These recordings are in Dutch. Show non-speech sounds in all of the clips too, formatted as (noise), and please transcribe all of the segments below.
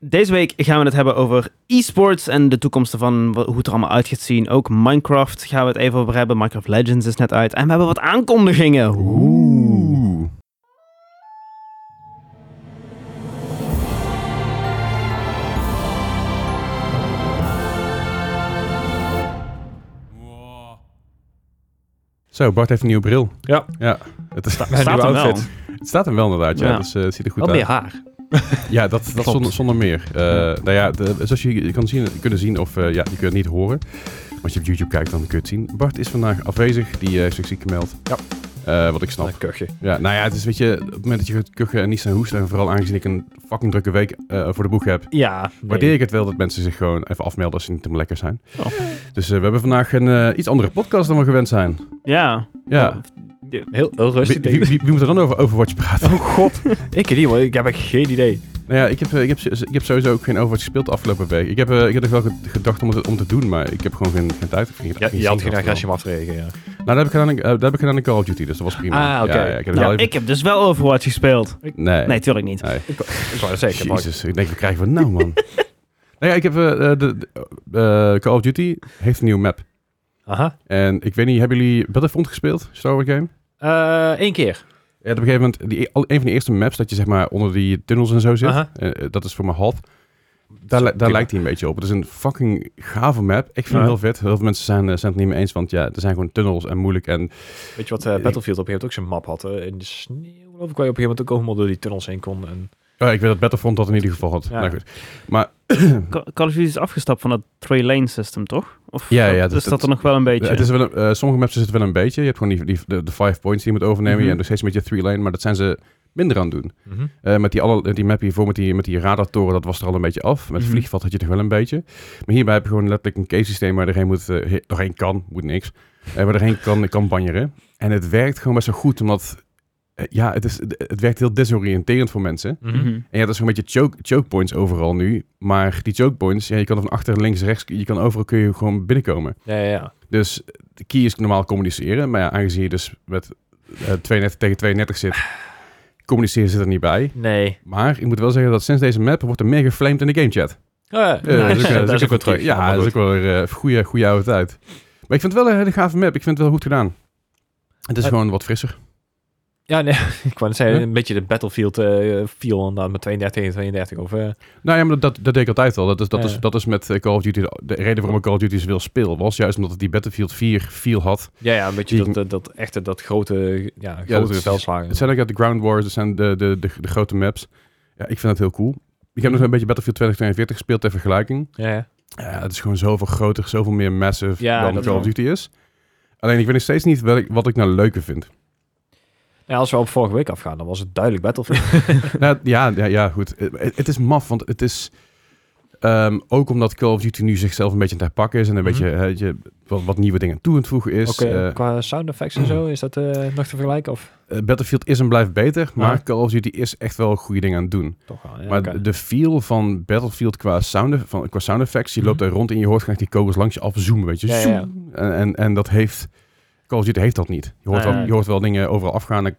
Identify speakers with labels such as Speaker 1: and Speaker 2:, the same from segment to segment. Speaker 1: Deze week gaan we het hebben over e-sports en de toekomst ervan, wa- hoe het er allemaal uit gaat zien. Ook Minecraft gaan we het even over hebben. Minecraft Legends is net uit. En we hebben wat aankondigingen.
Speaker 2: Oeh.
Speaker 3: Zo, Bart heeft een nieuwe bril.
Speaker 4: Ja.
Speaker 3: ja. Het, is-
Speaker 4: Mijn
Speaker 1: Staat
Speaker 4: nieuwe
Speaker 1: hem wel.
Speaker 4: outfit.
Speaker 3: het staat hem wel inderdaad, ja.
Speaker 1: Ja.
Speaker 3: Dus eh, het ziet er goed
Speaker 4: Wel meer
Speaker 3: uit.
Speaker 4: Oh, haar.
Speaker 3: Ja, dat, dat
Speaker 4: Klopt.
Speaker 3: zonder, zonder meer. Eh, Nou ja, de- zoals je kan zien, kunnen zien of eh, ja, je kunt het niet horen. Maar als je op YouTube kijkt, dan kun je het zien. Bart is vandaag afwezig. Die eh, heeft zich ziek gemeld.
Speaker 4: Ja.
Speaker 3: Eh, wat ik snap.
Speaker 4: Een kuchje.
Speaker 3: Ja, nou ja, het is weet je, op het moment dat je gaat kuchen en niet zijn hoesten, en vooral aangezien ik een fucking drukke week eh, voor de boeg heb,
Speaker 4: Ja. nee.
Speaker 3: waardeer ik het wel dat mensen zich gewoon even afmelden als ze niet helemaal lekker zijn.
Speaker 4: Oh.
Speaker 3: Dus eh, we hebben vandaag een eh, iets andere podcast dan we gewend zijn.
Speaker 1: Ja.
Speaker 4: Oh,
Speaker 3: Ja.
Speaker 4: Heel,
Speaker 3: Wie,
Speaker 4: heel rustig.
Speaker 3: wie, (laughs) wie- wie moet er dan over Overwatch praten?
Speaker 4: Oh god. ik niet, hoor. Ik heb echt geen idee.
Speaker 3: Nou ja, ik heb, eh, ik, heb, s- ik heb sowieso ook geen Overwatch gespeeld de afgelopen week. Ik heb, eh, ik heb nog wel ge- gedacht om het om te doen, maar ik heb gewoon geen, geen tijd. of Geen,
Speaker 4: Ja, je had geen
Speaker 3: zin
Speaker 4: agressie om af te reageren, ja.
Speaker 3: Nou, dat heb, ik gedaan, in- eh, dat heb ik gedaan in Call of Duty, dus dat was prima.
Speaker 4: Ah, oké.
Speaker 3: Ja, ja, ik heb
Speaker 1: Nou,
Speaker 3: wel even-
Speaker 1: ik heb dus wel Overwatch gespeeld.
Speaker 3: Nee.
Speaker 1: Nee, tuurlijk niet.
Speaker 3: nee.
Speaker 4: Ik wou dat zeggen, maar-
Speaker 3: Jezus, ik denk, we krijgen we nou,
Speaker 4: (laughs)
Speaker 3: man? nou ja, ik heb... eh, de, de- eh, Call of Duty heeft een nieuwe map.
Speaker 4: Aha.
Speaker 3: En ik weet niet, hebben jullie Battlefront gespeeld? Star Wars game?
Speaker 4: Eh, Eén keer.
Speaker 3: Ja, op een gegeven moment, die, e, al- een van de eerste maps dat je zeg maar onder die tunnels en zo zit,
Speaker 4: Aha.
Speaker 3: eh, eh, dat is voor mijn half. Daar, li- daar
Speaker 4: prima.
Speaker 3: lijkt hij een beetje op. Het is een fucking gave map. Ik vind
Speaker 4: Ja.
Speaker 3: het heel vet. Heel veel mensen zijn, eh, zijn het niet mee eens, want ja, er zijn gewoon tunnels en moeilijk. En
Speaker 4: Weet je wat eh, Battlefield op een gegeven moment ook zijn map had? eh, in de sneeuw, geloof ik, waar je op een gegeven moment ook helemaal door die tunnels heen kon. En...
Speaker 3: oh, ik weet dat Battlefront dat in ieder geval had.
Speaker 4: Ja.
Speaker 3: Nou goed.
Speaker 1: Ca- Call of Duty is afgestapt van dat three-lane system, toch? Of
Speaker 3: Ja, ja,
Speaker 1: is
Speaker 3: dat-
Speaker 1: dat er nog wel een beetje?
Speaker 3: Het is wel een- eh, sommige maps is het wel een beetje. Je hebt gewoon die, die, de, de five points die je moet overnemen.
Speaker 1: Mhm.
Speaker 3: Je hebt nog steeds een beetje three lane, maar dat zijn ze minder aan het doen.
Speaker 4: Mhm.
Speaker 3: Eh, met die, alle, die map hiervoor, met die, met die radartoren, dat was er al een beetje af. Met het
Speaker 1: Mhm.
Speaker 3: vliegveld had je het nog wel een beetje. Maar hierbij heb je gewoon letterlijk een case-systeem waar je erheen, moet, eh, he- doorheen kan, moet niks. Eh, waar erheen kan, (laughs) kan banjeren. En het werkt gewoon best wel goed, omdat eh, ja, het, is, het, het werkt heel desoriënterend voor mensen.
Speaker 4: Mhm.
Speaker 1: Mhm. (laughs)
Speaker 3: En ja, dat is een beetje choke, choke points overal nu. Maar die choke points, ja, je kan er van achter, links, rechts, je kan overal kun je gewoon binnenkomen.
Speaker 4: Ja, ja, ja.
Speaker 3: Dus de key is normaal communiceren. Maar ja, aangezien je dus met eh 32 tegen 32 zit, communiceren zit er niet bij.
Speaker 4: Nee.
Speaker 3: Maar ik moet wel zeggen dat sinds deze map wordt er meer geflamed in de gamechat.
Speaker 4: Eh,
Speaker 3: Eh, dat
Speaker 4: (laughs)
Speaker 3: is ook, eh, dat is ook
Speaker 4: wel
Speaker 3: wel terug. Ja, dat is ook wel weer eh, goede, goede oude tijd. Maar ik vind het wel een hele gave map. Ik vind het wel goed gedaan. Het is
Speaker 4: Eh,
Speaker 3: gewoon wat frisser.
Speaker 4: Ja, nee, (laughs) ik wou net zeggen,
Speaker 3: Huh?
Speaker 4: een beetje de Battlefield eh feel inderdaad, met 32 en 32. Of, eh,
Speaker 3: Nou ja, maar dat, dat deed ik altijd al. Dat is, dat,
Speaker 4: Ja.
Speaker 3: is, dat is met eh, Call of Duty. De, de reden waarom ik Call of Duty wil speel was juist omdat het die Battlefield 4 feel had.
Speaker 4: ja, ja, een beetje
Speaker 3: Die-
Speaker 4: dat, dat, dat echte, dat grote, ja, grote
Speaker 3: dat is-
Speaker 4: veldslagen.
Speaker 3: Het zijn ook uit de Ground Wars. Het zijn de, de, de, de grote maps. Ja, ik vind dat heel cool. Ik heb nog een beetje Battlefield 2042 gespeeld ter vergelijking.
Speaker 4: Ja, ja.
Speaker 3: Ja, het is gewoon zoveel groter, zoveel meer massive
Speaker 4: Ja,
Speaker 3: dan
Speaker 4: dat
Speaker 3: Call of
Speaker 4: wel.
Speaker 3: Duty is. Alleen ik weet nog steeds niet wat ik, wat ik nou leuker
Speaker 4: (laughs)
Speaker 3: vind.
Speaker 4: Ja, als we op vorige week afgaan, dan was het duidelijk Battlefield.
Speaker 3: (laughs) nou, ja, ja, ja, goed. Eh, Het, het is maf, want het is... ehm, ook omdat Call of Duty nu zichzelf een beetje aan het herpakken is... en een
Speaker 4: Mhm.
Speaker 3: beetje eh, je, wat, wat nieuwe dingen toe aan het voegen is.
Speaker 4: Oké,
Speaker 3: Eh, mm.
Speaker 4: qua sound effects en zo, is dat eh, nog te vergelijken? Of?
Speaker 3: eh, Battlefield is en blijft beter... maar
Speaker 4: Ah.
Speaker 3: Call of Duty is echt wel goede dingen aan het doen.
Speaker 4: Toch wel, ja,
Speaker 3: maar
Speaker 4: oké.
Speaker 3: de feel van Battlefield qua sound, e- van, qua sound effects... je loopt
Speaker 4: Mhm.
Speaker 3: daar rond en je hoort graag die kogels langs je afzoomen, weet je.
Speaker 4: Ja, ja, ja.
Speaker 3: Zoem! En, en, en dat heeft... Call of Duty heeft dat niet. Je hoort,
Speaker 4: Ah,
Speaker 3: wel,
Speaker 4: ja.
Speaker 3: je hoort wel dingen overal afgaan... en-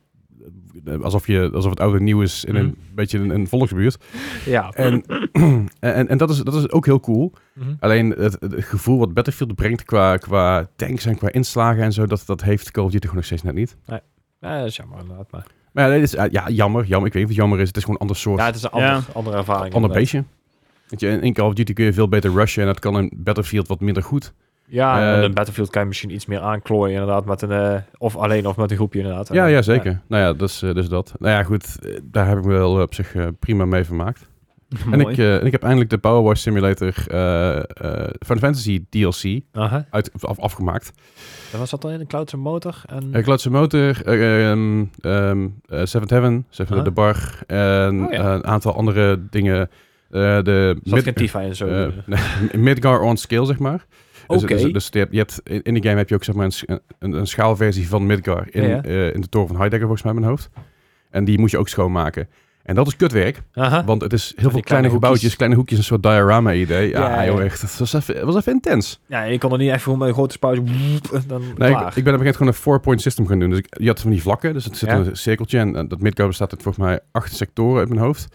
Speaker 3: eh, Alsof, je, alsof het oude nieuw is in een
Speaker 4: Mhm.
Speaker 3: beetje een, een volksbuurt.
Speaker 4: ja.
Speaker 3: En, (clears throat) en, en dat, is, dat is ook heel cool.
Speaker 4: Mhm.
Speaker 3: Alleen het, het gevoel wat Battlefield brengt qua, qua tanks en qua inslagen en zo, dat, dat heeft Call of Duty gewoon nog steeds net niet.
Speaker 4: Ja, dat is jammer inderdaad, maar...
Speaker 3: Maar ja, nee, dit is, eh, ja, jammer, jammer. Ik weet niet of het jammer is. Het is gewoon een ander soort,
Speaker 4: Ja, het is een ander, andere ervaring.
Speaker 3: ander
Speaker 4: inderdaad.
Speaker 3: beestje. Weet je, in- in Call of Duty kun je veel beter rushen en dat kan in Battlefield wat minder goed.
Speaker 4: Ja,
Speaker 3: Eh,
Speaker 4: want in Battlefield kan je misschien iets meer aanklooien inderdaad, met een, eh, of alleen of met een groepje inderdaad.
Speaker 3: Ja,
Speaker 4: En,
Speaker 3: ja zeker. Nou ja, dus, eh, dus dat. Nou ja, goed. eh, Daar heb ik me wel op zich eh, prima mee vermaakt. En
Speaker 1: Mooi.
Speaker 3: ik, eh, en ik heb eindelijk de Power Wash Simulator eh eh, Final Fantasy DLC
Speaker 4: Aha.
Speaker 3: uit, af- afgemaakt.
Speaker 4: Dan was dat al in de Cloudse Motor en...
Speaker 3: Uh, Klotse Motor, eh, ehm, ehm, eh, Seventh Heaven, Seven
Speaker 4: Huh?
Speaker 3: de Bar en
Speaker 4: Oh, ja.
Speaker 3: eh, een aantal andere dingen. Eh, de
Speaker 4: Zat geen
Speaker 3: Mid-
Speaker 4: Tifa en zo.
Speaker 3: eh,
Speaker 4: eh.
Speaker 3: nee, (laughs) Midgar on Scale, zeg maar. Dus-
Speaker 4: Oké.
Speaker 3: Dus, dus je hebt, je hebt- in in die game heb je ook zeg maar, een, sch- een, een schaalversie van Midgar in,
Speaker 4: Ja, ja.
Speaker 3: eh, in de toren van Heidegger, volgens mij, in mijn hoofd. En die moet je ook schoonmaken. En dat is kutwerk,
Speaker 4: Aha.
Speaker 3: want het is heel veel
Speaker 4: die kleine
Speaker 3: kleine gebouwtjes,
Speaker 4: hoekjes.
Speaker 3: kleine hoekjes, een soort diorama-idee. Ja,
Speaker 4: Ja, ja.
Speaker 3: joh, echt. Het was even, het was even intens.
Speaker 4: Ja, ik kon er niet echt voor met een grote spuit. woep, Dan
Speaker 3: Nee, ik, ik ben op een
Speaker 4: klaar.
Speaker 3: gegeven moment gewoon een four-point system gaan doen. Dus ik, je had van die vlakken, dus het zit
Speaker 4: Ja.
Speaker 3: in een cirkeltje. En, eh, dat midcode bestaat uit volgens mij acht sectoren uit mijn hoofd.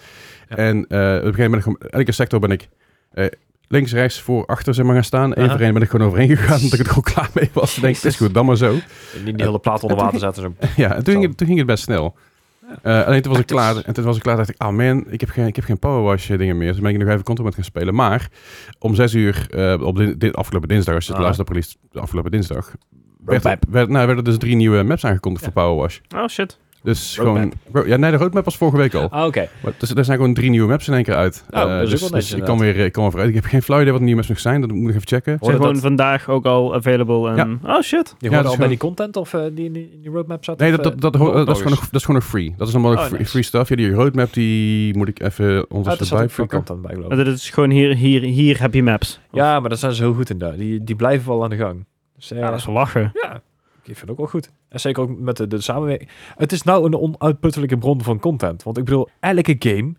Speaker 4: Ja.
Speaker 3: En eh, op een gegeven moment, ben ik gewoon- elke sector ben ik eh, links, rechts, voor, achter zeg maar gaan staan. Eén
Speaker 4: Aha.
Speaker 3: voor één ben ik gewoon overheen
Speaker 4: (laughs)
Speaker 3: gegaan, omdat ik er gewoon klaar mee was. Ik denk, het is goed, dan maar zo.
Speaker 4: Niet de hele plaat onder water zetten. Zo.
Speaker 3: (laughs) Ja, en toen ging, het, toen ging het best snel. Eh, alleen toen was ik klaar. En toen was ik klaar dacht ik, ah man, ik heb geen, ik heb geen powerwash eh, dingen meer. Dus ben ik nog even Contra met gaan spelen. Maar om zes uur, eh, op dit, dit afgelopen dinsdag, als je het
Speaker 4: Ah.
Speaker 3: laatste release, de afgelopen dinsdag, werd,
Speaker 4: Roadmap.
Speaker 3: werd, nou, werden dus drie nieuwe maps aangekondigd voor powerwash.
Speaker 1: Oh shit.
Speaker 3: Dus
Speaker 4: Roadmap.
Speaker 3: gewoon, ro- ja nee, de roadmap was vorige week al.
Speaker 4: Ah, oké.
Speaker 3: Maar dus, er zijn gewoon drie nieuwe maps in één keer uit.
Speaker 4: Oh, dat is
Speaker 3: Eh,
Speaker 4: ook wel
Speaker 3: dus
Speaker 4: netjes,
Speaker 3: dus ik kan weer, ik kan weer vooruit. Ik heb geen flauw idee wat de nieuwe maps nog zijn. Dat moet ik even checken.
Speaker 1: Zijn
Speaker 4: Hoorde
Speaker 1: gewoon
Speaker 4: dat-
Speaker 1: vandaag ook al available. En... Oh shit.
Speaker 4: Die
Speaker 3: Ja,
Speaker 4: hoorde
Speaker 3: dat
Speaker 4: al
Speaker 3: is
Speaker 4: bij
Speaker 3: gewoon-
Speaker 4: die content of eh, die in die, in die roadmap zat?
Speaker 3: Nee,
Speaker 4: of,
Speaker 3: dat, dat,
Speaker 4: eh,
Speaker 3: dat, ho-
Speaker 4: nog
Speaker 3: dat, is gewoon nog, dat is gewoon nog free. Dat is allemaal nog
Speaker 4: Oh,
Speaker 3: free,
Speaker 4: nice.
Speaker 3: free stuff. Ja, die roadmap die moet ik even
Speaker 4: Ah, er
Speaker 3: ondertussen
Speaker 4: zat ook veel
Speaker 3: bijpikken.
Speaker 4: content bij, geloof ik.
Speaker 1: Dat is gewoon hier, hier, hier heb je maps.
Speaker 4: Ja, maar daar zijn ze heel goed in. daar. Die, die blijven wel aan de gang. Dus, eh,
Speaker 1: Ja, dat is wel lachen.
Speaker 4: ja, ik vind het ook wel goed. En zeker ook met de, de samenwerking. Het is nou een onuitputtelijke bron van content. Want ik bedoel, elke game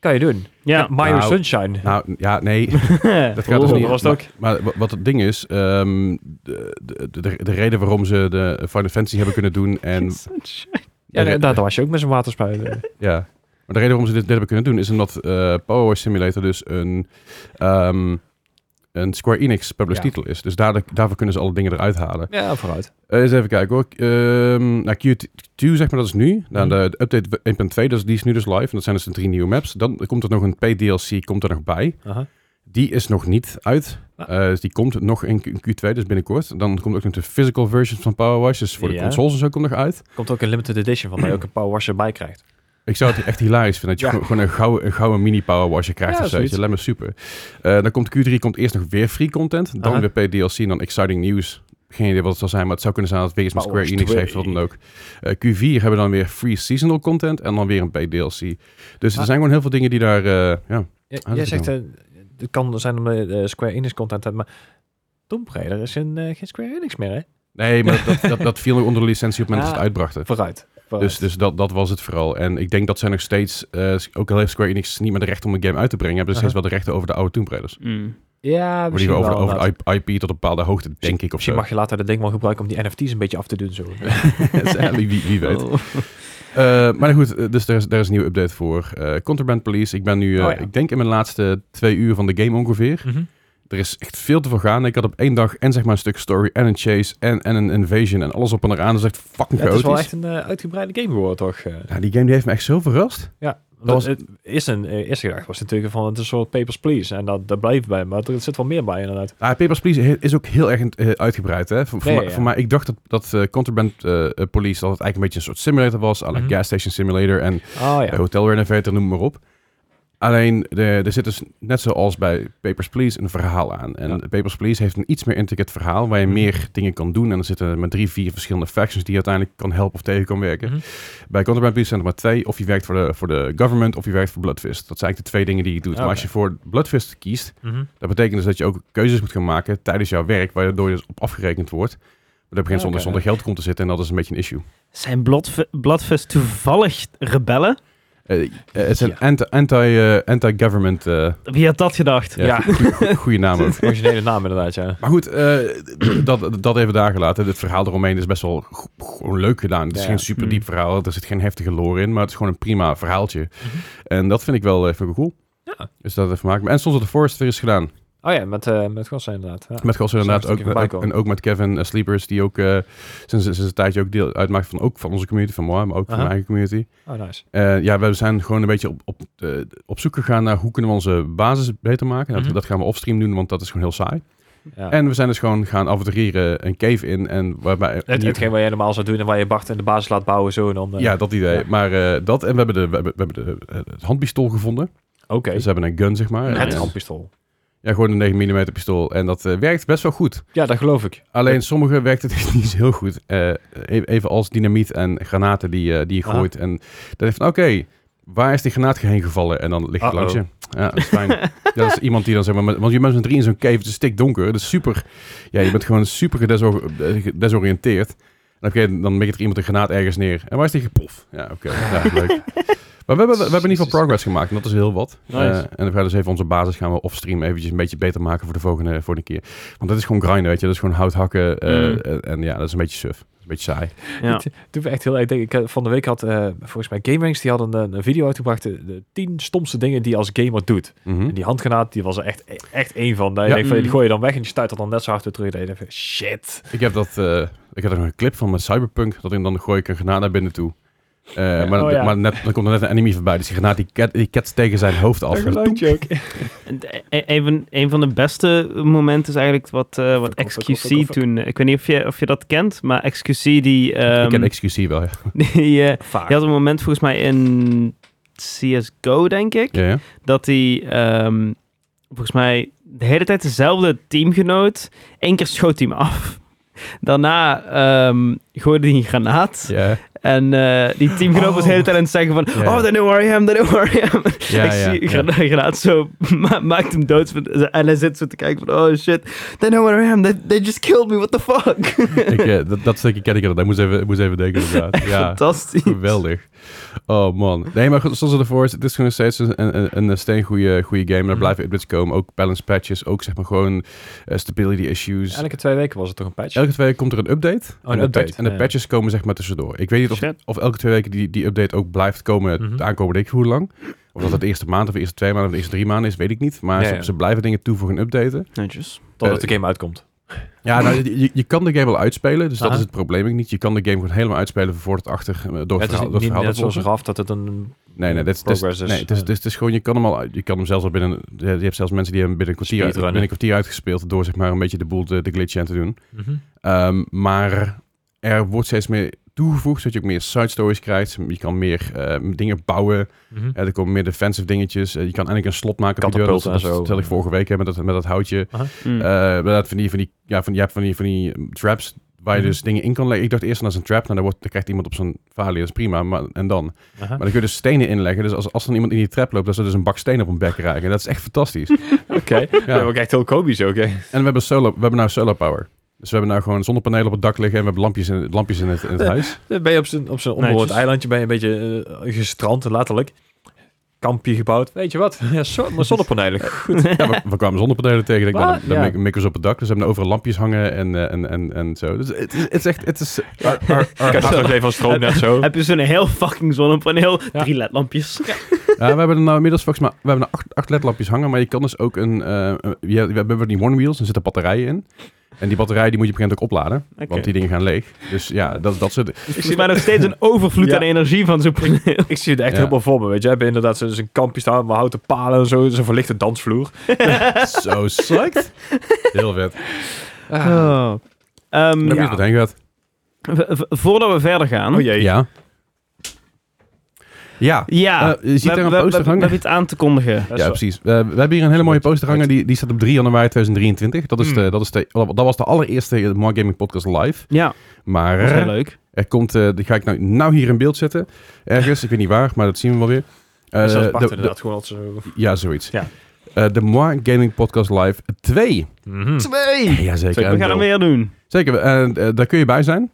Speaker 4: kan je doen.
Speaker 1: (laughs) Ja.
Speaker 4: Mario
Speaker 3: Nou,
Speaker 4: Sunshine.
Speaker 3: Nou, ja,
Speaker 4: (laughs)
Speaker 3: nee. Dat gaat
Speaker 4: Oeh,
Speaker 3: dus niet.
Speaker 4: dat was het
Speaker 3: maar,
Speaker 4: ook.
Speaker 3: maar wa- wat het ding is, ehm, de, de, de, de reden waarom ze de Final Fantasy hebben kunnen
Speaker 4: (laughs)
Speaker 3: doen en...
Speaker 4: ja,
Speaker 3: de re-
Speaker 4: nee, daar was je ook met zo'n
Speaker 3: (laughs)
Speaker 4: waterspuit.
Speaker 3: ja. Maar de reden waarom ze dit, dit hebben kunnen doen is omdat eh Power Wash Simulator dus een, ehm, een Square Enix published
Speaker 4: Ja.
Speaker 3: titel is. Dus daardoor, daarvoor kunnen ze alle dingen eruit halen.
Speaker 4: ja, vooruit.
Speaker 3: Eh, eens even kijken hoor. Ehm nou, Q2 zeg maar, dat is nu. Nou,
Speaker 4: Mhm.
Speaker 3: de, de update 1.2, dus, die is nu dus live. En dat zijn dus de drie nieuwe maps. Dan komt er nog een PDLC komt er nog bij.
Speaker 4: Aha.
Speaker 3: Die is nog niet uit.
Speaker 4: Ah.
Speaker 3: Eh, dus die komt nog in Q- in Q2, dus binnenkort. Dan komt ook nog de physical version van Power Wash. Dus voor de
Speaker 4: Ja.
Speaker 3: consoles en zo komt nog uit.
Speaker 4: Komt ook een limited edition van dat je ook een power washer bij krijgt.
Speaker 3: Ik zou het echt hilarisch vinden dat je
Speaker 4: Ja.
Speaker 3: gewoon- gewoon een gouden, een gouden mini Power Washer krijgt
Speaker 4: Ja,
Speaker 3: of zo. weet
Speaker 4: zoiets.
Speaker 3: je. Lijkt me super. Eh, dan komt Q3, komt eerst nog weer free content. Dan
Speaker 4: Aha.
Speaker 3: weer PDLC en dan exciting news. Geen idee wat het zal zijn, maar het zou kunnen zijn dat het wegens een
Speaker 4: Power
Speaker 3: Square Enix
Speaker 4: Wash
Speaker 3: heeft, wat dan ook. Eh, Q4 hebben we dan weer free seasonal content en dan weer een PDLC. Dus er
Speaker 4: Maar-
Speaker 3: zijn gewoon heel veel dingen die daar... eh, ja.
Speaker 4: Ja,
Speaker 3: dat
Speaker 4: jij
Speaker 3: is
Speaker 4: zegt, eh, het kan zijn omdat je eh, Square Enix content hebt, maar Tomb Raider is een, eh, geen Square Enix meer, hè?
Speaker 3: Nee, maar dat,
Speaker 4: (laughs)
Speaker 3: dat, dat viel nog onder de licentie op het moment dat ze het
Speaker 4: Ah.
Speaker 3: uitbrachten.
Speaker 4: Vooruit. vooruit.
Speaker 3: Dus, dus dat, dat was het vooral. En ik denk dat zij nog steeds, eh, ook al heeft Square Enix niet meer de recht om een game uit te brengen, hebben ze steeds
Speaker 4: Aha.
Speaker 3: wel de rechten over de oude Tomb Raiders.
Speaker 1: Mm.
Speaker 4: ja,
Speaker 3: Maar die
Speaker 4: misschien
Speaker 3: over, de-
Speaker 4: wel,
Speaker 3: over
Speaker 4: inderdaad.
Speaker 3: de IP tot een bepaalde hoogte, denk ik of
Speaker 4: Misschien
Speaker 3: zo.
Speaker 4: mag je later dat ding wel gebruiken om die NFT's een beetje af te doen. Zo. (laughs)
Speaker 3: (laughs) Dus, eh, wie, wie- wie weet.
Speaker 1: Oh.
Speaker 3: Eh, maar goed, eh, dus daar is, daar is een nieuwe update voor. Eh, Contraband Police, ik ben nu, eh,
Speaker 4: Oh ja.
Speaker 3: ik denk in mijn laatste twee uur van de game ongeveer. Er is echt veel te veel gaan. Ik had op één dag en zeg maar een stuk story en een chase en, en een invasion en alles op en eraan. Dat is echt fucking
Speaker 4: Ja, het is wel
Speaker 3: chaotisch.
Speaker 4: echt een eh, uitgebreide game geworden, toch? eh.
Speaker 3: Ja, die game die heeft me echt zo verrast.
Speaker 4: ja, dat
Speaker 3: was-
Speaker 4: was, het eerste, eh, eerste gedachte was natuurlijk van het is een soort Papers, Please. En dat, dat blijft bij, maar er zit wel meer bij inderdaad.
Speaker 3: Ah, Papers, Please he- is ook heel erg eh, uitgebreid. Hè? Voor, voor,
Speaker 4: Ja,
Speaker 3: mij-
Speaker 4: ja, ja.
Speaker 3: voor mij, ik dacht dat, dat eh, Contraband eh, eh, Police dat het eigenlijk een beetje een soort simulator was. à la
Speaker 4: Mhm.
Speaker 3: Gas Station Simulator en
Speaker 4: Oh ja.
Speaker 3: Eh, Hotel Renovator, noem maar op. Alleen, de, er zit dus net zoals bij Papers, Please een verhaal aan. En
Speaker 4: Ja. Mhm.
Speaker 3: Papers, Please heeft een iets meer intricate verhaal... waar je meer dingen kan doen. En er zitten maar drie, vier verschillende factions... die je uiteindelijk kan helpen of tegen kan werken.
Speaker 4: Mhm.
Speaker 3: Bij Contraband Police zijn er maar twee. Of je werkt voor de, voor de government of je werkt voor Bloodfist. Dat zijn eigenlijk de twee dingen die je doet. Maar
Speaker 4: Ah, Oké.
Speaker 3: als je voor Bloodfist kiest...
Speaker 4: Mhm.
Speaker 3: dat betekent dus dat je ook keuzes moet gaan maken tijdens jouw werk... waardoor je dus op afgerekend wordt. Maar dat begint zonder,
Speaker 4: Ah, Oké.
Speaker 3: zonder geld komt te zitten... en dat is een beetje een issue.
Speaker 1: Zijn Bloodf- Bloodfest toevallig rebellen?
Speaker 3: Eh, eh, het zijn
Speaker 4: Ja.
Speaker 3: anti- anti- eh, anti-government... eh
Speaker 1: Wie had dat gedacht?
Speaker 3: Ja,
Speaker 4: Ja.
Speaker 3: goe- goede naam
Speaker 4: (laughs)
Speaker 3: ook.
Speaker 4: Originele naam inderdaad, ja.
Speaker 3: Maar goed, eh, d- dat, dat even daar gelaten. Het verhaal eromheen is best wel go- gewoon leuk gedaan. Het is
Speaker 4: Ja.
Speaker 3: geen super diep
Speaker 1: Mm.
Speaker 3: verhaal, er zit geen heftige lore in, maar het is gewoon een prima verhaaltje. En dat vind ik wel, eh, vind ik wel cool.
Speaker 4: Mhm. Ja.
Speaker 3: Dus dat even maken. En soms dat de Forest weer is gedaan.
Speaker 4: Oh ja, met, eh met Gossen inderdaad. Ja.
Speaker 3: Met Gas inderdaad
Speaker 4: Zo'n
Speaker 3: ook.
Speaker 4: stukje voorbij
Speaker 3: ook- En ook met Kevin eh, Sleepers, die ook eh, sinds, sinds een tijdje ook deel uitmaakt van, ook van onze community, van moi, maar ook van
Speaker 4: Aha.
Speaker 3: mijn eigen community.
Speaker 4: Oh, nice.
Speaker 3: Eh, ja, we zijn gewoon een beetje op, op, eh, op zoek gegaan naar hoe kunnen we onze basis beter maken. Dat,
Speaker 4: Mhm.
Speaker 3: dat gaan we offstream doen, want dat is gewoon heel saai.
Speaker 4: Ja.
Speaker 3: En we zijn dus gewoon gaan avontureren een cave in. En waarbij,
Speaker 4: het, hetgeen wat jij normaal zou doen en waar je Bart in de basis laat bouwen zo en dan... eh,
Speaker 3: ja, dat idee.
Speaker 4: Ja.
Speaker 3: Maar eh, dat, en we hebben, de, we hebben, we hebben de, eh, het handpistool gevonden.
Speaker 4: Oké.
Speaker 3: Dus we hebben een gun, zeg maar.
Speaker 1: Nice.
Speaker 4: Het
Speaker 3: En-
Speaker 4: handpistool.
Speaker 3: Ja, gewoon een 9mm pistool. En dat eh, werkt best wel goed.
Speaker 4: Ja, dat geloof ik.
Speaker 3: Alleen sommige werkt het (laughs) niet zo heel goed. Eh, e- even als dynamiet en granaten die, eh, die je
Speaker 4: Aha.
Speaker 3: gooit. En dan denk je van, oké, waar is die granaat heen gevallen? En dan ligt het langs
Speaker 4: Uh-oh.
Speaker 3: je. Ja, dat is fijn.
Speaker 4: (laughs)
Speaker 3: ja, dat is iemand die dan zeg maar... met- Want je bent met z'n drie in zo'n cave, het is stik donker. Het is super... Ja, je bent gewoon super gedesor- eh, gedesoriënteerd. En op een gegeven moment dan mikt er iemand een granaat ergens neer. En waar is die gepof? Ja, oké. Ja,
Speaker 4: (laughs)
Speaker 3: leuk. Maar we hebben, we hebben in ieder geval progress gemaakt en dat is heel wat.
Speaker 4: Nice.
Speaker 3: Eh, en we gaan dus even onze basis gaan we offstream eventjes een beetje beter maken voor de volgende, voor de keer. Want dat is gewoon grinden, weet je. Dat is gewoon hout hakken eh,
Speaker 1: Mm.
Speaker 3: en, en ja, dat is een beetje suf. Dat is een beetje saai.
Speaker 1: Ja.
Speaker 4: Toen doet me echt heel erg denken. Ik, eh, Van de week had eh, volgens mij GameRanks, die hadden een, een video uitgebracht. De, de 10 stomste dingen die je als gamer doet.
Speaker 3: Mhm.
Speaker 4: En die handgranaat, die was er echt, echt één van. Daar je
Speaker 3: Ja. Hm.
Speaker 4: denkt van,
Speaker 1: Mm.
Speaker 4: die gooi je dan weg en die stuit er dan net zo hard weer terug. Dat je denkt van, shit.
Speaker 3: Ik heb dat, eh, ik had nog een clip van mijn Cyberpunk, dat ik dan gooi ik een granaat naar binnen toe. Eh, maar
Speaker 4: oh ja.
Speaker 3: maar net, dan komt er net een enemy voorbij, dus die granaat die, ket, die ketst tegen zijn hoofd af. (laughs)
Speaker 4: joke.
Speaker 1: En e- e- Even, een van de beste momenten is eigenlijk wat, eh, wat
Speaker 4: Fuck off, fuck off, fuck
Speaker 1: XQC
Speaker 4: off.
Speaker 1: toen... eh, Ik weet niet of je, of je dat kent, maar XQC die...
Speaker 3: ik
Speaker 1: ehm,
Speaker 3: ken XQC wel, ja.
Speaker 1: (laughs) die, eh,
Speaker 4: Vaak.
Speaker 1: die had een moment volgens mij in CSGO, denk ik.
Speaker 3: Ja, ja.
Speaker 1: dat hij ehm, volgens mij de hele tijd dezelfde teamgenoot. Eén keer schoot hij hem af. Daarna ehm, gooide hij een granaat.
Speaker 3: Ja,
Speaker 1: En eh,
Speaker 3: (gasps)
Speaker 1: die teamgenoot was de hele tijd aan het zeggen van...
Speaker 3: Oh. Ja.
Speaker 1: Oh, they know where I am, they know where I am. (laughs) (laughs)
Speaker 3: Ja,
Speaker 1: ik
Speaker 3: ja,
Speaker 1: zie
Speaker 3: ja.
Speaker 1: grana- granaat zo... (laughs) ma- maakt hem dood. En hij zit zo te kijken van... Oh, shit. They know where I am. They, they just killed me. What the fuck?
Speaker 3: ik, eh, dat, dat stukje ken ik inderdaad. Ik moest even, ik moest even denken
Speaker 1: (laughs)
Speaker 3: inderdaad. Ja.
Speaker 1: Fantastisch.
Speaker 3: Geweldig. Oh man. Nee, maar goed, zoals het ervoor is, het is gewoon nog steeds een, een, een- een steengoede goede game.
Speaker 4: Mm.
Speaker 3: Er blijven updates komen, ook balance patches, ook zeg maar gewoon eh, stability issues.
Speaker 4: Elke twee weken was het toch een patch?
Speaker 3: Elke twee weken komt er een update.
Speaker 4: Oh, een
Speaker 3: en, de
Speaker 4: update,
Speaker 3: patch- en de
Speaker 4: ja.
Speaker 3: patches komen zeg maar tussendoor. Ik weet niet of,
Speaker 1: Shit.
Speaker 3: of elke twee weken die, die update ook blijft komen
Speaker 4: Mhm.
Speaker 3: de aankomende week hoe lang. Of dat het de eerste maand of de eerste twee maanden of de eerste drie maanden is, weet ik niet. Maar
Speaker 4: Ja,
Speaker 3: ze,
Speaker 4: ja.
Speaker 3: ze blijven dingen toevoegen en updaten.
Speaker 1: Netjes.
Speaker 4: Totdat
Speaker 3: eh,
Speaker 4: de game uitkomt.
Speaker 3: Ja, nou, je, je- je kan de game wel uitspelen, dus dat
Speaker 4: Aha.
Speaker 3: is het probleem ook niet. Je kan de game gewoon helemaal uitspelen van voor tot achter eh, door het,
Speaker 4: het is
Speaker 3: verhaal,
Speaker 4: niet,
Speaker 3: door het
Speaker 4: niet
Speaker 3: verhaal
Speaker 4: net
Speaker 3: te volgen.
Speaker 4: zoals eraf dat het een
Speaker 3: Nee, nee, dat is, dat is-
Speaker 4: Progress is-
Speaker 3: nee, het is,
Speaker 4: ja.
Speaker 3: het is, het is gewoon, je kan hem al, je kan hem zelfs al binnen, je hebt zelfs mensen die hebben binnen een kwartier, uit-
Speaker 4: Speedrunnen.
Speaker 3: binnen een kwartier uitgespeeld door zeg maar een beetje de boel te, de glitchen en te doen.
Speaker 4: Mhm.
Speaker 3: Ehm, maar er wordt steeds meer toegevoegd, zodat je ook meer side stories krijgt. Je kan meer eh, dingen bouwen.
Speaker 4: Mhm.
Speaker 3: Eh, er komen meer defensive dingetjes. Eh, je kan eindelijk een slot maken. op die deur. Dat,
Speaker 4: Katapulten en
Speaker 3: dat
Speaker 4: zo. Hm.
Speaker 3: stel ik vorige week hè, met, dat, met dat houtje.
Speaker 1: Mm.
Speaker 3: Eh, inderdaad, van die, van die, ja, van, je hebt van die, van die ehm, traps waar je
Speaker 4: Mhm.
Speaker 3: dus dingen in kan leggen. Ik dacht eerst, dat is een trap. Nou, dan, wordt, dan krijgt iemand op zijn falie, dat is prima. Maar, en dan?
Speaker 4: Mhm.
Speaker 3: Maar dan kun je dus stenen inleggen. Dus als, als dan iemand in die trap loopt, dan zou dus een bak stenen op een bek raken. Dat is echt
Speaker 4: (laughs)
Speaker 3: fantastisch. en
Speaker 4: Oké. Dat Ja, ook echt heel komisch ook. hè.
Speaker 3: we hebben, solo, we hebben nou solar power. Dus we hebben nou gewoon zonnepanelen op het dak liggen en we hebben lampjes in, lampjes in, het,
Speaker 4: (laughs)
Speaker 3: in het huis.
Speaker 4: Dan ben je op zijn op zo'n onbewoond
Speaker 1: Netjes.
Speaker 4: eilandje ben je een beetje eh, gestrand, letterlijk. Kampje gebouwd. Weet je wat? (laughs) Eh, Ja, zo, maar zonnepanelen.
Speaker 3: Ja, we, we kwamen zonnepanelen tegen. Ik denk, nou,
Speaker 4: Wat?
Speaker 3: dan, dan
Speaker 4: Ja.
Speaker 3: mikken- mikken ze op het dak. Dus we hebben nou overal lampjes hangen en, eh, en, en, en zo. Dus het is- het is echt... Het is, our- our- our-
Speaker 4: (laughs) Ik had nog even van stroom net zo.
Speaker 1: Heb je zo'n heel fucking zonnepaneel.
Speaker 4: Ja.
Speaker 1: Drie ledlampjes. (laughs)
Speaker 3: Ja, we hebben er nou inmiddels volgens mij we hebben er acht, acht ledlampjes hangen, maar je kan dus ook een... eh, eh, je- we hebben die one wheels, er zitten batterijen in. En die batterijen die moet je op een gegeven moment ook opladen, want die dingen gaan leeg. Dus ja, dat, dat soort...
Speaker 4: (laughs)
Speaker 1: Dus volgens mij nog steeds een overvloed
Speaker 4: Ja.
Speaker 1: aan energie van zo'n paneel.
Speaker 4: Ik zie het echt
Speaker 3: Ja.
Speaker 4: helemaal voor me, weet je. We hebben inderdaad zo- zo'n kampje staan met houten palen en zo. Zo'n verlichte dansvloer.
Speaker 3: Zo sucked. Heel vet.
Speaker 1: (laughs)
Speaker 3: Ah.
Speaker 1: Oh. Ehm,
Speaker 3: Ik ben
Speaker 4: Ja.
Speaker 3: benieuwd wat heen gaat.
Speaker 1: v- v- voordat we verder gaan.
Speaker 4: Oh jee.
Speaker 3: Ja. Ja.
Speaker 1: Ja,
Speaker 3: Eh, je ziet
Speaker 1: we-
Speaker 3: daar een
Speaker 1: we- we-
Speaker 3: poster
Speaker 1: we
Speaker 3: hangen.
Speaker 1: hebben iets aan te kondigen.
Speaker 4: Dat is
Speaker 3: ja,
Speaker 4: wel-
Speaker 3: precies. Eh, we hebben hier een hele mooie poster hangen. Die, die staat op 3 januari 2023. Dat, is
Speaker 4: Hmm.
Speaker 1: Mm.
Speaker 3: de, dat, is de, dat was de allereerste Mark Gaming Podcast live.
Speaker 1: Ja,
Speaker 3: Maar
Speaker 1: dat is heel leuk.
Speaker 3: er komt, eh, die ga ik nou, nou hier in beeld zetten. Ergens, ik weet niet waar, maar dat zien we wel weer. Eh,
Speaker 4: Dus dat is
Speaker 3: de-
Speaker 4: apart
Speaker 3: de-
Speaker 4: inderdaad. Gewoon als zo...
Speaker 3: ja, zoiets.
Speaker 4: Ja.
Speaker 3: Eh, de Mark Gaming Podcast Live 2.
Speaker 4: Mhm.
Speaker 3: Hm.
Speaker 1: Twee!
Speaker 3: Jazeker.
Speaker 4: Zeker.
Speaker 1: We gaan er meer doen.
Speaker 3: Zeker, en eh, daar kun je bij zijn.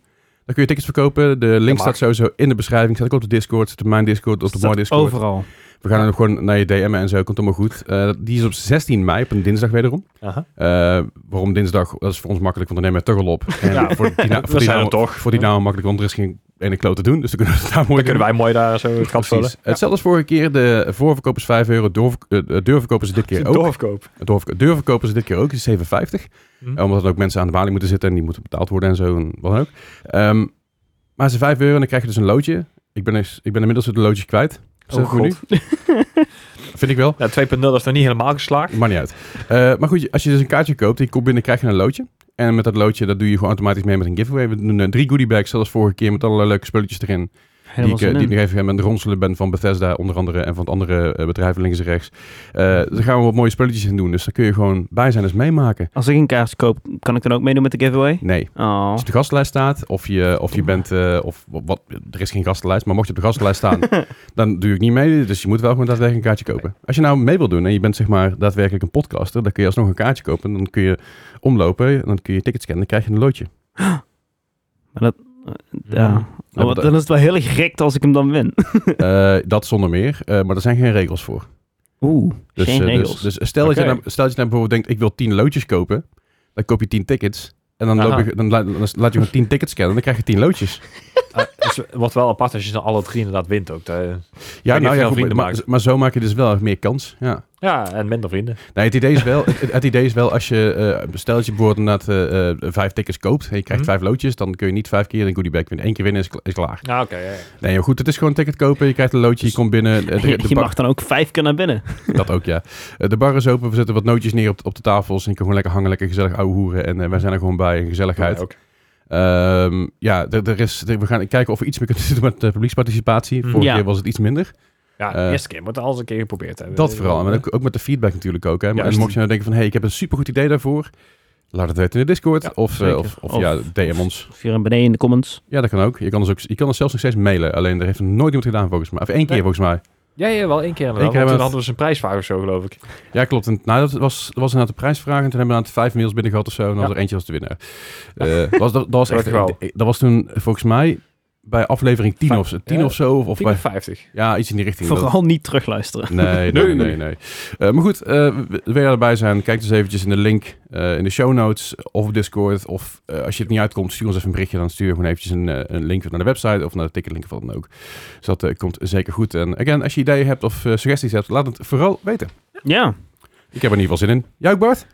Speaker 3: Daar kun je tickets verkopen. De link
Speaker 4: mag.
Speaker 3: staat sowieso in de beschrijving. Staat ook op de Discord, staat op mijn Discord, op de
Speaker 1: Staat
Speaker 3: Mooi Discord.
Speaker 1: Overal.
Speaker 3: We gaan hem gewoon naar je DM'en en zo. Komt allemaal goed. Eh, die is op 16 mei, op een dinsdag wederom.
Speaker 4: Aha.
Speaker 3: Eh, waarom dinsdag? Dat is voor ons makkelijk, want dan nemen we het toch al op. En
Speaker 4: Ja.
Speaker 3: voor die,
Speaker 4: (laughs) We zijn er toch. Hm?
Speaker 3: Voor die naam makkelijk, want er is geen ene kloot te doen. Dus dan kunnen we het daar mooi
Speaker 4: Dan kunnen wij mooi daar zo het gat vullen.
Speaker 3: Precies. Hetzelfde als vorige keer. De voorverkoop is 5 euro. Doorverk- eh, eh, Deurverkoop is dit keer ook.
Speaker 4: Doorverkoop.
Speaker 3: Doorverk- Deurverkoop is dit keer ook. is 7,50.
Speaker 4: Hm.
Speaker 3: Eh, Omdat er ook mensen aan de balie moeten zitten en die moeten betaald worden en zo en wat dan ook. Ehm, maar ze 5 euro en dan krijg je dus een loodje. Ik ben, eens, ik ben inmiddels het loodje kwijt. Is dat
Speaker 4: Oh,
Speaker 3: goed
Speaker 4: God.
Speaker 3: nu? (laughs) Vind ik wel.
Speaker 4: Ja, 2.0 is nog niet helemaal geslaagd.
Speaker 3: Maakt niet uit. Eh, maar goed, als je dus een kaartje koopt, die komt binnen, krijg je een loodje. En met dat loodje, dat doe je gewoon automatisch mee met een giveaway. We doen eh, drie goodie bags, zoals vorige keer, met allerlei leuke spulletjes erin. Die
Speaker 1: Helemaal
Speaker 3: ik, eh,
Speaker 1: zin
Speaker 3: die ik
Speaker 1: in.
Speaker 3: nog even aan het ronselen ben van Bethesda, onder andere. En van het andere eh, bedrijven links en rechts. Eh, daar gaan we wat mooie spulletjes in doen. Dus daar kun je gewoon bij zijn, dus meemaken.
Speaker 1: Als ik een kaars koop, kan ik dan ook meedoen met de giveaway?
Speaker 3: Nee.
Speaker 1: Oh.
Speaker 3: Als je op de gastenlijst staat, of je, of je bent, eh, of wa- wat, er is geen gastenlijst, maar mocht je op de gastenlijst staan,
Speaker 4: (laughs)
Speaker 3: dan doe ik niet mee. Dus je moet wel gewoon daadwerkelijk een kaartje kopen. Als je nou mee wil doen en je bent zeg maar daadwerkelijk een podcaster, dan kun je alsnog een kaartje
Speaker 4: (laughs)
Speaker 3: kopen. Dan kun je omlopen, dan kun je tickets scannen, dan krijg je een loodje.
Speaker 1: Maar dat, Ja. Maar wat- dan is het wel heel erg gek als ik hem dan win.
Speaker 3: (laughs) Eh, dat zonder meer, eh, maar er zijn geen regels voor.
Speaker 1: Oeh,
Speaker 3: Dus,
Speaker 1: geen
Speaker 3: eh, dus-
Speaker 1: regels.
Speaker 3: Dus, stel, dat je
Speaker 4: Oké.
Speaker 3: nou, stel dat je nou bijvoorbeeld denkt, ik wil 10 loodjes kopen. Dan koop je 10 tickets. En dan,
Speaker 4: Aha.
Speaker 3: loop je, dan, la- dan laat je gewoon 10 tickets scannen en dan krijg je 10 loodjes.
Speaker 4: Eh, is- Wordt wel apart als je ze alle drie inderdaad wint ook. Eh,
Speaker 3: Ja,
Speaker 4: niet
Speaker 3: nou,
Speaker 4: of je
Speaker 3: ja
Speaker 4: al
Speaker 3: goed,
Speaker 4: vrienden
Speaker 3: maar,
Speaker 4: maakt.
Speaker 3: maar zo maak je dus wel meer kans. Ja.
Speaker 4: Ja, en minder vrienden.
Speaker 3: Nee, Nou, het idee is wel, het, het idee is wel als je, eh stel dat je bijvoorbeeld inderdaad eh, eh, vijf tickets koopt en je krijgt
Speaker 4: Mhm.
Speaker 3: vijf loodjes, dan kun je niet vijf keer een goodie bag winnen. Eén keer winnen is, kla- is klaar.
Speaker 4: Ja, oké. ja, ja.
Speaker 3: Nee, maar goed, het is gewoon een ticket kopen, je krijgt een loodje, je komt
Speaker 1: (laughs)
Speaker 3: binnen. eh,
Speaker 1: Dus je
Speaker 3: De, de
Speaker 1: je
Speaker 3: bar-
Speaker 1: mag dan ook vijf keer naar binnen.
Speaker 3: dat ook, ja. Eh, De bar is open, we zetten wat nootjes neer op, op de tafels en je kan gewoon lekker hangen, lekker gezellig ouwe hoeren en eh, wij zijn er gewoon bij, een gezelligheid.
Speaker 4: Ja, ook.
Speaker 3: Ehm, ja, er, er is, er- we gaan kijken of we iets meer kunnen doen met eh, publieksparticipatie.
Speaker 4: Mhm.
Speaker 3: Vorige
Speaker 1: Ja.
Speaker 3: keer was het iets minder.
Speaker 4: Ja, de
Speaker 3: Eh,
Speaker 4: eerste keer. Moet alles een keer geprobeerd hebben.
Speaker 3: Dat vooral. En ook, ook met de feedback natuurlijk ook. Hè. Maar- En
Speaker 4: Juist.
Speaker 3: mocht je nou denken van, hé, hey, ik heb een supergoed idee daarvoor. Laat het weten in de Discord.
Speaker 4: Ja,
Speaker 3: of, eh,
Speaker 1: zeker.
Speaker 3: of, of,
Speaker 1: Of-
Speaker 3: ja, DM ons.
Speaker 1: Of hier beneden in de comments.
Speaker 3: Ja, dat kan ook. Je kan ons, ook, je kan ons zelfs nog steeds mailen. Alleen er heeft nooit iemand gedaan volgens mij. Of één keer
Speaker 4: Nee.
Speaker 3: volgens mij.
Speaker 4: Ja, ja, wel één keer inderdaad.
Speaker 3: Eén keer
Speaker 4: want
Speaker 3: hebben
Speaker 4: toen
Speaker 3: we-
Speaker 4: hadden we een prijsvraag of zo, geloof ik.
Speaker 3: Ja, klopt. En, nou, dat was, dat was inderdaad de prijsvraag. En toen hebben we inderdaad vijf mails binnen gehad of zo. En dan was
Speaker 4: Ja.
Speaker 3: er eentje als de winnaar. Eh, was, dat, dat,
Speaker 4: (laughs)
Speaker 3: was echt,
Speaker 4: Dankjewel.
Speaker 3: dat was toen volgens mij bij aflevering 10
Speaker 4: Vijf-
Speaker 3: of zo. 10
Speaker 4: ja,
Speaker 3: of zo. Of, of
Speaker 4: 10
Speaker 3: bij,
Speaker 4: of 50.
Speaker 3: ja, iets in die richting. Dat-
Speaker 1: Vooral niet terugluisteren.
Speaker 3: Nee, nee, nee.
Speaker 4: Nee,
Speaker 3: nee, nee. Eh, maar goed, eh, w- wil je erbij zijn? Kijk dus eventjes in de link eh, in de show notes of op Discord. Of eh, als je het niet uitkomt, stuur ons even een berichtje. Dan stuur je gewoon eventjes een, eh, een link naar de website of naar de ticketlink of wat dan ook. Dus dat eh, komt zeker goed. En again, als je ideeën hebt of eh, suggesties hebt, laat het vooral weten.
Speaker 1: Ja.
Speaker 3: Ik heb er in ieder geval zin in. Jij ook, Bart?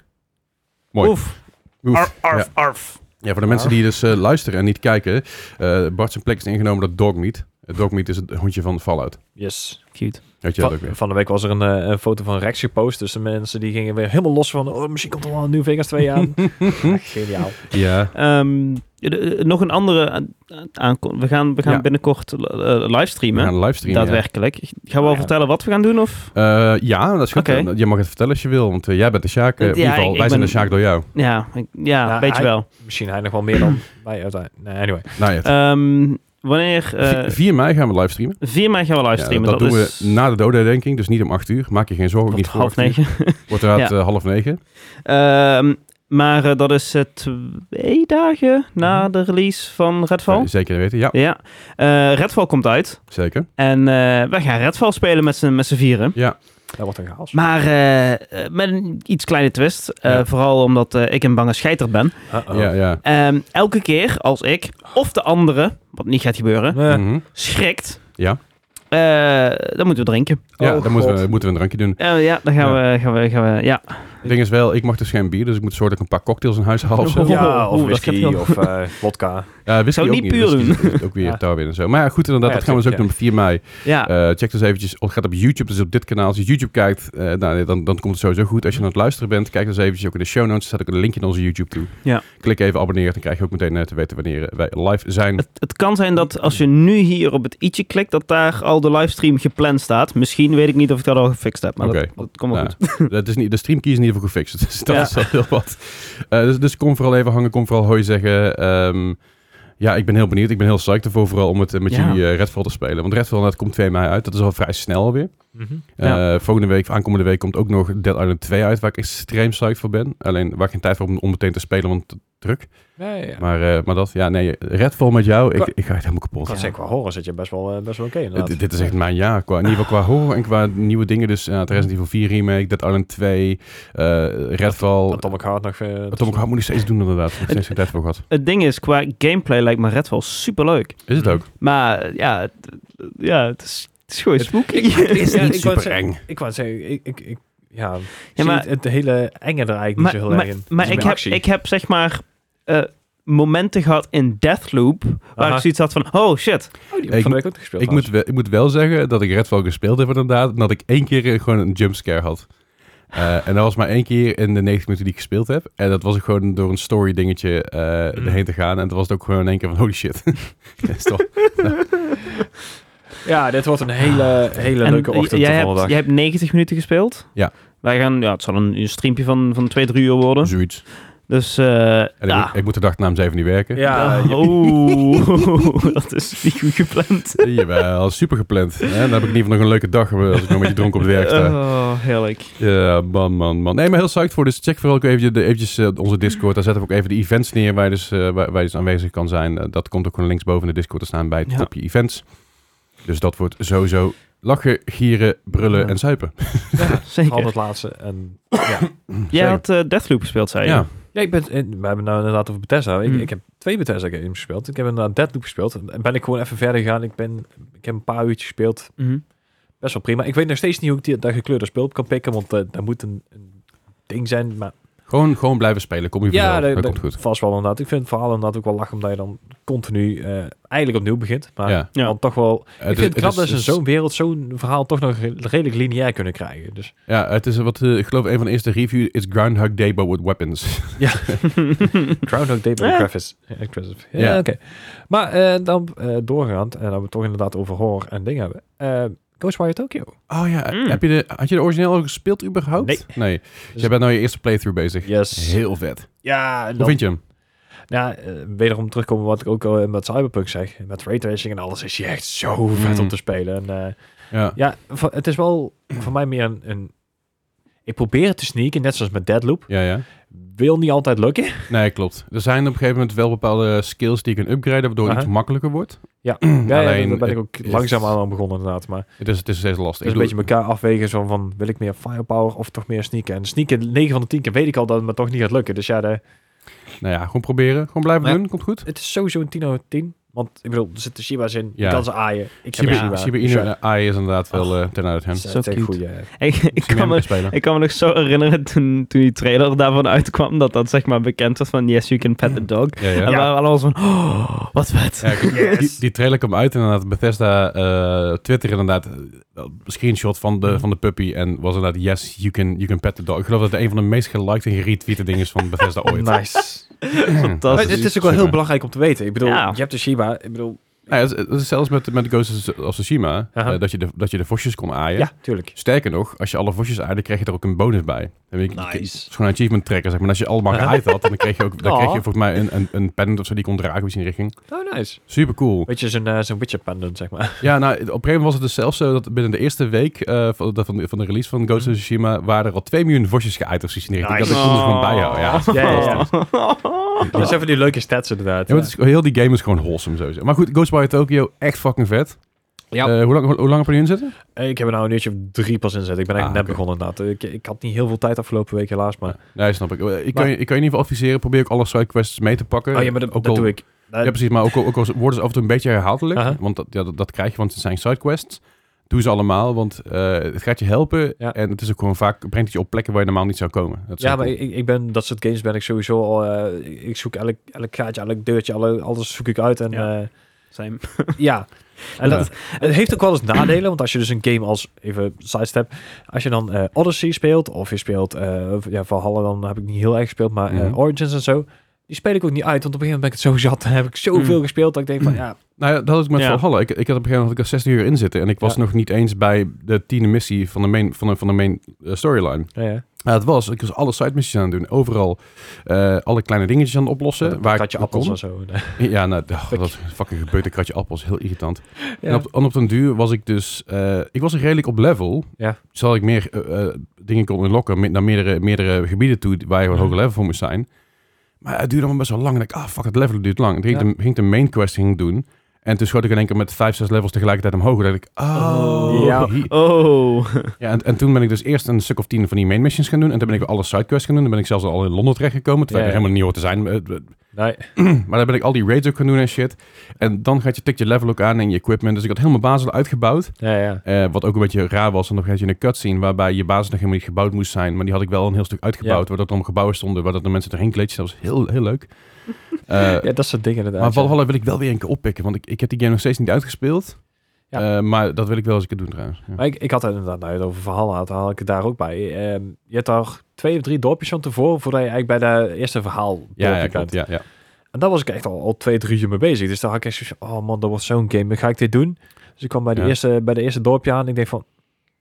Speaker 3: Mooi.
Speaker 1: Oef.
Speaker 3: Oef.
Speaker 1: arf,
Speaker 3: Ja.
Speaker 1: arf.
Speaker 3: Ja, voor de mensen die dus eh, luisteren en niet kijken. eh Bart zijn plek is ingenomen door Dogmeat. Eh, Dogmeat is het hondje van Fallout.
Speaker 4: Yes.
Speaker 1: Cute.
Speaker 3: Weet je dat ook weer?
Speaker 4: Van, van de week was er een, eh, een foto van Rex gepost. Dus de mensen die gingen weer helemaal los van... Oh, misschien komt er wel een New Vegas
Speaker 3: (laughs)
Speaker 4: 2 aan. Ja, geniaal.
Speaker 3: Ja.
Speaker 1: Ehm, de- de- nog een andere aan- aankon. We gaan, we gaan
Speaker 3: Ja.
Speaker 1: binnenkort eh,
Speaker 3: We
Speaker 1: livestreamen.
Speaker 3: gaan livestreamen. ja.
Speaker 1: Daadwerkelijk. Gaan we al
Speaker 4: Ja.
Speaker 1: vertellen wat we gaan doen? Of?
Speaker 3: Eh, ja, dat is goed.
Speaker 1: Oké.
Speaker 3: Je mag het vertellen als je wil, want eh, jij bent de Sjaak. eh,
Speaker 1: Ja,
Speaker 3: in ieder geval,
Speaker 1: ik-
Speaker 3: wij
Speaker 1: ik
Speaker 3: zijn de
Speaker 1: ben-
Speaker 3: Sjaak door jou.
Speaker 1: Ja, ik- ja,
Speaker 4: Ja,
Speaker 1: weet je
Speaker 4: hij-
Speaker 1: wel.
Speaker 4: Misschien hij nog wel meer dan wij uiteindelijk. Nee, anyway.
Speaker 3: Nou ja, het-
Speaker 1: Ehm, wanneer... eh,
Speaker 3: vi- 4 mei gaan we livestreamen.
Speaker 1: 4 mei gaan we livestreamen.
Speaker 3: Ja, dat, doen
Speaker 1: is
Speaker 3: we na de dodenherdenking, dus niet om 8 uur. Maak je geen zorgen, niet
Speaker 1: tot
Speaker 3: voor
Speaker 1: half
Speaker 3: 8 uur. (laughs)
Speaker 1: negen.
Speaker 3: Wordt inderdaad
Speaker 1: Ja.
Speaker 3: eh, half negen.
Speaker 1: Ehm, maar eh, dat is eh, twee dagen na
Speaker 4: Mhm.
Speaker 1: de release van Redfall.
Speaker 3: Eh, zeker weten, ja,
Speaker 1: Ja. Eh, Redfall komt uit.
Speaker 3: zeker.
Speaker 1: En eh we gaan Redfall spelen met z'n met z'n vieren.
Speaker 4: Dat wordt een chaos.
Speaker 1: Maar eh, eh, met een iets kleine twist. Eh,
Speaker 3: Ja.
Speaker 1: Vooral omdat eh, ik een bange scheiter ben.
Speaker 4: Uh-oh.
Speaker 3: Ja, ja.
Speaker 1: Ehm, elke keer als ik of de andere, wat niet gaat gebeuren,
Speaker 4: Eh,
Speaker 3: Mhm.
Speaker 1: schrikt.
Speaker 3: Ja.
Speaker 1: eh, dan moeten we drinken.
Speaker 3: ja
Speaker 4: oh
Speaker 3: dan moeten we,
Speaker 4: God.
Speaker 3: moeten we een drankje doen.
Speaker 1: Eh, ja, dan gaan,
Speaker 3: Ja.
Speaker 1: We, gaan, we, gaan we. Ja,
Speaker 3: Het ding is wel, ik mag dus geen bier, dus ik moet zorgen dat ik een paar cocktails in huis haal of zo.
Speaker 1: Oh,
Speaker 4: Ja, of
Speaker 1: oeh, dat
Speaker 4: whisky,
Speaker 1: gaat heel-
Speaker 3: (laughs)
Speaker 4: of eh, vodka.
Speaker 3: Eh, whisky
Speaker 1: Zou
Speaker 3: ook
Speaker 1: niet puur
Speaker 3: Whisky
Speaker 1: doen.
Speaker 3: is Ook
Speaker 1: (laughs)
Speaker 3: weer
Speaker 4: Ja.
Speaker 3: touw in en zo. Maar ja, goed, inderdaad,
Speaker 4: Ja,
Speaker 3: dat gaan we dus ook doen
Speaker 4: tuurlijk,
Speaker 3: op 4 mei.
Speaker 1: ja.
Speaker 3: Eh, check dus eventjes. Of gaat op YouTube, dus op dit kanaal. Als je YouTube kijkt, eh, nou, dan, dan komt het sowieso goed. Als je aan het luisteren bent, kijk dus eventjes ook in de show notes. Er staat ook een linkje naar onze YouTube toe.
Speaker 1: Ja.
Speaker 3: Klik even abonneren, dan krijg je ook meteen eh, te weten wanneer eh, wij live zijn.
Speaker 1: Het, het kan zijn dat als je nu hier op het i'tje klikt, dat daar al de livestream gepland staat. Misschien weet ik niet of ik dat al gefixt heb, maar
Speaker 3: Oké.
Speaker 1: dat, dat komt wel
Speaker 3: Nou,
Speaker 1: goed.
Speaker 3: (laughs) dat is niet, de stream key is in ieder geval gefixt, dus dat
Speaker 1: Ja.
Speaker 3: is al heel wat. Eh, dus, dus kom vooral even hangen, kom vooral hoi zeggen. Ehm, ja, ik ben heel benieuwd. Ik ben heel psyched ervoor vooral om het eh, met
Speaker 1: Ja.
Speaker 3: jullie eh, Redfall te spelen. Want Redfall dat komt 2 mei uit, dat is al vrij snel alweer.
Speaker 4: Mhm.
Speaker 1: Ja.
Speaker 3: Eh, volgende week, of aankomende week, komt ook nog Dead Island 2 uit, waar ik extreem psyched voor ben. Alleen waar ik geen tijd voor heb om, om meteen te spelen, want te druk.
Speaker 4: Nee, ja.
Speaker 3: Maar, eh, maar dat, ja, nee, Redfall met jou, ik,
Speaker 4: Qua-
Speaker 3: ik ga het helemaal
Speaker 4: Ik
Speaker 3: kapot.
Speaker 4: kan zeggen, qua horror zit je best wel, eh, best wel oké
Speaker 3: Eh,
Speaker 4: inderdaad.
Speaker 3: dit- dit is echt mijn jaar, qua, in ieder geval qua horror en qua nieuwe dingen. Dus eh, het Resident Evil 4 remake, Dead Island 2, eh, Redfall.
Speaker 4: Atomic Heart nog... eh,
Speaker 3: Atomic Heart moet ik steeds doen inderdaad, ik heb steeds geen tijd voor gehad.
Speaker 1: Het ding is, qua gameplay lijkt me Redfall superleuk.
Speaker 3: Is het ook?
Speaker 1: Maar ja, het, ja, het, is, het is gewoon
Speaker 3: Het-
Speaker 1: spooky. (laughs)
Speaker 4: is
Speaker 3: Ja,
Speaker 4: niet
Speaker 3: ik
Speaker 4: super
Speaker 3: wou het zeggen.
Speaker 4: eng. Ik wou zeggen, ik, ik, ik- ja,
Speaker 1: Ja,
Speaker 4: ik zie
Speaker 1: maar-
Speaker 4: het, het hele enge er eigenlijk
Speaker 1: maar
Speaker 4: niet zo heel
Speaker 1: maar,
Speaker 4: erg in. Het
Speaker 1: maar
Speaker 4: is
Speaker 1: ik,
Speaker 4: meer
Speaker 1: heb,
Speaker 4: actie.
Speaker 1: ik heb zeg maar eh, momenten gehad in Deathloop waar
Speaker 4: Aha.
Speaker 1: ik zoiets had van, oh shit.
Speaker 4: Oh, die heb ik van de week ook nog gespeeld.
Speaker 3: Ik moet, wel, ik moet wel zeggen dat ik Redfall gespeeld heb inderdaad, en dat ik één keer eh, gewoon een jumpscare had. Eh, en dat was maar één keer in de 90 minuten die ik gespeeld heb. En dat was ik gewoon door een story dingetje eh
Speaker 4: Mm.
Speaker 3: erheen te gaan. En dat was het ook gewoon in één keer van holy shit. (laughs) Dat is toch-
Speaker 4: trouwens. Ja, dit wordt een hele, hele
Speaker 1: En
Speaker 4: leuke ochtend
Speaker 1: jij
Speaker 4: de
Speaker 1: hebt,
Speaker 4: volgende
Speaker 1: jij
Speaker 4: dag.
Speaker 1: hebt 90 minuten gespeeld.
Speaker 3: Ja.
Speaker 1: Wij gaan, ja, het zal een, een streampje van, van 2, 3 uur worden.
Speaker 3: Zoiets.
Speaker 1: Dus eh,
Speaker 3: En ik,
Speaker 1: ja.
Speaker 3: moet, ik moet de dagnaam even niet werken.
Speaker 4: Ja,
Speaker 1: Ah,
Speaker 4: je-
Speaker 1: oh, (laughs) dat is niet goed gepland.
Speaker 3: Jawel, super gepland. Hè? Dan heb ik in ieder geval nog een leuke dag eh, als ik nog een beetje dronken op het werk
Speaker 4: Eh,
Speaker 3: sta.
Speaker 1: Oh, heerlijk.
Speaker 3: Ja, man, man, man. Nee, maar heel psyched voor. Dus check vooral ook even de, eventjes eh, onze Discord. Daar zetten we ook even de events neer waar je dus, eh, waar, waar je dus aanwezig kan zijn. Eh, dat komt ook gewoon linksboven in de Discord te staan bij het
Speaker 1: Ja.
Speaker 3: kopje events. Dus dat wordt sowieso lachen, gieren, brullen
Speaker 4: Ja.
Speaker 3: en zuipen.
Speaker 4: Ja, Al
Speaker 1: Zeker.
Speaker 4: het laatste. En, ja.
Speaker 1: Jij
Speaker 3: Zeker.
Speaker 1: had eh, Deathloop gespeeld, zei je.
Speaker 3: Ja.
Speaker 4: (laughs) ja, ik ben, en we hebben nou inderdaad over Bethesda. Ik,
Speaker 1: Hmm.
Speaker 4: ik heb twee Bethesda games gespeeld. Ik heb inderdaad Deadloop gespeeld. En ben ik gewoon even verder gegaan. Ik, ben, ik heb een paar uurtjes
Speaker 3: (laughs)
Speaker 4: gespeeld.
Speaker 1: Mhm.
Speaker 4: Best wel prima. Ik weet nog steeds niet hoe ik die, dat gekleurde speel op kan pikken. Want eh, daar moet een, een ding zijn. Maar
Speaker 3: Gewoon, gewoon blijven spelen. Kom je vanzelf.
Speaker 4: ja,
Speaker 3: dat,
Speaker 4: dat, dat
Speaker 3: komt goed.
Speaker 4: vast wel inderdaad. Ik vind het verhaal inderdaad ook wel lachen. Omdat je dan continu eh, eigenlijk opnieuw begint. Maar
Speaker 3: Ja.
Speaker 1: Ja.
Speaker 4: dan toch wel...
Speaker 3: Eh,
Speaker 4: ik
Speaker 3: het is-
Speaker 4: vind het knap
Speaker 3: het
Speaker 4: dat
Speaker 3: is-
Speaker 4: ze in zo'n wereld zo'n verhaal toch nog re- redelijk lineair kunnen krijgen. Dus
Speaker 3: Ja, het is wat, eh, ik geloof een van de eerste reviews is Groundhog Day, but with weapons. (laughs)
Speaker 4: Groundhog Day
Speaker 1: Ja.
Speaker 4: bij Griffiths. Ja, Griffiths. eh, Ja,
Speaker 3: Ja.
Speaker 4: oké. Maar eh, dan eh doorgaand, en dat we het toch inderdaad over horror en dingen hebben. Eh Ghostwire Tokyo.
Speaker 3: Oh ja,
Speaker 1: Mm.
Speaker 3: heb je de, had je de origineel al gespeeld überhaupt?
Speaker 4: Hmm. Nee.
Speaker 3: nee. Dus jij bent nou je eerste playthrough bezig.
Speaker 4: Yes.
Speaker 3: Heel vet.
Speaker 4: Ja, en
Speaker 3: Hoe
Speaker 4: dan-
Speaker 3: vind je hem?
Speaker 4: Ja, eh, wederom terugkomen wat ik ook al met Cyberpunk zeg. Met raytracing en alles is je echt zo vet
Speaker 3: Mm.
Speaker 4: om te spelen. En, eh,
Speaker 3: Ja.
Speaker 4: ja, va- het is wel voor mij meer een, een... Ik probeer het te sneaken, net zoals met Deadloop.
Speaker 3: Ja, ja.
Speaker 4: Wil niet altijd lukken.
Speaker 3: Nee, klopt. Er zijn op een gegeven moment wel bepaalde skills die je kunt upgraden, waardoor het
Speaker 4: Aha.
Speaker 3: iets makkelijker wordt.
Speaker 4: Ja.
Speaker 3: (clears throat)
Speaker 4: Ja, ja,
Speaker 3: Alleen,
Speaker 4: daar ben ik
Speaker 3: het,
Speaker 4: ook
Speaker 3: is-
Speaker 4: langzaam aan begonnen inderdaad. Maar
Speaker 3: het is, het is steeds lastig.
Speaker 4: dus een
Speaker 3: Ik
Speaker 4: beetje
Speaker 3: bedoel,
Speaker 4: elkaar afwegen zo van... Wil ik meer firepower of toch meer sneaken? En sneaken, 9 van de 10 keer weet ik al dat het me toch niet gaat lukken. Dus ja, de,
Speaker 3: Nou ja, gewoon proberen. Gewoon blijven
Speaker 4: Ja.
Speaker 3: doen. Komt goed.
Speaker 4: het is sowieso een 10 over 10. Want ik bedoel, er zitten Shiba's in.
Speaker 3: Ja.
Speaker 4: Je kan ze aaien. Ik heb
Speaker 3: Shiba,
Speaker 4: een
Speaker 1: Ja.
Speaker 4: Shiba. Dus
Speaker 3: Shiba Inu en AI is inderdaad wel eh, ten uit hem.
Speaker 4: Dat is
Speaker 1: Zo
Speaker 4: echt een
Speaker 1: cute.
Speaker 4: goeie, eh,
Speaker 1: Ik, ik, kan me,
Speaker 3: spelen.
Speaker 1: ik kan me nog zo herinneren toen, toen die trailer daarvan uitkwam, dat dat zeg maar bekend was van Yes, you can pet the dog.
Speaker 3: Ja, ja.
Speaker 1: En we
Speaker 3: ja.
Speaker 1: waren allemaal zo van, oh, wat vet.
Speaker 3: ik- die, die trailer kwam uit inderdaad. Bethesda eh, Twitter inderdaad. eh, een screenshot van
Speaker 4: Hm.
Speaker 3: de, van de puppy. En was inderdaad, yes, you can, you can pet the dog. Ik geloof dat het een van de meest geliked en geretweete dingen is van Bethesda (laughs)
Speaker 4: (laughs)
Speaker 3: ooit. dus
Speaker 4: Nice.
Speaker 1: Fantastisch.
Speaker 4: Maar het is ook wel heel
Speaker 3: Super.
Speaker 4: belangrijk om te weten. Ik bedoel,
Speaker 1: Ja.
Speaker 4: je hebt de Shiba. Ik bedoel,
Speaker 3: Nou ja, het is- het is zelfs met, met Ghost of Tsushima,
Speaker 4: Aha.
Speaker 3: eh, dat, je de, dat je de vosjes kon aaien.
Speaker 4: ja, tuurlijk.
Speaker 3: Sterker nog, als je alle vosjes aaide, kreeg je er ook een bonus bij. Dan weet je-
Speaker 4: Nou.
Speaker 3: Het is
Speaker 4: Nice.
Speaker 3: gewoon een achievement tracker, zeg maar. En als je allemaal
Speaker 4: Aha.
Speaker 3: gehaaid had, dan kreeg je, ook, dan
Speaker 4: Oh.
Speaker 3: kreeg je volgens mij een, een, een pendant of zo die je kon dragen, misschien richting.
Speaker 4: Oh, nice.
Speaker 3: Super cool.
Speaker 4: Weet je, zo'n eh, zo'n Witcher pendant, zeg maar.
Speaker 3: Ja, nou, op een gegeven moment was het dus zelfs zo dat binnen de eerste week eh, van, de, van, de, van de release van Ghost of Tsushima waren er al 2 miljoen vosjes geaaid of zoiets in die richting.
Speaker 4: Mhm. Nice.
Speaker 3: Dat konden ze gewoon bijhouden, ja.
Speaker 4: Ja, ja, ja.
Speaker 1: Oh.
Speaker 4: Dat zijn van die leuke stats inderdaad.
Speaker 3: Ja, maar het is, heel die game is gewoon wholesome sowieso. Maar goed, Ghostwire Tokyo, echt fucking vet.
Speaker 4: Ja.
Speaker 3: Eh, hoe, lang, hoe, hoe lang heb je erin zitten?
Speaker 4: Eh, Ik heb er nou een uurtje of drie pas in zitten. Ik ben
Speaker 3: Ah,
Speaker 4: eigenlijk
Speaker 3: oké.
Speaker 4: net begonnen inderdaad. Ik, ik had niet heel veel tijd afgelopen week helaas, maar...
Speaker 3: Nee, snap ik. Eh, Ik, kan,
Speaker 4: Maar-
Speaker 3: je, ik kan je in ieder geval adviseren. Probeer ook alle sidequests mee te pakken.
Speaker 4: Oh ja, maar dat,
Speaker 3: ook
Speaker 4: dat
Speaker 3: al-
Speaker 4: doe ik. Eh,
Speaker 3: Ja, precies. Maar ook al, ook al worden ze af en toe een beetje herhaaldelijk.
Speaker 4: Aha.
Speaker 3: Want dat, ja, dat, dat krijg je, want het zijn sidequests. Doe ze allemaal, want eh, het gaat je helpen.
Speaker 4: Ja.
Speaker 3: En het is ook gewoon vaak, brengt het je op plekken waar je normaal niet zou komen. Dat is
Speaker 4: Eh, Ja,
Speaker 3: heel
Speaker 4: maar
Speaker 3: cool.
Speaker 4: ik, ik ben, dat soort games ben ik sowieso al... eh, ik- ik zoek elk, elk gaatje, elk deurtje, alle, alles zoek ik uit. En eh,
Speaker 1: Ja.
Speaker 4: ja,
Speaker 1: Zijn-
Speaker 4: ja. En
Speaker 3: Ja.
Speaker 4: Dat, het heeft ook wel eens nadelen, want als je dus een game als, even sidestep, als je dan eh, Odyssey speelt, of je speelt, eh ja, Valhalla dan heb ik niet heel erg gespeeld, maar eh,
Speaker 3: Mhm.
Speaker 4: Origins en zo, die speel ik ook niet uit, want op een gegeven moment ben ik het zo zat, en heb ik zoveel
Speaker 3: Mhm.
Speaker 1: Mm.
Speaker 4: gespeeld, dat ik denk van, ja,
Speaker 3: Nou ja, dat had ik met
Speaker 1: Ja.
Speaker 3: Valhalla. Ik, ik had op een gegeven moment had ik er 16 uur in zitten. En ik was
Speaker 4: Ja.
Speaker 3: nog niet eens bij de tiende missie van de main, van de, van de main eh, storyline.
Speaker 4: ja, ja.
Speaker 3: Ja, het was. Ik was alle side missies aan het doen. Overal eh, alle kleine dingetjes aan het oplossen. waar
Speaker 4: had je
Speaker 3: ik
Speaker 4: appels
Speaker 3: kon.
Speaker 4: en zo.
Speaker 3: Ja, nou, d- oh, dat fucking gebeurde kratje appels. Heel irritant. En,
Speaker 4: Ja.
Speaker 3: op, en op den duur was ik dus... eh, ik was redelijk op level.
Speaker 4: Ja.
Speaker 3: Zal ik meer eh, eh, dingen kon unlocken me- naar meerdere, meerdere gebieden toe... waar je een
Speaker 4: Mhm.
Speaker 3: hoger level voor moest zijn. Maar het duurde allemaal best wel lang. En ik ah, fuck, het level duurt lang. En toen ging,
Speaker 4: Ja.
Speaker 3: ik de, ging ik de main quest ging doen. En toen schoot ik in één keer met vijf, zes levels tegelijkertijd omhoog. En dacht ik, oh...
Speaker 1: Oh.
Speaker 3: Ja.
Speaker 4: Ja.
Speaker 1: Oh.
Speaker 3: Ja, en, en toen ben ik dus eerst een stuk of tien van die main missions gaan doen. En toen ben ik alle sidequests gaan doen. Dan ben ik zelfs al in Londen terechtgekomen. Terwijl
Speaker 4: Ja,
Speaker 3: ik er helemaal niet hoort te zijn. Eh, eh,
Speaker 4: Nee,
Speaker 3: maar dan ben ik al die raids ook gaan doen en shit. En dan gaat je, tik je level ook aan en je equipment. Dus ik had helemaal basis uitgebouwd.
Speaker 4: ja, ja.
Speaker 3: Eh, wat ook een beetje raar was. En dan had je een cutscene waarbij je basis nog helemaal niet gebouwd moest zijn. Maar die had ik wel een heel stuk uitgebouwd.
Speaker 4: Ja.
Speaker 3: Waar dat allemaal gebouwen stonden. Waar dat de mensen doorheen kleedjes. Dat was heel, heel (laughs) leuk. Eh,
Speaker 4: ja, dat soort dingen inderdaad.
Speaker 3: maar
Speaker 4: ja.
Speaker 3: Valhalla wil ik wel weer een keer oppikken. Want ik, ik heb die game nog steeds niet uitgespeeld.
Speaker 4: Ja.
Speaker 3: Eh, maar dat wil ik wel eens een keer doen trouwens. Ja.
Speaker 4: Maar ik, ik had het inderdaad nou, over verhalen had, haal ik het daar ook bij. Ehm, je hebt daar twee of drie dorpjes van tevoren, voordat je eigenlijk bij de eerste verhaal
Speaker 3: Ja, ja,
Speaker 4: dorpje
Speaker 3: klopt.
Speaker 4: bent.
Speaker 3: Ja, ja.
Speaker 4: En daar was ik echt al, al twee, drie uur mee bezig. Dus daar had ik echt zoiets van, oh man, dat wordt zo'n game. Ga ik dit doen? Dus ik kwam bij de,
Speaker 3: Ja.
Speaker 4: eerste, bij de eerste dorpje aan. En ik denk van,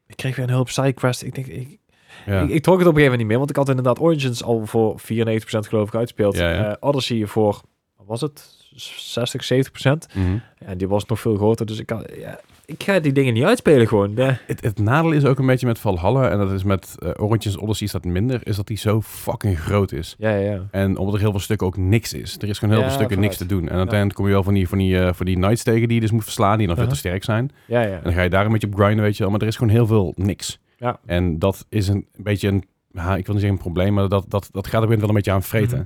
Speaker 4: ik kreeg weer een hulp sidequest. Ik denk, ik,
Speaker 3: Ja.
Speaker 4: Ik, ik trok het op een gegeven moment niet meer, want ik had inderdaad Origins al voor 94% geloof ik uitgespeeld.
Speaker 3: Ja, ja.
Speaker 4: Eh, Odyssey voor, wat was het, 60, 70%.
Speaker 3: Mhm.
Speaker 4: En die was nog veel groter, dus ik, kan, ja, ik ga die dingen niet uitspelen gewoon. De-
Speaker 3: Het, het nadeel is ook een beetje met Valhalla, en dat is met eh, Origins Odyssey is dat minder, is dat die zo fucking groot is.
Speaker 4: ja, ja, ja.
Speaker 3: En omdat er heel veel stukken ook niks is. Er is gewoon heel
Speaker 4: Ja,
Speaker 3: veel stukken niks te
Speaker 4: vooruit.
Speaker 3: doen. En uiteindelijk kom je wel van die, van, die, eh, van die knights tegen die je dus moet verslaan, die dan
Speaker 4: Aha.
Speaker 3: veel te sterk zijn.
Speaker 4: ja, ja.
Speaker 3: En dan ga je daar een beetje op grinden, weet je wel. Maar er is gewoon heel veel niks.
Speaker 4: Ja.
Speaker 3: En dat is een beetje een, ja, ik wil niet zeggen een probleem, maar dat, dat, dat gaat er wel een beetje aan vreten.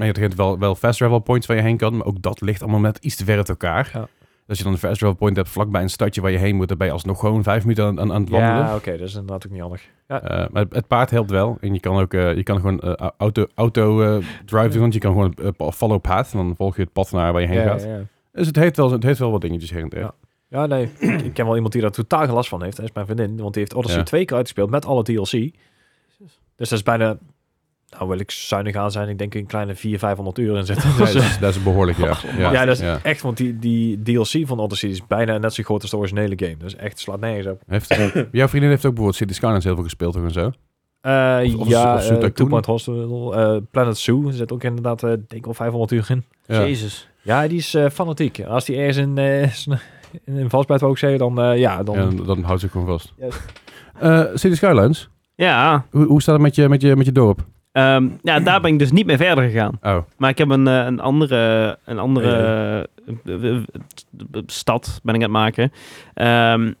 Speaker 3: (clears throat) en je hebt wel, wel fast travel points waar je heen kan, maar ook dat ligt allemaal net iets te ver uit elkaar.
Speaker 4: Ja.
Speaker 3: Als je dan een fast travel point hebt vlakbij een stadje waar je heen moet, dan ben je alsnog gewoon vijf minuten aan, aan, aan het wandelen.
Speaker 4: Ja, oké, dat is inderdaad ook niet handig. Ja,
Speaker 3: Eh, maar het paard helpt wel. En je kan ook eh, je kan gewoon eh, auto, auto eh, drive doen. Want je kan gewoon eh, pa- follow path. En dan volg je het pad naar waar je heen
Speaker 4: ja,
Speaker 3: gaat.
Speaker 4: ja, ja.
Speaker 3: Dus het heeft, wel, het heeft wel wat dingetjes her en der.
Speaker 4: Ja. Ja, nee. ik ik ken wel iemand die daar totaal geen last van heeft. Dat is mijn vriendin. Want die heeft Odyssey
Speaker 3: Ja.
Speaker 4: twee keer uitgespeeld met alle DLC. Dus dat is bijna... Nou wil ik zuinig aan zijn. Ik denk een kleine 400, 500 uur in
Speaker 3: (laughs)
Speaker 4: zitten.
Speaker 3: Ja,
Speaker 4: Dus,
Speaker 3: dat, is, dat is behoorlijk, ja.
Speaker 4: ja,
Speaker 3: Ja,
Speaker 4: dat is
Speaker 3: ja.
Speaker 4: echt... Want die, die DLC van Odyssey is bijna net zo groot als de originele game. Dus echt slaat nergens op.
Speaker 3: Heeft, jouw vriendin heeft ook bijvoorbeeld City Skylines heel veel gespeeld toch en zo.
Speaker 4: Eh,
Speaker 3: Of- of-
Speaker 4: ja,
Speaker 3: of Zoo
Speaker 4: eh,
Speaker 3: Tycoon.
Speaker 4: Two Point Hospital, eh, Planet Zoo er zit ook inderdaad eh, denk ik wel 500 uur in.
Speaker 3: Ja.
Speaker 1: Jezus.
Speaker 4: Ja, die is eh, fanatiek. Als die ergens in, eh, (laughs) z'n- in een vastbijt wou ik zeggen, dan eh, ja, dan...
Speaker 3: Ja, dan, dan houdt ze ook gewoon vast.
Speaker 4: Juist.
Speaker 3: Eh, City Skylines,
Speaker 1: Ja,
Speaker 3: hoe, hoe staat het met je, met je, met je dorp?
Speaker 1: ehm, ja, daar ben ik dus niet mee verder gegaan.
Speaker 3: Oh,
Speaker 1: Maar ik heb een, eh, een andere, een andere eh, eh, eh, stad ben ik aan het maken. Ehm,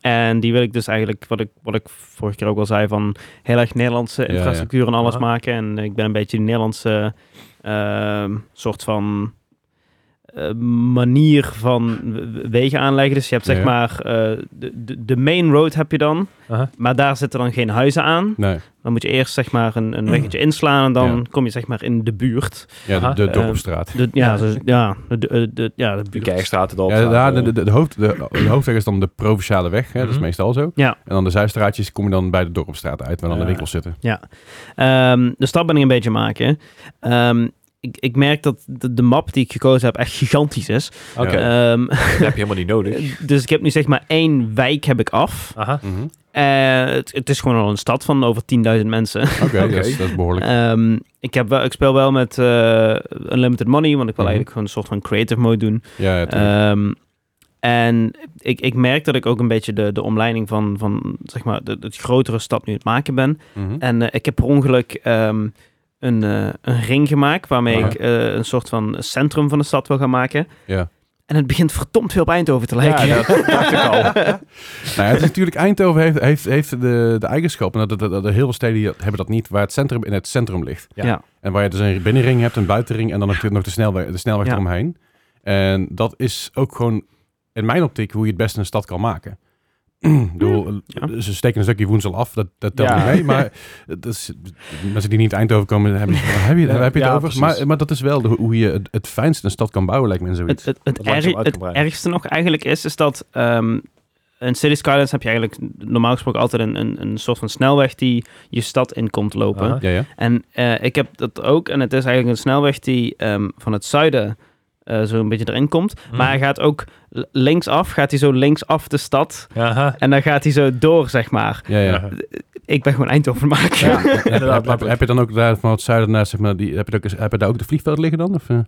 Speaker 1: en die wil ik dus eigenlijk, wat ik, wat ik vorige keer ook al zei, van heel erg Nederlandse
Speaker 3: Ja,
Speaker 1: infrastructuur en alles
Speaker 4: Aha.
Speaker 1: maken. En ik ben een beetje die Nederlandse ehm, soort van eh, manier van w- w- wegen aanleggen. Dus je hebt zeg
Speaker 3: Ja.
Speaker 1: maar eh, de, de, de main road heb je dan,
Speaker 4: Aha.
Speaker 1: maar daar zitten dan geen huizen aan.
Speaker 3: nee.
Speaker 1: Dan moet je eerst zeg maar een,
Speaker 3: (clears throat)
Speaker 1: een weggetje inslaan en dan
Speaker 3: Ja.
Speaker 1: kom je zeg maar in de buurt.
Speaker 3: Ja,
Speaker 4: Aha.
Speaker 3: de, de
Speaker 1: Eh,
Speaker 3: dorpstraat.
Speaker 1: De, ja, dus- ja, de, de, de- ja, de
Speaker 4: De
Speaker 1: buurt.
Speaker 4: Kerkstraat, de
Speaker 3: Ja,
Speaker 4: Dorpstraat,
Speaker 3: daar-
Speaker 4: eh,
Speaker 3: de, de, de hoofd, de, de hoofdweg is dan de provinciale weg. Hè, Dat
Speaker 4: Mhm.
Speaker 3: is meestal zo.
Speaker 1: Ja.
Speaker 3: En dan de zijstraatjes kom je dan bij de dorpstraat uit, waar dan
Speaker 4: Ja.
Speaker 3: de winkels zitten.
Speaker 1: Ehm, dus dat ben ik een beetje maken. Ehm, ik, ik merk dat de, de map die ik gekozen heb echt gigantisch is.
Speaker 4: Oké,
Speaker 3: Ja.
Speaker 1: Ehm,
Speaker 4: dat heb je helemaal niet
Speaker 3: (laughs)
Speaker 4: nodig.
Speaker 1: (laughs) dus ik heb nu zeg maar één wijk heb ik af.
Speaker 4: Aha.
Speaker 3: Mhm.
Speaker 1: Eh, het, het is gewoon al een stad van over 10.000 mensen.
Speaker 3: Oké, dat, is, dat is behoorlijk.
Speaker 1: Ehm, ik, heb wel, ik speel wel met eh, Unlimited Money, want ik wil
Speaker 3: Mhm.
Speaker 1: eigenlijk gewoon een soort van creative mode doen.
Speaker 3: ja, ja, tuurlijk.
Speaker 1: Ehm, en ik, ik merk dat ik ook een beetje de, de omleiding van, van zeg maar, de, de grotere stad nu aan het maken ben.
Speaker 3: Mhm.
Speaker 1: En eh, ik heb per ongeluk ehm, een, eh, een ring gemaakt waarmee
Speaker 4: Ah.
Speaker 3: Aha.
Speaker 1: ik eh, een soort van centrum van de stad wil gaan maken.
Speaker 3: Ja.
Speaker 1: En het begint verdomd veel op Eindhoven te lijken. (laughs)
Speaker 4: Ja, (laughs) dat dacht ik
Speaker 1: eh,
Speaker 4: al.
Speaker 3: (laughs) Nou ja, het is natuurlijk, Eindhoven heeft, heeft, heeft de, de eigenschap, en dat, dat, dat- dat heel veel steden die dat- hebben dat niet, waar het centrum in het centrum ligt.
Speaker 4: Ja.
Speaker 1: Ja.
Speaker 3: En waar je dus een binnenring hebt, een buitenring en dan nog de, nog de snelweg, de snelweg
Speaker 1: Ja.
Speaker 3: eromheen. En dat is ook gewoon, in mijn optiek, hoe je het beste een stad kan maken. (clears throat) Ik bedoel,
Speaker 1: Ja.
Speaker 3: ze steken een stukje woensel af, dat, dat telt
Speaker 4: Ja.
Speaker 3: niet mee. Maar dat is, mensen die niet uit Eindhoven komen, hebben, waar heb je, waar heb je het
Speaker 4: Ja,
Speaker 3: over?
Speaker 4: precies.
Speaker 3: Maar, maar dat is wel de- hoe je het, het fijnste een stad kan bouwen, lijkt me in zoiets.
Speaker 1: Het, het, het,
Speaker 4: Dat langzaam
Speaker 1: erg-
Speaker 4: uit
Speaker 1: het
Speaker 4: kan breiden.
Speaker 1: ergste nog eigenlijk is, is dat ehm in City Skylines heb je eigenlijk normaal gesproken altijd een, een, een soort van snelweg die je stad in komt lopen.
Speaker 4: Aha.
Speaker 3: ja, ja.
Speaker 1: En eh, ik heb dat ook. En het is eigenlijk een snelweg die ehm, van het zuiden eh, zo een beetje erin komt.
Speaker 4: Mhm.
Speaker 1: Maar hij gaat ook l- linksaf, gaat hij zo linksaf de stad.
Speaker 4: Aha.
Speaker 1: En dan gaat hij zo door, zeg maar.
Speaker 3: ja, ja.
Speaker 1: Ik ben gewoon Eindhoven maken.
Speaker 4: Ja, inderdaad,
Speaker 3: heb,
Speaker 4: makkelijk.
Speaker 3: heb je dan ook daar van het zuiden naar, zeg maar, die, heb, je ook, eens- heb je daar ook de vliegveld liggen dan? Of, eh?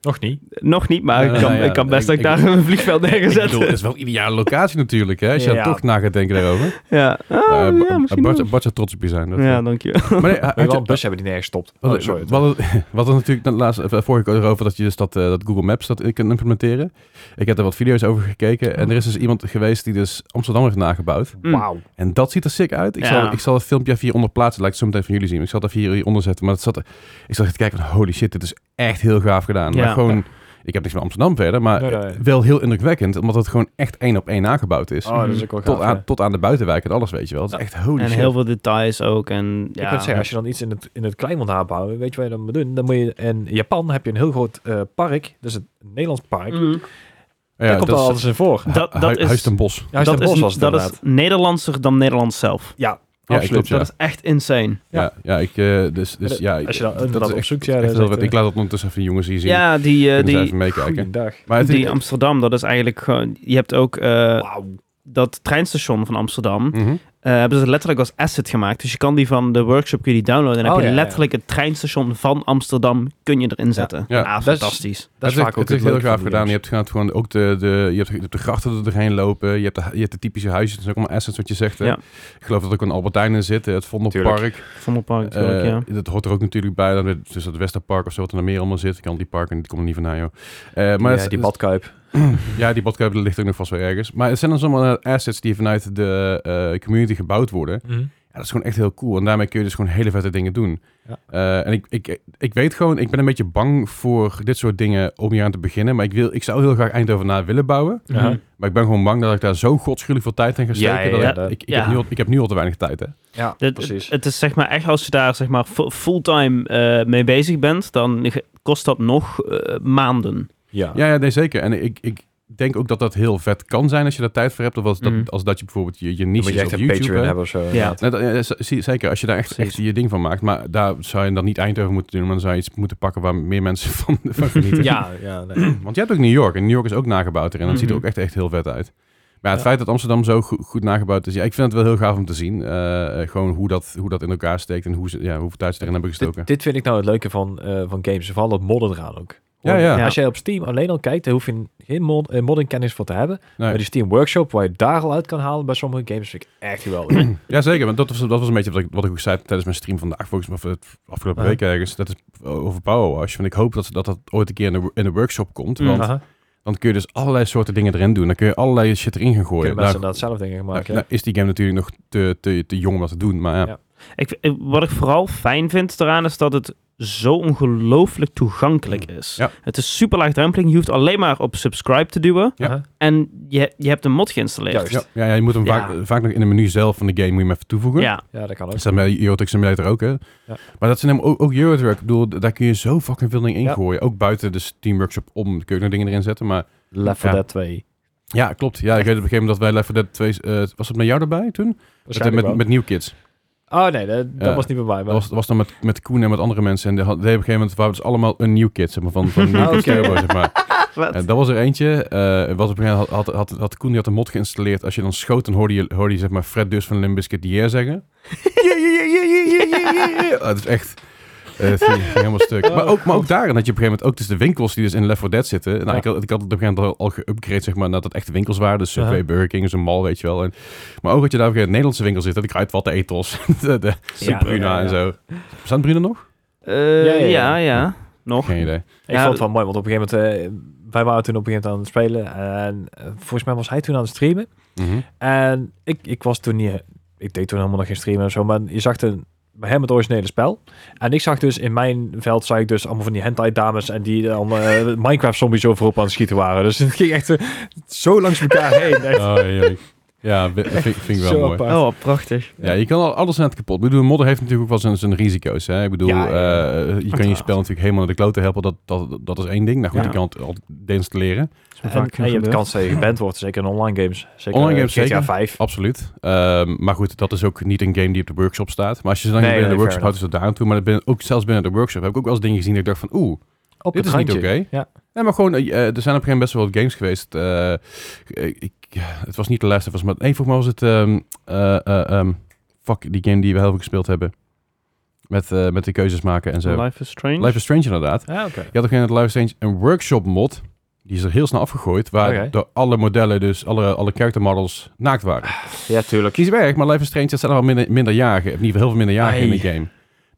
Speaker 4: Nog niet.
Speaker 1: (laughs) Nog niet, maar
Speaker 3: Ja,
Speaker 1: ik kan,
Speaker 3: nou ja,
Speaker 1: ik kan best dat
Speaker 3: ik-
Speaker 1: ik daar een vliegveld neer
Speaker 3: (laughs) Ik
Speaker 1: zet.
Speaker 3: bedoel, het is wel een ideale locatie natuurlijk, hè? Als je
Speaker 4: Ja.
Speaker 3: er toch na gaat denken daarover.
Speaker 1: (laughs) Ja, Ah,
Speaker 3: Ja, Ba-
Speaker 1: ja, misschien
Speaker 3: Bart,
Speaker 1: wel.
Speaker 3: Bart zou trots op je zijn. Dat,
Speaker 1: Ja, nou.
Speaker 3: eh.
Speaker 1: dankjewel.
Speaker 3: maar nee, had
Speaker 4: We
Speaker 3: je-
Speaker 4: wel een bus hebben die nergens stopt.
Speaker 3: Wat,
Speaker 4: Oh, sorry.
Speaker 3: wat, wat er natuurlijk dan laatst, eh, vorige keer over dat je dus dat, eh, dat Google Maps dat kan implementeren. Ik heb er wat video's over gekeken. En er is dus iemand geweest die dus Amsterdam heeft nagebouwd.
Speaker 1: Mm.
Speaker 4: Wauw.
Speaker 3: En dat ziet er sick uit. Ik,
Speaker 1: Ja.
Speaker 3: zal, ik zal het filmpje even hieronder plaatsen. Laat ik het zo meteen van jullie zien. Ik zal het even hier- hieronder zetten. Maar het zat, er- ik zat echt te kijken van holy shit, dit is echt heel gaaf gedaan.
Speaker 1: Ja.
Speaker 3: Maar gewoon, ik heb niks met Amsterdam verder. Maar
Speaker 4: Nee, nee.
Speaker 3: wel heel indrukwekkend. Omdat het gewoon echt één op één nagebouwd is.
Speaker 4: Oh, dat
Speaker 1: Hmm.
Speaker 4: is ook wel
Speaker 3: tot,
Speaker 4: gaaf,
Speaker 3: aan,
Speaker 4: ja.
Speaker 3: tot aan de buitenwijk en alles, weet je wel. Het is echt holy
Speaker 1: En
Speaker 3: shit.
Speaker 1: heel veel details ook. En, ja.
Speaker 4: Ik kan zeggen, als je dan iets in het, in het klein wil nabouwen, weet je wat je dan moet doen? Dan moet je, in Japan heb je een heel groot eh, park, dus het Nederlands park.
Speaker 1: Mm.
Speaker 3: Ja,
Speaker 4: Daar komt al alles in voor.
Speaker 1: Dat,
Speaker 3: Hu-
Speaker 1: dat
Speaker 3: Huis
Speaker 1: is,
Speaker 3: ten Bos.
Speaker 4: Ja,
Speaker 1: dat,
Speaker 4: Bos was
Speaker 1: is,
Speaker 4: het
Speaker 1: dat is
Speaker 4: inderdaad.
Speaker 1: Nederlandser dan Nederland zelf.
Speaker 4: Ja,
Speaker 3: Ja,
Speaker 4: absoluut.
Speaker 3: klopt, ja.
Speaker 1: Dat is echt insane.
Speaker 3: Ja,
Speaker 4: Ja.
Speaker 3: ja, ik, eh, dus, dus, ja,
Speaker 4: Als je dan
Speaker 3: dat
Speaker 4: inderdaad
Speaker 3: is
Speaker 4: op
Speaker 3: echt-
Speaker 4: zoekt, ja,
Speaker 3: echt
Speaker 4: dat is
Speaker 3: heel
Speaker 4: echt,
Speaker 3: vet. Ik laat het ondertussen even jongens hier zien.
Speaker 1: Ja, die, eh,
Speaker 3: Kunnen ze
Speaker 1: die,
Speaker 3: even meekijken.
Speaker 4: Goeiedag.
Speaker 3: Maar het is-
Speaker 1: die Amsterdam, dat is eigenlijk gewoon... Je hebt ook eh,
Speaker 4: Wauw.
Speaker 1: dat treinstation van Amsterdam.
Speaker 3: Mhm.
Speaker 1: eh, hebben ze letterlijk als asset gemaakt. Dus je kan die van de workshop kun je die downloaden. En dan
Speaker 4: Oh,
Speaker 1: heb je
Speaker 4: ja, ja.
Speaker 1: letterlijk het treinstation van Amsterdam kun je erin zetten.
Speaker 3: Ja.
Speaker 1: Ja,
Speaker 4: Dat is-
Speaker 1: fantastisch.
Speaker 4: Dat is
Speaker 3: het
Speaker 4: vaak
Speaker 3: is,
Speaker 4: ook
Speaker 3: het is heel
Speaker 4: leuke
Speaker 3: gaaf
Speaker 4: van die
Speaker 3: gedaan. Je
Speaker 4: games.
Speaker 3: hebt inderdaad gewoon ook de, de, je hebt, je hebt de grachten er doorheen lopen. Je hebt de, je hebt de typische huizen. Dat is ook allemaal assets wat je zegt. hè.
Speaker 1: Ja.
Speaker 3: Ik geloof dat er ook een Albertijn in zit. Het Vondelpark.
Speaker 1: Vondelpark, natuurlijk,
Speaker 3: Eh,
Speaker 1: ja.
Speaker 3: Dat hoort er ook natuurlijk bij. Dan, dus dat Westerpark of zo wat er nog meer allemaal zit. Ik kan die parken, die komen er niet vandaan joh. Eh, maar
Speaker 4: Ja,
Speaker 3: het-
Speaker 4: die badkuip.
Speaker 3: Ja, die badkuip ligt ook nog vast wel ergens. Maar het zijn dan allemaal assets die vanuit de eh, community gebouwd worden.
Speaker 1: Mhm.
Speaker 3: Ja, dat is gewoon echt heel cool. En daarmee kun je dus gewoon hele vette dingen doen.
Speaker 4: Ja.
Speaker 3: Eh, en ik, ik, ik weet gewoon, ik ben een beetje bang voor dit soort dingen om hier aan te beginnen. Maar ik, wil, ik zou heel graag Eindhoven na willen bouwen.
Speaker 4: Ja.
Speaker 1: Mhm.
Speaker 3: Maar ik ben gewoon bang dat ik daar zo godschuwelijk veel tijd in ga
Speaker 4: Ja,
Speaker 3: steken.
Speaker 4: ja,
Speaker 3: dat
Speaker 4: ja,
Speaker 3: ik,
Speaker 4: dat-
Speaker 3: ik, ik
Speaker 1: ja.
Speaker 3: heb nu al, ik heb nu al te weinig tijd, hè?
Speaker 4: Ja,
Speaker 1: Dit-
Speaker 4: precies.
Speaker 1: Het is zeg maar echt als je daar zeg maar fu- fulltime eh, mee bezig bent, dan ge- kost dat nog eh, maanden.
Speaker 4: Ja.
Speaker 3: Ja, ja nee, zeker. En ik, ik denk ook dat dat heel vet kan zijn als je daar tijd voor hebt. Of als dat,
Speaker 1: Mhm.
Speaker 3: als dat je bijvoorbeeld je, je
Speaker 4: Mm. Dan moet
Speaker 3: niche
Speaker 4: je echt
Speaker 3: op
Speaker 4: een
Speaker 3: YouTube
Speaker 4: Patreon
Speaker 3: hebt.
Speaker 4: hebben of zo.
Speaker 1: Ja.
Speaker 3: Nee, Nou, dat- ja, z- zie- zeker, als je daar echt, echt
Speaker 1: Precies.
Speaker 3: je ding van maakt. Maar daar zou je dan niet Eindhoven moeten doen, maar dan zou je iets moeten pakken waar meer mensen (laughs) van, van genieten.
Speaker 4: (laughs) Ja, ja, nee.
Speaker 3: Want je hebt ook New York en New York is ook nagebouwd erin. En dat ziet er ook
Speaker 1: Mhm.
Speaker 3: echt, echt heel vet uit. Maar ja, het
Speaker 4: Ja.
Speaker 3: feit dat Amsterdam zo go- goed nagebouwd is, ja, ik vind het wel heel gaaf om te zien. Eh, eh, gewoon hoe dat, hoe dat in elkaar steekt en hoe ze, ja, hoeveel tijd ze erin hebben gestoken.
Speaker 4: Dit, dit vind ik nou het leuke van, eh, van games. Vooral dat modden eraan ook.
Speaker 3: Ja, ja.
Speaker 1: Ja.
Speaker 4: Als jij op Steam alleen al kijkt, daar hoef je geen mod, eh, modden kennis voor te hebben.
Speaker 3: Nee.
Speaker 4: Maar die Steam Workshop, waar je daar al uit kan halen bij sommige games, vind ik
Speaker 3: (clears throat)
Speaker 4: echt geweldig.
Speaker 3: Ja, zeker. Want dat was, dat was een beetje wat ik, wat ik ook zei tijdens mijn stream vandaag, volgens mij, of het afgelopen
Speaker 4: Ja.
Speaker 3: week ergens. Dat is over Powerwash. Want ik hoop dat dat, dat ooit een keer in de, in de workshop komt.
Speaker 1: Mhm.
Speaker 3: Want
Speaker 4: Aha.
Speaker 3: dan kun je dus allerlei soorten dingen erin doen. Dan kun je allerlei shit erin gaan gooien.
Speaker 4: Kunnen
Speaker 3: Daar-
Speaker 4: mensen inderdaad zelf dingen gaan maken.
Speaker 3: Nou, nou is die game natuurlijk nog te, te, te jong om dat te doen, maar ja.
Speaker 4: Ja.
Speaker 1: Ik, ik- wat ik vooral fijn vind eraan is dat het zo ongelooflijk toegankelijk
Speaker 4: Mm.
Speaker 1: is.
Speaker 3: Ja.
Speaker 1: Het is super laagdrempelig. Je hoeft alleen maar op subscribe te duwen
Speaker 3: Ja.
Speaker 4: Aha.
Speaker 1: en je, je hebt een mod geïnstalleerd.
Speaker 4: Juist.
Speaker 3: Ja, ja, ja, je moet hem
Speaker 1: Ja.
Speaker 3: Vaak, vaak nog in het menu zelf van de game moet je hem even toevoegen.
Speaker 1: Ja,
Speaker 4: (laughs) Ja, dat kan ook.
Speaker 3: Dat staat bij Euro Truck Simulator ook, hè. Maar dat zijn hem ook, ook Euro Truck. Ik bedoel, daar kun je zo fucking veel dingen in
Speaker 4: Ja.
Speaker 3: gooien. Ook buiten de Steam Workshop om kun je nog dingen erin zetten, maar...
Speaker 4: Left 4
Speaker 3: Ja.
Speaker 4: Dead 2.
Speaker 3: Ja, klopt. Ja, ik weet op een gegeven moment dat wij Left 4 Dead 2... eh, was het met jou erbij toen? Met,
Speaker 4: Waarschijnlijk
Speaker 3: met, met New Kids.
Speaker 4: wel. Oh nee, dat, dat
Speaker 3: Ja.
Speaker 4: was niet bij mij.
Speaker 3: Dat
Speaker 4: Maar...
Speaker 3: was, dat was dan met, met Koen en met andere mensen. En die had- die hebben op een gegeven moment... waren dus allemaal een New Kids, zeg maar. Van, van New
Speaker 4: Oké.
Speaker 3: Kids Turbo, zeg maar.
Speaker 1: Wat?
Speaker 3: En dat was er eentje. eh was op een gegeven moment had, had, had, had Koen die had een mod geïnstalleerd. Als je dan schoot, dan hoorde je, hoorde je zeg maar Fred dus van Limbiscuit die yeah zeggen. Yeah, yeah, yeah, yeah, yeah, yeah, yeah, yeah. Oh, het is echt... eh, het ging, ging helemaal stuk. maar, ook, maar ook daarin had je op een gegeven moment ook dus de winkels die dus in Left 4 Dead zitten. Nou,
Speaker 4: Ja.
Speaker 3: ik, had, ik had het op een gegeven moment al, al geüpgrade zeg maar, naar dat echte winkels waren. Dus Subway,
Speaker 4: Aha.
Speaker 3: Burger King, zo'n mall, weet je wel. En, maar ook dat je daar op een gegeven moment Nederlandse winkel zit. Dat ik uit wat de Ethos, (laughs) de, de
Speaker 1: Ja,
Speaker 3: Bruna
Speaker 4: ja, ja.
Speaker 3: en zo. Staan Bruna nog?
Speaker 1: Eh,
Speaker 4: Ja, ja,
Speaker 1: ja,
Speaker 4: ja.
Speaker 1: ja. Nog.
Speaker 3: Geen idee.
Speaker 4: Ik
Speaker 1: Ja,
Speaker 4: vond het wel mooi, want op een gegeven moment... eh, wij waren toen op een gegeven moment aan het spelen. En eh, volgens mij was hij toen aan het streamen.
Speaker 3: (laughs) Mhm.
Speaker 4: En ik, ik was toen niet... Ik deed toen helemaal nog geen streamen en zo. Maar je zag een, bij hem het originele spel. En ik zag dus in mijn veld... zag ik dus allemaal van die hentai-dames... en die dan eh, (laughs) Minecraft-zombies overop aan het schieten waren. Dus het ging echt eh, zo langs elkaar
Speaker 3: (laughs)
Speaker 4: heen. Echt
Speaker 3: Oh, heerlijk. Ja,
Speaker 4: (laughs)
Speaker 3: dat vind, vind ik wel
Speaker 4: zo
Speaker 3: mooi.
Speaker 4: apart.
Speaker 1: Oh, prachtig.
Speaker 3: Ja, je kan al alles net kapot. Ik bedoel, modder heeft natuurlijk ook wel zijn, zijn risico's. Hè? Ik bedoel,
Speaker 4: Ja, ja, ja.
Speaker 3: eh, je kan je
Speaker 1: Uiteraard.
Speaker 3: spel natuurlijk helemaal naar de klote helpen. Dat, dat, dat is één ding. Nou goed,
Speaker 1: Ja.
Speaker 3: je kan het altijd deinstalleren.
Speaker 1: Zo
Speaker 4: En,
Speaker 1: vaak
Speaker 4: en je hebt de
Speaker 1: gebeurt.
Speaker 4: kans dat je geband wordt, zeker in online games. Zeker
Speaker 3: Online
Speaker 4: eh,
Speaker 3: games,
Speaker 4: GTA
Speaker 3: zeker.
Speaker 4: 5.
Speaker 3: Absoluut. Ehm, maar goed, dat is ook niet een game die op de workshop staat. Maar als je ze dan
Speaker 4: Nee,
Speaker 3: binnen
Speaker 4: nee,
Speaker 3: de workshop
Speaker 4: fair
Speaker 3: houdt, is dat daar aan toe. Maar binnen, ook zelfs binnen de workshop heb ik ook wel eens dingen gezien dat ik dacht van... Oeh,
Speaker 4: Op
Speaker 3: Dit
Speaker 4: het
Speaker 3: is niet
Speaker 4: randje.
Speaker 3: oké.
Speaker 4: Ja.
Speaker 3: nee, maar gewoon... eh, eh, er zijn op een gegeven moment best wel wat games geweest. Eh, ik, het was niet de laatste, was maar... Nee, volgens mij was het... ehm, eh, eh, ehm, fuck, die game die we heel veel gespeeld hebben. Met, eh, met de keuzes maken en zo.
Speaker 1: Life is Strange.
Speaker 3: Life is Strange inderdaad.
Speaker 4: Ah, oké.
Speaker 3: Je had ook in het Live Strange een workshop mod. Die is er heel snel afgegooid. Waar
Speaker 4: Oké.
Speaker 3: de alle modellen, dus alle, alle character models naakt waren.
Speaker 4: Ja, tuurlijk.
Speaker 3: Kies weg, maar Life is Strange, dat zijn allemaal minder, minderjarigen. In ieder geval heel veel minderjarigen in de
Speaker 4: Ai.
Speaker 3: game.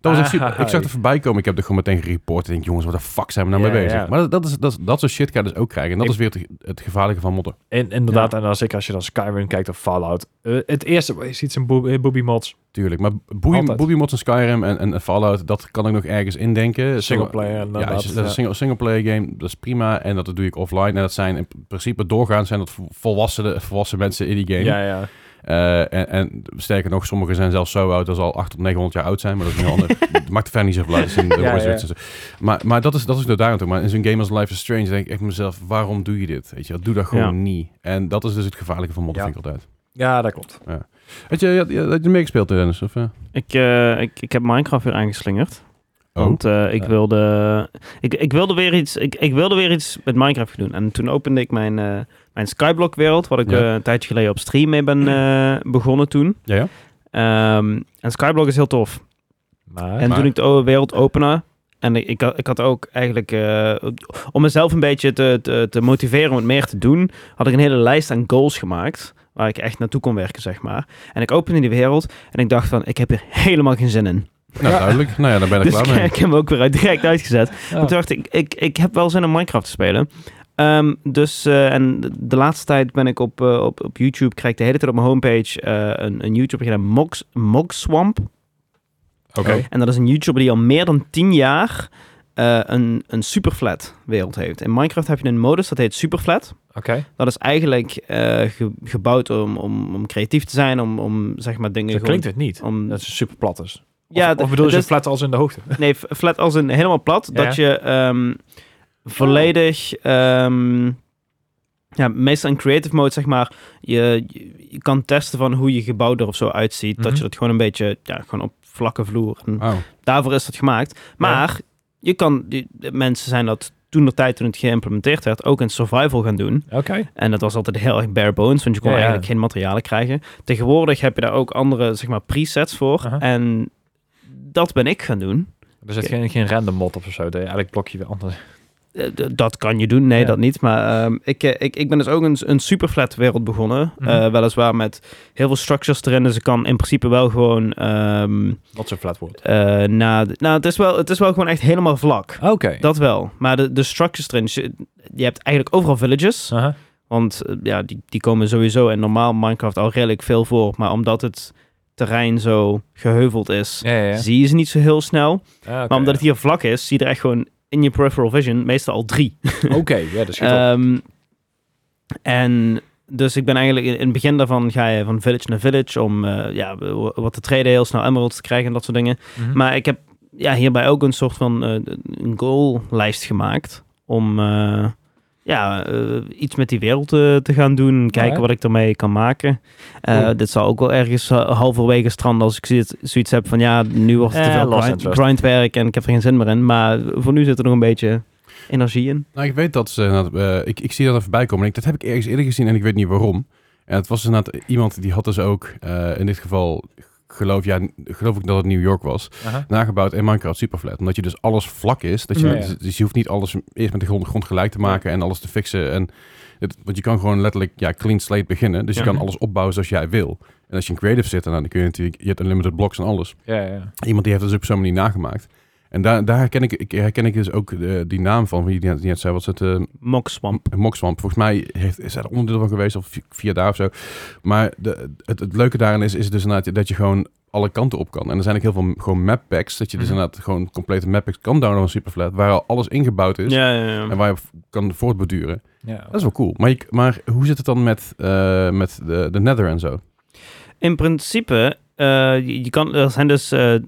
Speaker 3: Dat was echt
Speaker 4: Ai.
Speaker 3: super. Ik zag er voorbij komen. Ik heb er gewoon meteen gereport. Ik denk, jongens, wat de fuck zijn we nou
Speaker 4: Ja,
Speaker 3: mee bezig?
Speaker 4: ja.
Speaker 3: Maar dat, dat, is, dat, is- dat soort shit kan je dus ook krijgen. En dat
Speaker 4: Ik-
Speaker 3: is weer het, het gevaarlijke van modden.
Speaker 4: In, inderdaad, en dan zeker als je dan Skyrim kijkt of Fallout. Eh, het eerste wat je ziet zijn boob- eh, booby mods.
Speaker 3: Tuurlijk. Maar boeien-
Speaker 4: Altijd.
Speaker 3: booby mods en Skyrim en, en, en Fallout, dat kan ik nog ergens indenken.
Speaker 4: Singleplayer
Speaker 3: Ja,
Speaker 4: inderdaad,
Speaker 3: als je- dat is
Speaker 4: ja.
Speaker 3: een single, singleplayer game. Dat is prima. En dat doe ik offline. En dat zijn in principe doorgaans zijn dat volwassenen, volwassen mensen in die game.
Speaker 4: Ja, ja.
Speaker 3: Eh, en, en sterker nog, sommigen zijn zelfs zo oud dat ze al 800 tot 900 jaar oud zijn. Maar dat
Speaker 4: (laughs)
Speaker 3: is niet
Speaker 1: (laughs)
Speaker 3: anders. Het maakt verder niet zoveel uit. Dat is in de
Speaker 4: Ja,
Speaker 3: voice
Speaker 4: ja.
Speaker 3: actors en zo. Maar, maar dat is, dat is de daarom toe. Maar in zo'n game als Life is Strange denk ik echt mezelf, waarom doe je dit? Weet je, wel, doe dat gewoon
Speaker 1: Ja.
Speaker 3: niet. En dat is dus het gevaarlijke van modder,
Speaker 4: Ja.
Speaker 3: vind ik altijd.
Speaker 4: Ja, dat klopt.
Speaker 3: Had je, had, had je meegespeeld, Dennis? Of, eh?
Speaker 1: Ik, eh, ik, ik heb Minecraft weer aangeslingerd.
Speaker 3: Oh.
Speaker 1: Want eh, ik,
Speaker 4: Ja.
Speaker 1: wilde, ik, ik, wilde weer iets, ik, ik wilde weer iets met Minecraft gaan doen. En toen opende ik mijn, eh, mijn Skyblock-wereld, wat ik
Speaker 3: Ja.
Speaker 1: eh, een tijdje geleden op stream mee
Speaker 3: (clears throat)
Speaker 1: ben eh, begonnen toen.
Speaker 3: Ja, ja.
Speaker 1: Ehm, en Skyblock is heel tof.
Speaker 4: Maar,
Speaker 1: En
Speaker 3: Maar-
Speaker 1: toen ik de oude wereld opende. En ik, ik, had- ik had ook eigenlijk, eh, om mezelf een beetje te, te, te motiveren om het meer te doen, had ik een hele lijst aan goals gemaakt. Waar ik echt naartoe kon werken, zeg maar. En ik opende die wereld en ik dacht van, ik heb hier helemaal geen zin in.
Speaker 3: Nou, duidelijk. Nou ja, dan ben
Speaker 4: (laughs)
Speaker 3: ik
Speaker 1: Dus ik,
Speaker 3: klaar mee.
Speaker 1: ik heb hem ook weer uit, direct uitgezet.
Speaker 4: ja.
Speaker 1: En toen dacht ik, ik, ik heb wel zin om Minecraft te spelen. Ehm, dus, eh, en de- de laatste tijd ben ik op, eh, op, op YouTube, krijg ik de hele tijd op mijn homepage eh, een, een YouTube genaamd Mogs, Mogswamp.
Speaker 3: Oké.
Speaker 1: En dat is een YouTuber die al meer dan 10 jaar eh, een, een superflat wereld heeft. In Minecraft heb je een modus dat heet superflat.
Speaker 4: Oké.
Speaker 1: Dat is eigenlijk eh, ge- gebouwd om, om, om creatief te zijn, om, om zeg maar dingen
Speaker 4: Zo klinkt het niet.
Speaker 1: gewoon- om,
Speaker 4: Dat is super plat is. Of,
Speaker 1: ja,
Speaker 4: of bedoel je
Speaker 1: dat
Speaker 4: zo
Speaker 1: is-
Speaker 4: flat als in de hoogte?
Speaker 1: Nee, f- flat als een helemaal plat.
Speaker 4: Ja.
Speaker 1: Dat je ehm, volledig. ehm, ja, meestal in creative mode, zeg maar. Je, je, je kan testen van hoe je gebouw er of zo uitziet. Dat
Speaker 4: Mhm.
Speaker 1: je dat gewoon een beetje. Ja, gewoon op vlakke vloer. En
Speaker 3: Oh.
Speaker 1: daarvoor is dat gemaakt. Maar je kan. Die, de mensen zijn dat toen de tijd toen het geïmplementeerd werd. ook in survival gaan doen.
Speaker 4: Oké.
Speaker 1: En dat was altijd heel erg bare bones, want je kon
Speaker 4: Ja, ja.
Speaker 1: eigenlijk geen materialen krijgen. Tegenwoordig heb je daar ook andere, zeg maar, presets voor.
Speaker 4: Aha.
Speaker 1: En dat ben ik gaan doen.
Speaker 4: Er zit geen, geen random mod op of zo. Dat je eigenlijk blokje weer anders.
Speaker 1: Eh, d- dat kan je doen, nee,
Speaker 4: Ja.
Speaker 1: dat niet. Maar ehm, ik, eh, ik, ik ben dus ook een, een superflat wereld begonnen.
Speaker 4: Mhm.
Speaker 1: Eh, weliswaar met heel veel structures erin. Dus ik kan in principe wel gewoon... ehm
Speaker 4: Wat zo flat wordt.
Speaker 1: eh, na, nou, het is, wel, het is wel gewoon echt helemaal vlak.
Speaker 4: Oké.
Speaker 1: Dat wel. Maar de, de structures erin... dus Je, je hebt eigenlijk overal villages.
Speaker 4: Aha.
Speaker 1: Want eh, ja, die, die komen sowieso in normaal Minecraft al redelijk veel voor. Maar omdat het terrein zo geheuveld is...
Speaker 4: Ja, ja, ja.
Speaker 1: Zie je ze niet zo heel snel.
Speaker 4: Ah, oké,
Speaker 1: maar omdat het
Speaker 4: ja.
Speaker 1: hier vlak is, zie je er echt gewoon in je peripheral vision meestal al drie.
Speaker 4: Oké, ja, dat schiet op.
Speaker 1: Ehm, en dus ik ben eigenlijk in, in het begin daarvan ga je van village naar village om eh, ja, w- wat te treden, heel snel emeralds te krijgen en dat soort dingen.
Speaker 4: Mhm.
Speaker 1: Maar ik heb ja, hierbij ook een soort van eh, een goallijst gemaakt om eh, ja, eh, iets met die wereld eh, te gaan doen, kijken
Speaker 4: Alright.
Speaker 1: wat ik ermee kan maken. Eh,
Speaker 3: Cool.
Speaker 1: Dit zal ook wel ergens eh, halverwege stranden als ik zoiets, zoiets heb van ja, nu wordt het
Speaker 4: Eh,
Speaker 1: te veel
Speaker 4: lost
Speaker 1: grind,
Speaker 4: interest.
Speaker 1: grindwerk en ik heb er geen zin meer in. Maar voor nu zit er nog een beetje energie in.
Speaker 3: Nou, ik weet dat ze... inderdaad, eh, ik, ik zie dat er voorbij komen. En ik, dat heb ik ergens eerder gezien en ik weet niet waarom. En het was inderdaad iemand die had dus ook, eh, in dit geval, geloof, ja, geloof ik dat het New York was,
Speaker 4: Aha.
Speaker 3: nagebouwd in Minecraft Superflat. Omdat je dus alles vlak is. Dat je,
Speaker 4: Ja, ja.
Speaker 3: Dus je hoeft niet alles eerst met de grond, grond gelijk te maken en alles te fixen. En het, want je kan gewoon letterlijk ja, clean slate beginnen. Dus je
Speaker 1: Ja.
Speaker 3: kan alles opbouwen zoals jij wil. En als je in creative zit, nou, dan kun je natuurlijk... Je hebt unlimited blocks en alles.
Speaker 4: Ja, ja, ja.
Speaker 3: Iemand die heeft dat dus op zo'n manier nagemaakt. En daar, daar herken, ik, ik, herken ik dus ook eh, die naam van, wie die net- die net zei, wat is het, eh,
Speaker 1: Mock Swamp.
Speaker 3: Mokswamp. Volgens mij heeft, is er onderdeel van geweest, of vi- via daar of zo. Maar de, het, het leuke daarin is, is dus inderdaad dat je gewoon alle kanten op kan. En er zijn ook heel veel gewoon map packs, dat je dus
Speaker 4: Mhm.
Speaker 3: inderdaad gewoon complete map packs kan downloaden van Superflat, waar al alles ingebouwd is.
Speaker 1: Ja, ja, ja.
Speaker 3: En waar je v- kan voortborduren.
Speaker 4: ja
Speaker 3: Dat is wel cool. Maar, je, k- maar hoe zit het dan met, eh, met de, de Nether en zo?
Speaker 1: In principe, eh, je je kan, er zijn dus eh, eh,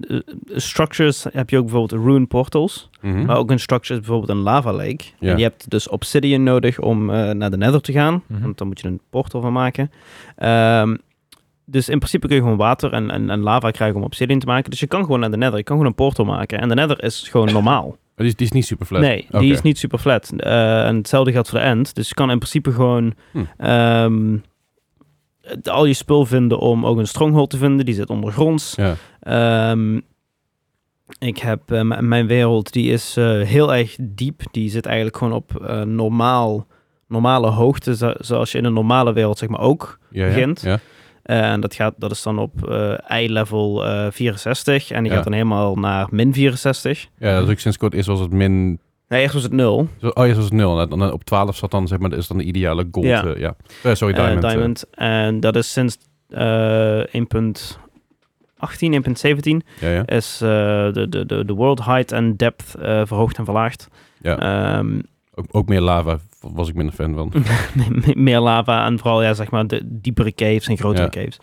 Speaker 1: structures, heb je ook bijvoorbeeld rune portals,
Speaker 3: Mhm.
Speaker 1: maar ook een structure is bijvoorbeeld een lava lake.
Speaker 3: Ja.
Speaker 1: En je hebt dus obsidian nodig om eh, naar de nether te gaan,
Speaker 4: Mhm.
Speaker 1: want dan moet je een portal van maken. Ehm, dus in principe kun je gewoon water en, en, en lava krijgen om obsidian te maken. Dus je kan gewoon naar de nether, je kan gewoon een portal maken. En de nether is gewoon normaal.
Speaker 3: Oh, Die is, die is niet Superflat.
Speaker 1: Nee, die
Speaker 3: Oké.
Speaker 1: is niet super flat. Eh, en hetzelfde geldt voor de end. Dus je kan in principe gewoon
Speaker 3: Hm.
Speaker 1: ehm, het- al je spul vinden om ook een stronghold te vinden. Die zit ondergronds.
Speaker 3: Ja.
Speaker 1: Ehm, ik heb eh, m- mijn wereld, die is eh, heel erg diep. Die zit eigenlijk gewoon op eh, normaal, normale hoogte, zo- zoals je in een normale wereld zeg maar ook
Speaker 3: Ja, ja,
Speaker 1: begint.
Speaker 3: Ja.
Speaker 1: eh, en dat, gaat, dat is dan op eh I-level eh, 64. En die
Speaker 3: Ja.
Speaker 1: gaat dan helemaal naar min 64.
Speaker 3: ja, dat is ook sinds kort. Eerst was het min
Speaker 1: Nee, eerst was het 0.
Speaker 3: Zo- Oh, ja, dat is nul. En dan op 12 zat dan, zeg maar, is dan de ideale gold.
Speaker 1: Ja.
Speaker 3: Ja. ja. Eh, sorry,
Speaker 1: Eh,
Speaker 3: diamond. eh.
Speaker 1: En dat is sinds eh 1.18, 1.17
Speaker 3: ja, ja.
Speaker 1: is eh, de, de, de, de world height en depth eh, verhoogd en verlaagd.
Speaker 3: Ja.
Speaker 1: Ehm, (laughs)
Speaker 3: Ook, ook meer lava was ik minder fan van.
Speaker 1: me- me- meer lava en vooral ja, zeg maar de diepere caves en grotere
Speaker 3: Ja.
Speaker 1: caves.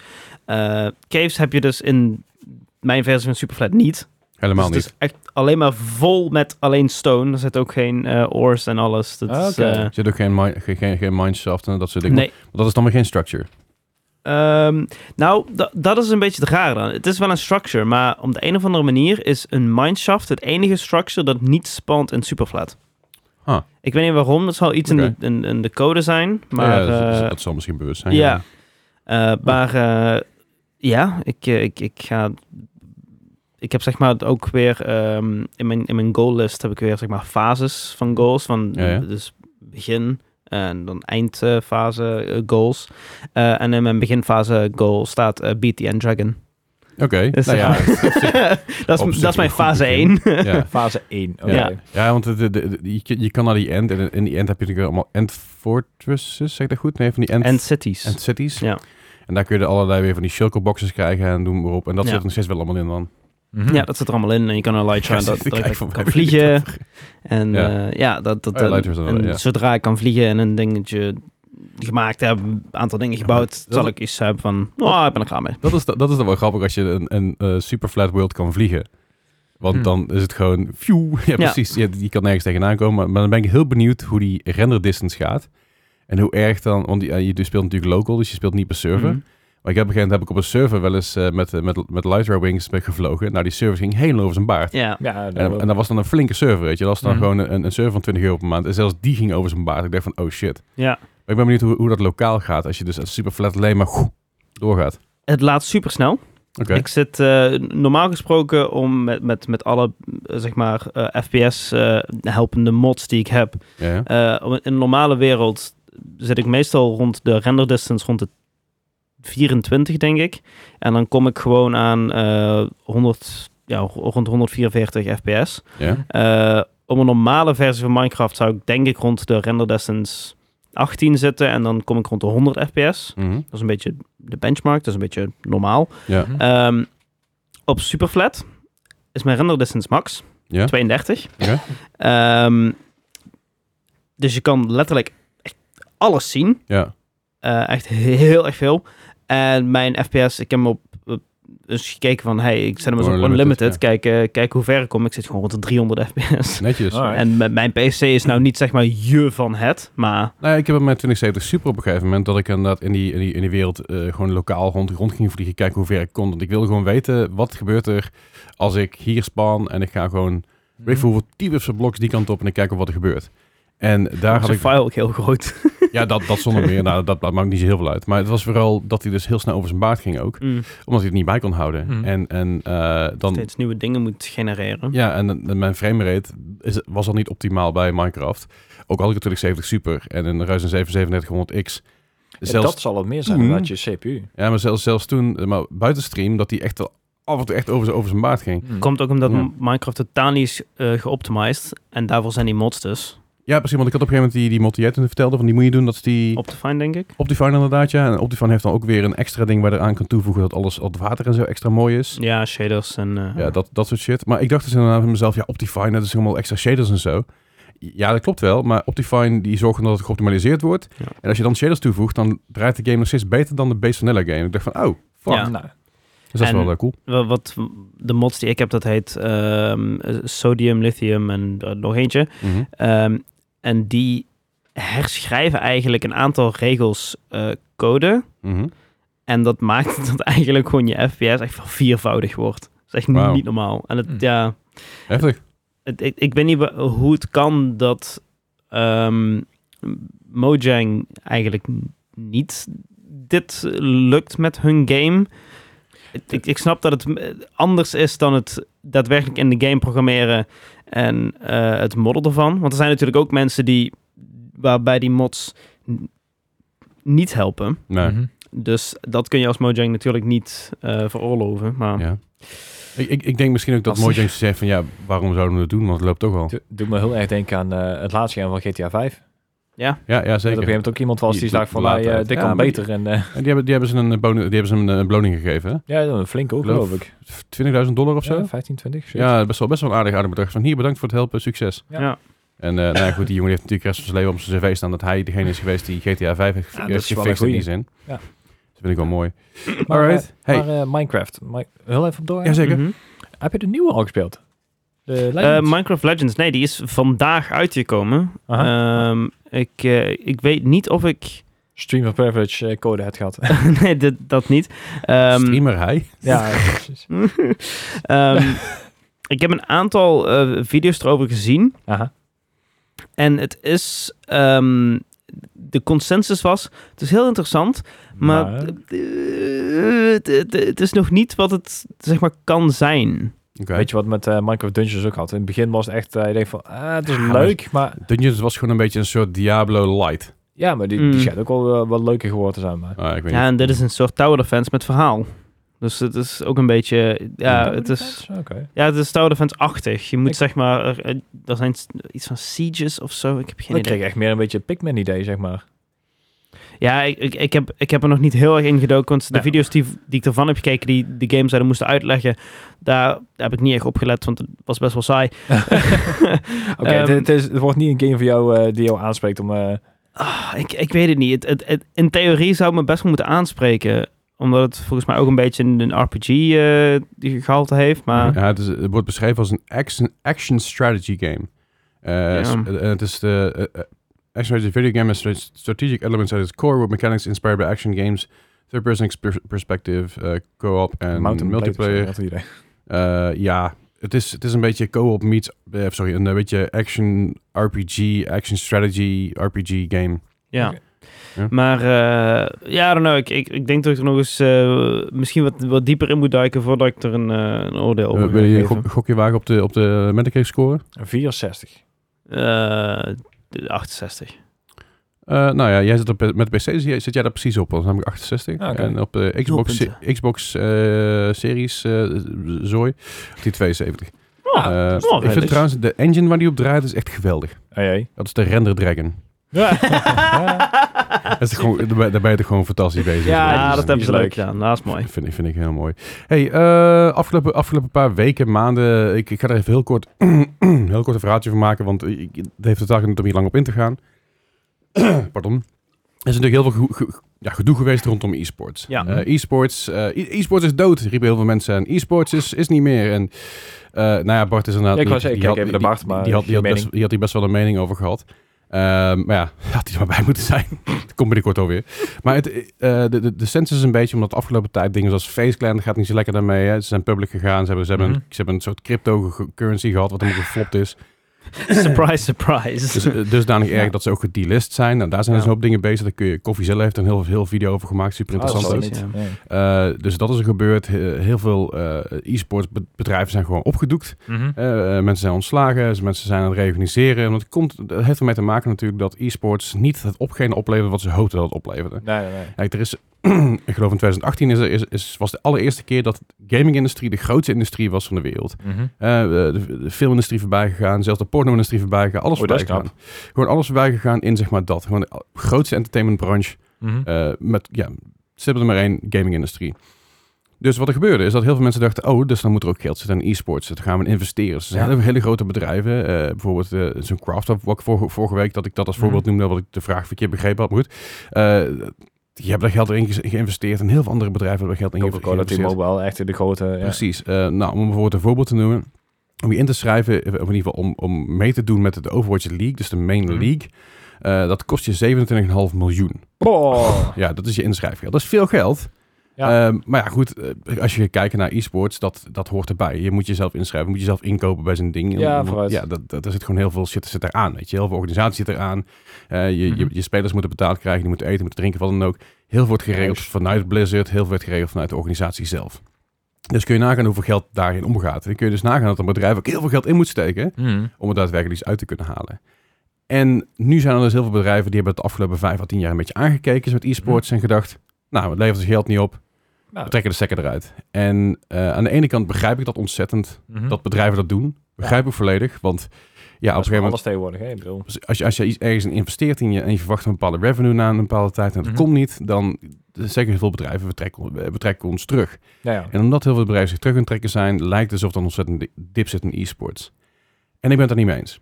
Speaker 1: Eh, caves heb je dus in mijn versie van Superflat niet.
Speaker 3: Helemaal
Speaker 1: dus
Speaker 3: niet.
Speaker 1: Het is echt alleen maar vol met alleen stone. Er zit ook geen eh, ores en
Speaker 3: Ah,
Speaker 1: alles. Dat is,
Speaker 4: Oké.
Speaker 1: eh,
Speaker 3: Er zit ook geen, mi- geen, geen, geen mineshaft en dat soort dingen.
Speaker 1: nee,
Speaker 3: Want Dat is dan weer geen structure.
Speaker 1: Ehm, nou, da- dat is een beetje het rare dan. Het is wel een structure, maar op de een of andere manier is een mineshaft het enige structure dat niet spant in superflat.
Speaker 3: Huh.
Speaker 1: Ik weet niet waarom, dat zal iets
Speaker 3: Oké.
Speaker 1: in, de, in, in de code zijn, maar...
Speaker 3: ja, dat,
Speaker 1: eh,
Speaker 3: dat zal misschien bewust zijn.
Speaker 1: ja. Eh, maar eh, ja, ik, eh, ik, ik ga. Ik heb zeg maar het ook weer ehm, in mijn, in mijn goal list heb ik weer zeg maar fases van goals. Van
Speaker 3: Ja, ja.
Speaker 1: dus begin en dan eindfase eh, goals. Eh, en in mijn beginfase goal staat eh, Beat the End Dragon.
Speaker 3: Oké,
Speaker 1: Dus,
Speaker 3: nou ja.
Speaker 1: ja. (laughs) dat,
Speaker 3: op
Speaker 1: is,
Speaker 3: zich
Speaker 1: dat is mijn
Speaker 3: een goed
Speaker 1: fase
Speaker 3: begin.
Speaker 1: 1. (laughs)
Speaker 3: ja.
Speaker 4: Fase 1. Oké.
Speaker 1: Ja.
Speaker 3: Ja, want de, de, de- je, kan- je kan naar die end. En in die end heb je natuurlijk allemaal end fortresses, zeg ik dat goed? Nee, van die end,
Speaker 1: En cities.
Speaker 3: end cities.
Speaker 1: Ja.
Speaker 3: En daar kun je allerlei weer van die shulker boxes krijgen en doen maar op. En dat
Speaker 1: Ja.
Speaker 3: zit er nog steeds wel allemaal in dan.
Speaker 4: Mhm.
Speaker 1: ja, dat zit er allemaal in. En je kan een light
Speaker 3: Hm. Ja,
Speaker 1: shine dat,
Speaker 3: zit
Speaker 1: dat
Speaker 3: te kijken
Speaker 1: ik
Speaker 3: van,
Speaker 1: kan
Speaker 3: waar heb je dit
Speaker 1: vliegen.
Speaker 3: over?
Speaker 1: En
Speaker 3: Ja.
Speaker 1: ja, ja dat, dat,
Speaker 3: Oh ja,
Speaker 1: dat-
Speaker 3: Lightyear is dat wel,
Speaker 1: en
Speaker 3: ja.
Speaker 1: zodra ik kan vliegen en een dingetje gemaakt heb, een aantal dingen gebouwd,
Speaker 3: dat-
Speaker 1: zal ik iets hebben van, oh, ik ben er klaar mee.
Speaker 3: Dat is, da- dat is dan wel grappig als je een, een eh, super flat world kan vliegen. Want
Speaker 4: Hmm.
Speaker 3: dan is het gewoon... Phew, (laughs) ja, precies. Je, je kan nergens tegenaan komen. Maar, maar dan ben ik heel benieuwd hoe die render distance gaat. En hoe erg dan... Want die- ja, je speelt natuurlijk local, dus je speelt niet per server.
Speaker 1: Mhm.
Speaker 3: Maar ik heb op een gegeven moment heb ik op een server wel eens eh, met, eh, met, met Lightray Wings ben gevlogen. Nou, die server ging helemaal over zijn baard.
Speaker 1: Ja,
Speaker 4: Ja, dat
Speaker 3: En, en dat was dan een flinke server, weet je. Dat was dan
Speaker 4: Mhm.
Speaker 3: gewoon een, een server van 20 euro per maand. En zelfs die ging over zijn baard. Ik dacht van, oh shit.
Speaker 1: ja.
Speaker 3: Maar ik ben benieuwd hoe, hoe dat lokaal gaat. Als je dus als super flat alleen maar goe, doorgaat.
Speaker 1: Het laat super snel.
Speaker 3: Oké.
Speaker 1: Ik zit eh, normaal gesproken om met, met, met alle, eh, zeg maar, eh, FPS eh, helpende mods die ik heb.
Speaker 3: Ja, ja.
Speaker 1: eh, om- in een normale wereld zit ik meestal rond de render distance rond de 24, denk ik. En dan kom ik gewoon aan eh 100, ja, rond 144 FPS.
Speaker 3: ja.
Speaker 1: Eh, om een normale versie van Minecraft zou ik denk ik rond de render distance 18 zitten. En dan kom ik rond de 100 fps.
Speaker 3: Mhm.
Speaker 1: Dat is een beetje de benchmark. Dat is een beetje normaal.
Speaker 3: Ja.
Speaker 4: Mhm.
Speaker 1: Ehm, op Superflat is mijn render distance max.
Speaker 3: Ja.
Speaker 1: 32.
Speaker 3: Ja.
Speaker 1: Ehm, dus je kan letterlijk echt alles zien.
Speaker 3: Ja.
Speaker 1: Eh, echt heel erg veel. En mijn FPS, ik heb hem op, op- eens gekeken van, hey, ik zet hem eens op
Speaker 3: Unlimited,
Speaker 1: Unlimited.
Speaker 3: ja.
Speaker 1: Kijk, eh, kijk hoe ver ik kom. Ik zit gewoon rond de 300 FPS.
Speaker 3: Netjes.
Speaker 4: Ah. Alright.
Speaker 1: En met mijn PC is nou niet zeg maar je van het, maar
Speaker 3: Nou, ja, ik heb hem met 2070 Super op een gegeven moment dat ik inderdaad in die, in die, in die wereld eh, gewoon lokaal rond, rond ging vliegen, kijken hoe ver ik kon. Want ik wilde gewoon weten wat gebeurt er als ik hier span en ik ga gewoon,
Speaker 1: Mhm.
Speaker 4: Mhm.
Speaker 3: weet ik veel hoeveel typische bloks die kant op en ik kijk wat er gebeurt. En daar had
Speaker 1: de
Speaker 3: ik,
Speaker 1: file ook heel groot.
Speaker 3: ja, dat, dat
Speaker 1: (laughs)
Speaker 3: zonder meer, nou, dat, dat maakt niet zo heel veel uit. Maar het was vooral dat hij dus heel snel over zijn baard ging ook,
Speaker 1: Mm,
Speaker 3: omdat hij het niet bij kon houden.
Speaker 4: Hmm.
Speaker 3: En, en eh, dan,
Speaker 1: Mhm. steeds nieuwe dingen moet genereren.
Speaker 3: Ja, en, en mijn framerate is, was al niet optimaal bij Minecraft. Ook had ik natuurlijk 70 Super en een Ryzen 7 3700X.
Speaker 4: Ja,
Speaker 3: Zelfs,
Speaker 4: dat zal het meer zijn
Speaker 3: toen-
Speaker 4: dan je CPU.
Speaker 3: Ja, maar zelfs, zelfs toen, eh, maar buiten stream, dat die echt wel af en toe echt over, zijn- over zijn baard ging.
Speaker 4: Mhm.
Speaker 1: Komt ook omdat
Speaker 3: Hm. Ja.
Speaker 1: Minecraft totaal niet is eh, geoptimized. En daarvoor zijn die mods dus.
Speaker 3: Ja, precies, want ik had op een gegeven moment die, die mod die jij toen vertelde, van die moet je doen, dat is die
Speaker 1: Optifine, denk ik.
Speaker 3: Optifine inderdaad, ja. En Optifine heeft dan ook weer een extra ding waar je aan kan toevoegen dat alles, al het water en zo extra mooi is.
Speaker 1: Ja, shaders en... eh,
Speaker 3: Ja, dat, dat soort shit. Maar ik dacht dus inderdaad van mezelf, ja, Optifine, dat is helemaal extra shaders en zo. Ja, dat klopt wel, maar Optifine die zorgt dat het geoptimaliseerd wordt.
Speaker 1: Ja.
Speaker 3: En als je dan shaders toevoegt, dan draait de game nog steeds beter dan de base vanilla game. Ik dacht van, oh, fuck.
Speaker 1: Ja.
Speaker 4: Nou,
Speaker 3: Dus dat is
Speaker 1: En-
Speaker 3: wel eh, cool.
Speaker 1: wa- wat de mods die ik heb, dat heet ehm, eh, sodium, lithium en eh, nog eentje.
Speaker 3: Mhm.
Speaker 1: Ehm, en die herschrijven eigenlijk een aantal regels eh, code.
Speaker 3: Mhm.
Speaker 1: En dat (laughs) maakt dat eigenlijk gewoon je FPS echt verviervoudig wordt. Dat is echt
Speaker 3: Wauw.
Speaker 1: niet normaal. En het,
Speaker 4: Hm.
Speaker 1: ja,
Speaker 3: Heftig.
Speaker 1: het, ik, ik weet niet wa- hoe het kan dat ehm, Mojang eigenlijk n- niet dit lukt met hun game. Het- Ik, ik snap dat het m- anders is dan het daadwerkelijk in de game programmeren en eh, het modden ervan. Want er zijn natuurlijk ook mensen die waarbij die mods n- niet helpen.
Speaker 3: Nee.
Speaker 4: mhm.
Speaker 1: Dus dat kun je als Mojang natuurlijk niet eh, veroorloven. Maar
Speaker 3: Ja. Ik, ik, ik denk misschien ook dat
Speaker 1: Lastig.
Speaker 3: Mojang zegt van, ja, waarom zouden we het doen? Want het loopt toch al.
Speaker 4: Do- Doet me heel erg denken aan eh, het laatste jaar van GTA 5. Dat op
Speaker 3: Ja, ja
Speaker 4: een
Speaker 3: zeker.
Speaker 4: gegeven moment ook iemand was die
Speaker 3: Die-
Speaker 4: zei
Speaker 3: de
Speaker 4: van, nou, eh,
Speaker 3: laatheid.
Speaker 4: dit
Speaker 3: Ja,
Speaker 4: kan
Speaker 3: maar die-
Speaker 4: beter. En eh,
Speaker 3: En die hebben, die hebben ze een, bonu- die hebben ze een, eh, beloning gegeven, hè?
Speaker 4: ja, een flink ook,
Speaker 3: Geloof-
Speaker 4: geloof ik.
Speaker 3: 20.000 dollar of
Speaker 4: Ja,
Speaker 3: zo?
Speaker 4: 15, 20, zoiets.
Speaker 3: Ja, best wel, best wel een aardig, aardig bedrag. Van, hier, bedankt voor het helpen, succes.
Speaker 4: Ja.
Speaker 1: ja.
Speaker 3: En eh, nou ja, goed, die jongen heeft natuurlijk de rest van zijn leven op zijn cv staan dat hij degene is geweest die GTA 5 heeft
Speaker 4: Ja, dat
Speaker 3: heeft
Speaker 4: is wel
Speaker 3: gefixt
Speaker 4: een
Speaker 3: in
Speaker 4: goeie.
Speaker 3: die zin. Dus
Speaker 4: Ja.
Speaker 3: Dat vind ik wel mooi.
Speaker 4: Maar,
Speaker 3: Alright.
Speaker 4: eh,
Speaker 3: Hey.
Speaker 4: maar eh, Minecraft. Mi- heel even op door.
Speaker 3: Jazeker.
Speaker 1: Mhm.
Speaker 4: Heb je de nieuwe al gespeeld? De
Speaker 1: Eh,
Speaker 4: Legends?
Speaker 1: Minecraft Legends, nee, die is vandaag uitgekomen.
Speaker 4: Aha.
Speaker 1: Ehm, ik, (laughs) eh, ik weet niet of ik
Speaker 4: Stream of Privilege eh, code had gehad.
Speaker 1: nee, dat, dat niet. Ehm,
Speaker 3: Streamer hij.
Speaker 4: (laughs) ja, precies.
Speaker 1: (laughs) ehm, ik heb een aantal eh, video's erover gezien.
Speaker 4: Aha.
Speaker 1: En het is. ehm, de consensus was. Het is heel interessant. Maar.
Speaker 4: Maar-
Speaker 1: eh, het- het- het is nog niet wat het zeg maar kan zijn.
Speaker 3: Oké.
Speaker 4: Weet je wat met eh, Minecraft Dungeons ook had? In het begin was het echt, eh je denkt van, ah, het is
Speaker 3: Ja, maar-
Speaker 4: leuk, maar...
Speaker 3: Dungeons was gewoon een beetje een soort Diablo light.
Speaker 4: Ja, maar die, die
Speaker 1: Mm.
Speaker 4: schijnt ook wel eh, wat leuker geworden te zijn. Maar.
Speaker 3: Ah, ik weet
Speaker 1: Ja,
Speaker 3: niet.
Speaker 1: en dit is een soort tower defense met verhaal. Dus het is ook een beetje. Ja, het is.
Speaker 4: Oké.
Speaker 1: Ja, het is Tower Defense-achtig. Je moet
Speaker 4: Ik-
Speaker 1: zeg maar... Er, er- er zijn s- iets van sieges of zo. Ik heb geen
Speaker 4: Dan
Speaker 1: idee.
Speaker 4: kreeg ik echt meer een beetje Pikmin-idee, zeg maar.
Speaker 1: Ja, ik, ik, ik heb, ik heb er nog niet heel erg in gedoken. Want de
Speaker 4: Nee.
Speaker 1: video's die, die ik ervan heb gekeken... die de game zouden moesten uitleggen... Daar, daar heb ik niet echt op gelet. Want het was best wel
Speaker 4: (laughs)
Speaker 1: saai. (laughs) Ehm,
Speaker 4: Oké, het, het is- het wordt niet een game voor jou eh, die jou aanspreekt om... eh,
Speaker 1: Ah, ik, ik weet het niet. Het, het, het- in theorie zou het me best wel moeten aanspreken. Omdat het volgens mij ook een beetje een, een RPG eh, die gehalte heeft. Maar
Speaker 3: Ja, het, is- het wordt beschreven als een action, action strategy game. Eh, s- eh, het is de eh, eh, action strategy video game has strate- strategic elements at its core, with mechanics inspired by action games, third-person exper- perspective, eh, co-op en
Speaker 4: Mountain
Speaker 3: multiplayer.
Speaker 4: Blade of zo, dat idee.
Speaker 3: Eh, ja, het is, het is een beetje co-op meets, eh, sorry, een eh, beetje action RPG, action strategy RPG game.
Speaker 1: Ja.
Speaker 4: Oké.
Speaker 3: Ja.
Speaker 1: Maar eh, ja, I don't know. Ik, ik, ik denk dat ik er nog eens eh, misschien wat, wat dieper in moet duiken voordat ik er een, eh, een oordeel
Speaker 3: Eh,
Speaker 1: over
Speaker 3: wil je
Speaker 1: ga
Speaker 3: een
Speaker 1: geven.
Speaker 3: gok- gokje wagen op de, op de Metacritic score?
Speaker 4: Een 64.
Speaker 1: Eh, de 68.
Speaker 3: Eh, nou ja, jij zit op, met de PC, zie jij- zit jij daar precies op, want dan heb ik 68.
Speaker 4: Ah, oké.
Speaker 3: En op de Xbox,
Speaker 1: Nul
Speaker 3: Xbox eh, Series eh, zooi, die 72.
Speaker 1: Oh,
Speaker 3: Eh,
Speaker 1: is wel
Speaker 3: ik vind
Speaker 1: redelijk.
Speaker 3: trouwens, de engine waar die op draait is echt geweldig.
Speaker 4: Oh jee.
Speaker 3: Dat is de Render Dragon. Dat is gewoon, daar ben- daar ben je toch gewoon fantastisch
Speaker 1: (laughs)
Speaker 3: bezig.
Speaker 1: ja,
Speaker 4: dat is
Speaker 1: dat hebben
Speaker 4: niet
Speaker 1: ze
Speaker 4: leuk.
Speaker 1: leuk gedaan. Dat is mooi.
Speaker 3: Vind ik, vind ik heel mooi. Hey, eh, afgelopen, afgelopen paar weken, maanden. Ik, ik ga er even heel kort, (clears throat) heel kort een verhaaltje van maken. Want ik, het heeft totaal geen nut om hier lang op in te gaan. (clears throat) Pardon. Er is natuurlijk heel veel ge- ge- ja, gedoe geweest rondom e-sports.
Speaker 1: Ja.
Speaker 3: Eh, e-sports, eh, e- e-sports is dood, riepen heel veel mensen. En e-sports is, is niet meer. En eh, nou ja, Bart is inderdaad...
Speaker 4: Ja, ik wou
Speaker 3: niet-
Speaker 4: zeggen,
Speaker 3: die
Speaker 4: kijk
Speaker 3: die-
Speaker 4: even naar Bart,
Speaker 3: die-
Speaker 4: maar
Speaker 3: die, had, die, had
Speaker 4: geen
Speaker 3: best, die had hier best wel een mening over gehad. Ehm, maar ja, (laughs) had hij er maar bij moeten zijn. (laughs) Dat komt binnenkort alweer. Maar het, eh, de, de, de census is een beetje, omdat de afgelopen tijd dingen zoals FaceClan, dat gaat niet zo lekker daarmee. Hè. Ze zijn public gegaan, ze hebben, ze hebben,
Speaker 4: Mhm.
Speaker 3: een, ze hebben een soort cryptocurrency gehad, wat helemaal geflopt is.
Speaker 1: (laughs) surprise, surprise.
Speaker 3: Dus, eh, dusdanig erg
Speaker 4: (laughs) Ja.
Speaker 3: dat ze ook gedelist zijn. Nou, daar zijn dus
Speaker 1: Ja.
Speaker 3: een hoop dingen bezig. Daar kun je, Koffiezilla heeft er een heel, heel video over gemaakt. Super
Speaker 4: Oh, dat
Speaker 3: interessant
Speaker 4: zal
Speaker 3: ook.
Speaker 1: ook.
Speaker 4: niet.
Speaker 1: Ja.
Speaker 4: Nee.
Speaker 3: Eh, dus dat is er gebeurd. He- heel veel eh, e-sports be- bedrijven zijn gewoon opgedoekt.
Speaker 4: Mhm.
Speaker 3: Eh, eh, mensen zijn ontslagen, dus mensen zijn aan het reorganiseren. En dat, komt, dat heeft ermee te maken natuurlijk dat e-sports niet het opgene oplevert wat ze hoopten dat het opleverde.
Speaker 4: Nee, nee, nee.
Speaker 3: Kijk, er is, (clears throat) ik geloof in 2018 is, er- is, is, was de allereerste keer dat de gaming-industrie de grootste industrie was van de wereld.
Speaker 4: Mhm.
Speaker 3: Eh, de, de filmindustrie voorbij gegaan, zelfs de porno-industrie voorbij gegaan, alles
Speaker 4: Oh, dat
Speaker 3: voorbij
Speaker 4: is
Speaker 3: gegaan. Gewoon alles voorbij gegaan in zeg maar dat. Gewoon de grootste entertainmentbranche
Speaker 4: Mhm.
Speaker 3: eh, met, ja, ze hebben er maar één, gaming-industrie. Dus wat er gebeurde is dat heel veel mensen dachten, oh, dus dan moet er ook geld zitten in e-sports. Dan gaan we in investeren. Dus er zijn
Speaker 4: Ja.
Speaker 3: hele- hele grote bedrijven, eh, bijvoorbeeld eh, zo'n craft wat ik vor- vorige week, dat ik dat als voorbeeld
Speaker 4: Mhm.
Speaker 3: noemde, wat ik de vraag verkeerd begrepen had, maar goed. Eh, die hebben daar geld in ge- geïnvesteerd en heel veel andere bedrijven hebben daar geld in ge-
Speaker 4: Coca-Cola,
Speaker 3: geïnvesteerd.
Speaker 4: T-Mobile, echt de grote... Ja.
Speaker 3: Precies. Eh, nou, om bijvoorbeeld een voorbeeld te noemen. Om je in te schrijven, eh, of in ieder geval om, om mee te doen met de Overwatch League, dus de main
Speaker 4: Mhm.
Speaker 3: league. eh, dat kost je 27,5 miljoen.
Speaker 4: Oh.
Speaker 3: Ja, dat is je inschrijfgeld. Dat is veel geld.
Speaker 4: Ja.
Speaker 3: Ehm, maar ja, goed, eh, als je kijkt naar e-sports, dat, dat hoort erbij. Je moet jezelf inschrijven, moet jezelf inkopen bij zo'n ding.
Speaker 4: Ja,
Speaker 3: Want-
Speaker 4: vooruit.
Speaker 3: Ja, dat, dat, er zit gewoon heel veel shit zit eraan, weet je. Heel veel organisatie zit eraan. Eh, je, je,
Speaker 4: Mhm.
Speaker 3: je spelers moeten betaald krijgen, die moeten eten, moeten drinken, wat dan ook. Heel veel wordt geregeld
Speaker 4: Juist.
Speaker 3: vanuit Blizzard, heel veel wordt geregeld vanuit de organisatie zelf. Dus kun je nagaan hoeveel geld daarin omgaat. Dan kun je dus nagaan dat een bedrijf ook heel veel geld in moet steken
Speaker 4: Mhm.
Speaker 3: om het daadwerkelijk iets uit te kunnen halen. En nu zijn er dus heel veel bedrijven die hebben het de afgelopen vijf à tien jaar een beetje aangekeken met
Speaker 4: Mhm.
Speaker 3: e-sports en gedacht, nou, het levert ons geld niet op, we
Speaker 4: Nou,
Speaker 3: trekken de stekker eruit. En eh, aan de ene kant begrijp ik dat ontzettend,
Speaker 4: mhm.
Speaker 3: dat bedrijven dat doen. Begrijp ik volledig, want ja,
Speaker 4: Dat
Speaker 3: op
Speaker 4: is
Speaker 3: een gegeven moment,
Speaker 4: alles tegenwoordig, hè? Ik bedoel.
Speaker 3: als je, als je iets ergens in investeert en je, en je verwacht een bepaalde revenue na een bepaalde tijd en dat
Speaker 4: Mhm.
Speaker 3: komt niet, dan zeker heel veel bedrijven betrekken, betrekken ons terug.
Speaker 4: Nou ja.
Speaker 3: En omdat heel veel bedrijven zich terug aan het trekken zijn, lijkt het alsof er een ontzettend dip zit in e-sports. En ik ben het daar niet mee eens.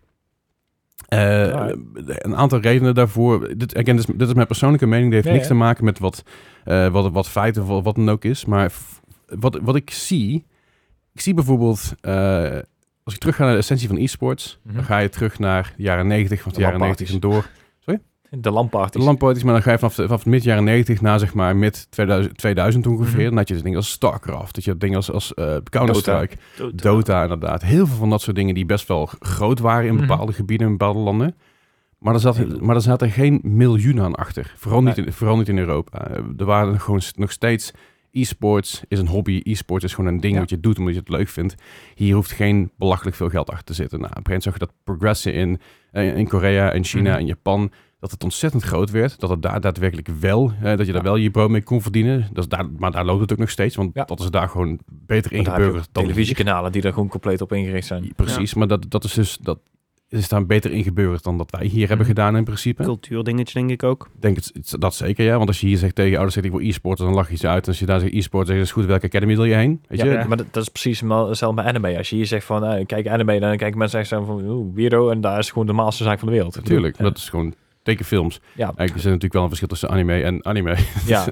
Speaker 3: Eh,
Speaker 4: Alright.
Speaker 3: Een aantal redenen daarvoor. Dit, again, dit, is, dit is mijn persoonlijke mening. Dit heeft
Speaker 4: Ja,
Speaker 3: niks
Speaker 4: ja.
Speaker 3: te maken met wat, eh, wat, wat feiten of wat dan ook is. Maar f- wat, wat ik zie. Ik zie bijvoorbeeld. eh, als ik terug ga naar de essentie van e-sports.
Speaker 4: Mhm.
Speaker 3: Dan ga je terug naar de jaren 90. Want de
Speaker 4: Allemaal
Speaker 3: jaren 90 en
Speaker 4: parties.
Speaker 3: door.
Speaker 4: De lamparties.
Speaker 3: Lampoot is, maar dan ga je vanaf, vanaf mid jaren 90 naar zeg maar mid 2000, 2000 ongeveer.
Speaker 4: Mhm.
Speaker 3: Dan had je dingen als StarCraft, dat je dingen als, als eh, Counter-Strike, Dota. inderdaad. Heel veel van dat soort dingen die best wel g- groot waren in
Speaker 4: Mhm.
Speaker 3: bepaalde gebiden, in bepaalde landen. Maar er, zat, maar er zaten geen miljoen aan achter. Vooral niet in, vooral niet in Europa. Eh, Er waren gewoon s- nog steeds... E-sports is een hobby. E-sports is gewoon een ding
Speaker 4: Ja.
Speaker 3: wat je doet omdat je het leuk vindt. Hier hoeft geen belachelijk veel geld achter te zitten. Nou, op een gegeven moment zag je dat progressen in, eh, in Korea en China
Speaker 4: Mhm.
Speaker 3: en Japan dat het ontzettend groot werd. Dat het daar daadwerkelijk wel, eh, dat je daar wel je brood mee kon verdienen. Dat is daar, maar daar loopt het ook nog steeds, want
Speaker 4: Ja.
Speaker 3: dat is daar gewoon beter
Speaker 4: Want daar heb je
Speaker 3: ingeburgerd
Speaker 4: ook
Speaker 3: dan
Speaker 4: televisiekanalen die daar gewoon compleet op ingericht zijn.
Speaker 3: hier. Precies, maar dat, dat is dus dat is daar beter ingeburgerd dan dat wij hier hebben
Speaker 4: Mhm.
Speaker 3: gedaan in principe.
Speaker 1: Cultuurdingetje, denk ik ook.
Speaker 3: Ik Denk het, het- dat zeker, ja. Want als je hier zegt tegen ouders, zeg ik wil e-sport, dan lach je ze uit. En als je daar zegt e-sport, zeg je, dat is goed, welke academy wil je heen? Weet
Speaker 4: Ja,
Speaker 3: je?
Speaker 1: ja.
Speaker 4: maar dat, dat is precies ma- hetzelfde met anime. Als je hier zegt van, eh, ik kijk anime, dan kijken mensen echt zo van, oeh, weirdo. En daar is gewoon de normaalste zaak van de wereld.
Speaker 3: Natuurlijk,
Speaker 4: Ja.
Speaker 3: dat is gewoon tekenfilms.
Speaker 4: Ja.
Speaker 3: Eigenlijk is er natuurlijk wel een verschil tussen anime en anime. (laughs)
Speaker 4: Ja.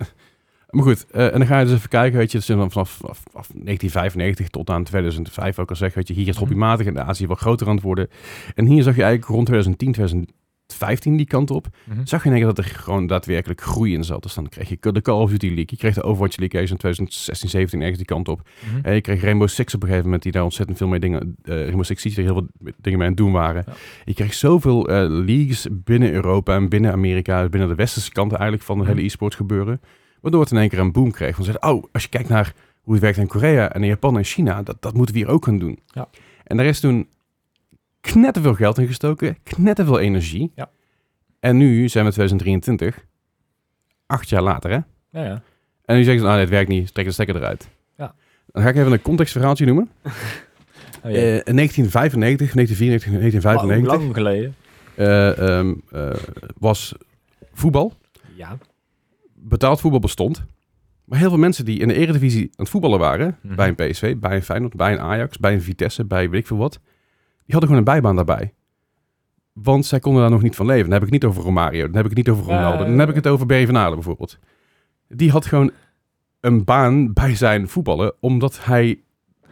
Speaker 3: Maar goed, eh, en dan ga je dus even kijken, weet je, dus vanaf, vanaf, vanaf 1995 tot aan 2005 ook al zeg, weet je, hier is het
Speaker 4: Mhm.
Speaker 3: hobbymatig en de Azië wat groter aan het worden. En hier zag je eigenlijk rond 2010, 2015 die kant op,
Speaker 4: Mhm.
Speaker 3: zag je in één keer dat er gewoon daadwerkelijk groei in zat. Dus dan kreeg je de Call of Duty League, je kreeg de Overwatch League ergens in 2016, 17 ergens die kant op.
Speaker 4: Mhm.
Speaker 3: En je kreeg Rainbow Six op een gegeven moment, die daar ontzettend veel mee dingen, eh, Rainbow Six Siege, die heel veel dingen mee aan het doen waren.
Speaker 4: Ja.
Speaker 3: Je kreeg zoveel eh, leagues binnen Europa en binnen Amerika, binnen de westerse kant eigenlijk van het
Speaker 4: Mhm.
Speaker 3: hele e-sport gebeuren. Waardoor het in één keer een boom kreeg. Van zeiden, oh, als je kijkt naar hoe het werkt in Korea en in Japan en China, dat, dat moeten we hier ook gaan doen.
Speaker 4: Ja.
Speaker 3: En daar is toen knetterveel geld in gestoken, knetterveel energie.
Speaker 4: Ja.
Speaker 3: En nu zijn we 2023, acht jaar later hè.
Speaker 4: Ja, ja.
Speaker 3: En nu zeggen ze, nou, dit werkt niet, trek de stekker eruit.
Speaker 4: Ja.
Speaker 3: Dan ga ik even een contextverhaaltje noemen.
Speaker 4: Oh,
Speaker 3: Eh,
Speaker 4: jee.
Speaker 3: 1995, 1994,
Speaker 4: Maar hoe
Speaker 3: 1995
Speaker 4: lang geleden?
Speaker 3: eh, ehm, eh, was voetbal.
Speaker 4: Ja.
Speaker 3: Betaald voetbal bestond. Maar heel veel mensen die in de eredivisie aan het voetballen waren,
Speaker 4: Mhm.
Speaker 3: bij een PSV, bij een Feyenoord, bij een Ajax, bij een Vitesse, bij weet ik veel wat, die hadden gewoon een bijbaan daarbij. Want zij konden daar nog niet van leven. Dan heb ik het niet over Romario, dan heb ik het niet over Ronaldo,
Speaker 4: Nee.
Speaker 3: dan heb ik het over Berry van Aarden bijvoorbeeld. Die had gewoon een baan bij zijn voetballen, omdat hij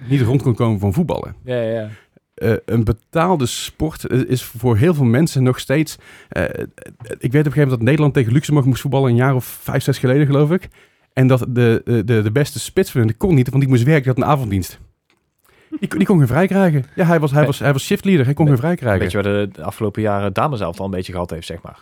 Speaker 3: niet rond kon komen van voetballen.
Speaker 4: Ja, ja, ja.
Speaker 3: Eh, een betaalde sport eh, is voor heel veel mensen nog steeds. eh, eh, ik weet op een gegeven moment dat Nederland tegen Luxemburg moest voetballen een jaar of vijf, zes geleden, geloof ik. En dat de, eh, de, de beste spits van hun kon niet, want die moest werken, die had een avonddienst. Die, kon- die kon geen vrij krijgen. Ja, hij was, hij
Speaker 4: Nee.
Speaker 3: was, hij was shiftleader, hij kon
Speaker 4: Nee.
Speaker 3: geen vrij krijgen.
Speaker 4: Weet je waar de, de afgelopen jaren dames al een beetje gehad heeft, zeg maar.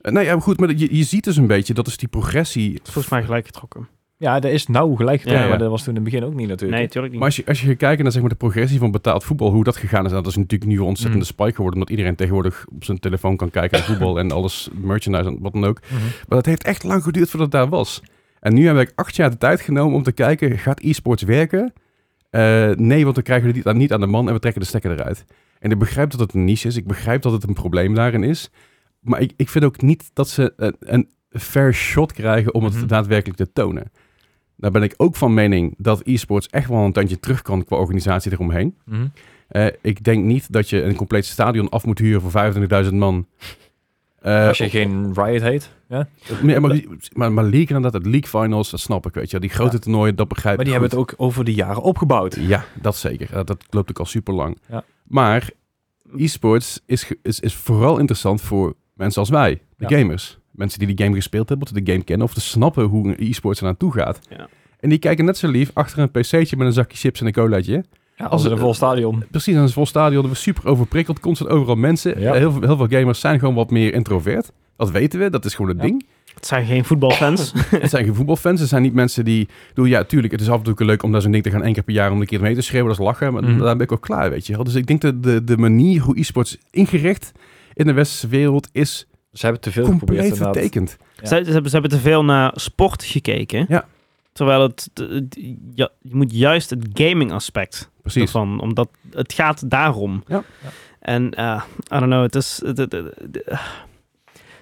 Speaker 3: Eh, nee, ja, maar goed, maar je, je ziet dus een beetje, dat is die progressie.
Speaker 1: Het is volgens mij gelijk getrokken.
Speaker 4: Ja, dat is nou gelijk getrokken,
Speaker 3: ja.
Speaker 4: maar dat was toen in het begin ook niet natuurlijk.
Speaker 1: Nee, natuurlijk
Speaker 3: Maar
Speaker 1: niet.
Speaker 3: als je, als je gaat kijken naar zeg maar, de progressie van betaald voetbal, hoe dat gegaan is, nou, dat is natuurlijk nu een ontzettende
Speaker 4: Mm.
Speaker 3: spike geworden, omdat iedereen tegenwoordig op zijn telefoon kan kijken naar
Speaker 4: (laughs)
Speaker 3: voetbal en alles, merchandise en wat dan ook.
Speaker 4: Mhm.
Speaker 3: Maar dat heeft echt lang geduurd voordat het daar was. En nu heb ik acht jaar de tijd genomen om te kijken, gaat e-sports werken? Eh, nee, want dan krijgen we het niet aan, niet aan de man en we trekken de stekker eruit. En ik begrijp dat het een niche is, ik begrijp dat het een probleem daarin is. Maar ik, ik vind ook niet dat ze een, een fair shot krijgen om het
Speaker 4: Mhm.
Speaker 3: daadwerkelijk te tonen. Daar ben ik ook van mening dat e-sports echt wel een tandje terug kan qua organisatie eromheen.
Speaker 4: Mhm.
Speaker 3: Eh, ik denk niet dat je een compleet stadion af moet huren voor 25.000 man. Eh,
Speaker 4: Als je geen Riot heet. Ja?
Speaker 3: Nee, maar, maar, maar League inderdaad, het League Finals, dat snap ik, weet je. wel. Die grote
Speaker 4: Ja.
Speaker 3: toernooien, dat begrijp
Speaker 4: Maar
Speaker 3: ik
Speaker 4: die hebben het
Speaker 3: goed.
Speaker 4: ook over de jaren opgebouwd.
Speaker 3: Ja, dat zeker. Dat, dat loopt ook al super lang.
Speaker 4: Ja.
Speaker 3: Maar e-sports is, ge- is, is vooral interessant voor mensen als wij, de
Speaker 4: Ja.
Speaker 3: gamers. Mensen die die game gespeeld hebben, of de game kennen, of te snappen hoe een e-sports er naartoe gaat.
Speaker 1: Ja.
Speaker 3: En die kijken net zo lief achter een pc'tje met een zakje chips en een colaatje.
Speaker 4: Ja,
Speaker 3: Als
Speaker 4: als in een
Speaker 3: het-
Speaker 4: vol stadion.
Speaker 3: Precies, aan een vol stadion, we super overprikkeld, constant overal mensen.
Speaker 4: Ja.
Speaker 3: Eh, Heel, veel, heel veel gamers zijn gewoon wat meer introvert. Dat weten we, dat is gewoon het
Speaker 4: Ja.
Speaker 3: ding.
Speaker 1: Het zijn geen voetbalfans.
Speaker 3: Het zijn geen voetbalfans. Het zijn niet mensen die... ik Bedoel, ja, tuurlijk, het is af en toe leuk om naar zo'n ding te gaan. één keer per jaar om een keer mee te schreeuwen. Dat is lachen. Maar
Speaker 4: Mhm.
Speaker 3: daar ben ik ook klaar, weet je wel. Dus ik denk dat de, de manier hoe e-sports ingericht in de westerse wereld is
Speaker 4: Ze hebben te veel geprobeerd.
Speaker 3: compleet
Speaker 4: inderdaad.
Speaker 3: vertekend.
Speaker 4: Ja.
Speaker 1: Ze, ze hebben, ze hebben te veel naar sport gekeken.
Speaker 3: Ja.
Speaker 1: Terwijl het, het- ja, je moet juist het gaming aspect
Speaker 3: Precies.
Speaker 1: ervan, omdat het gaat daarom.
Speaker 3: Ja.
Speaker 4: Ja.
Speaker 1: En eh I don't know, het is... het- het- het- het- eh,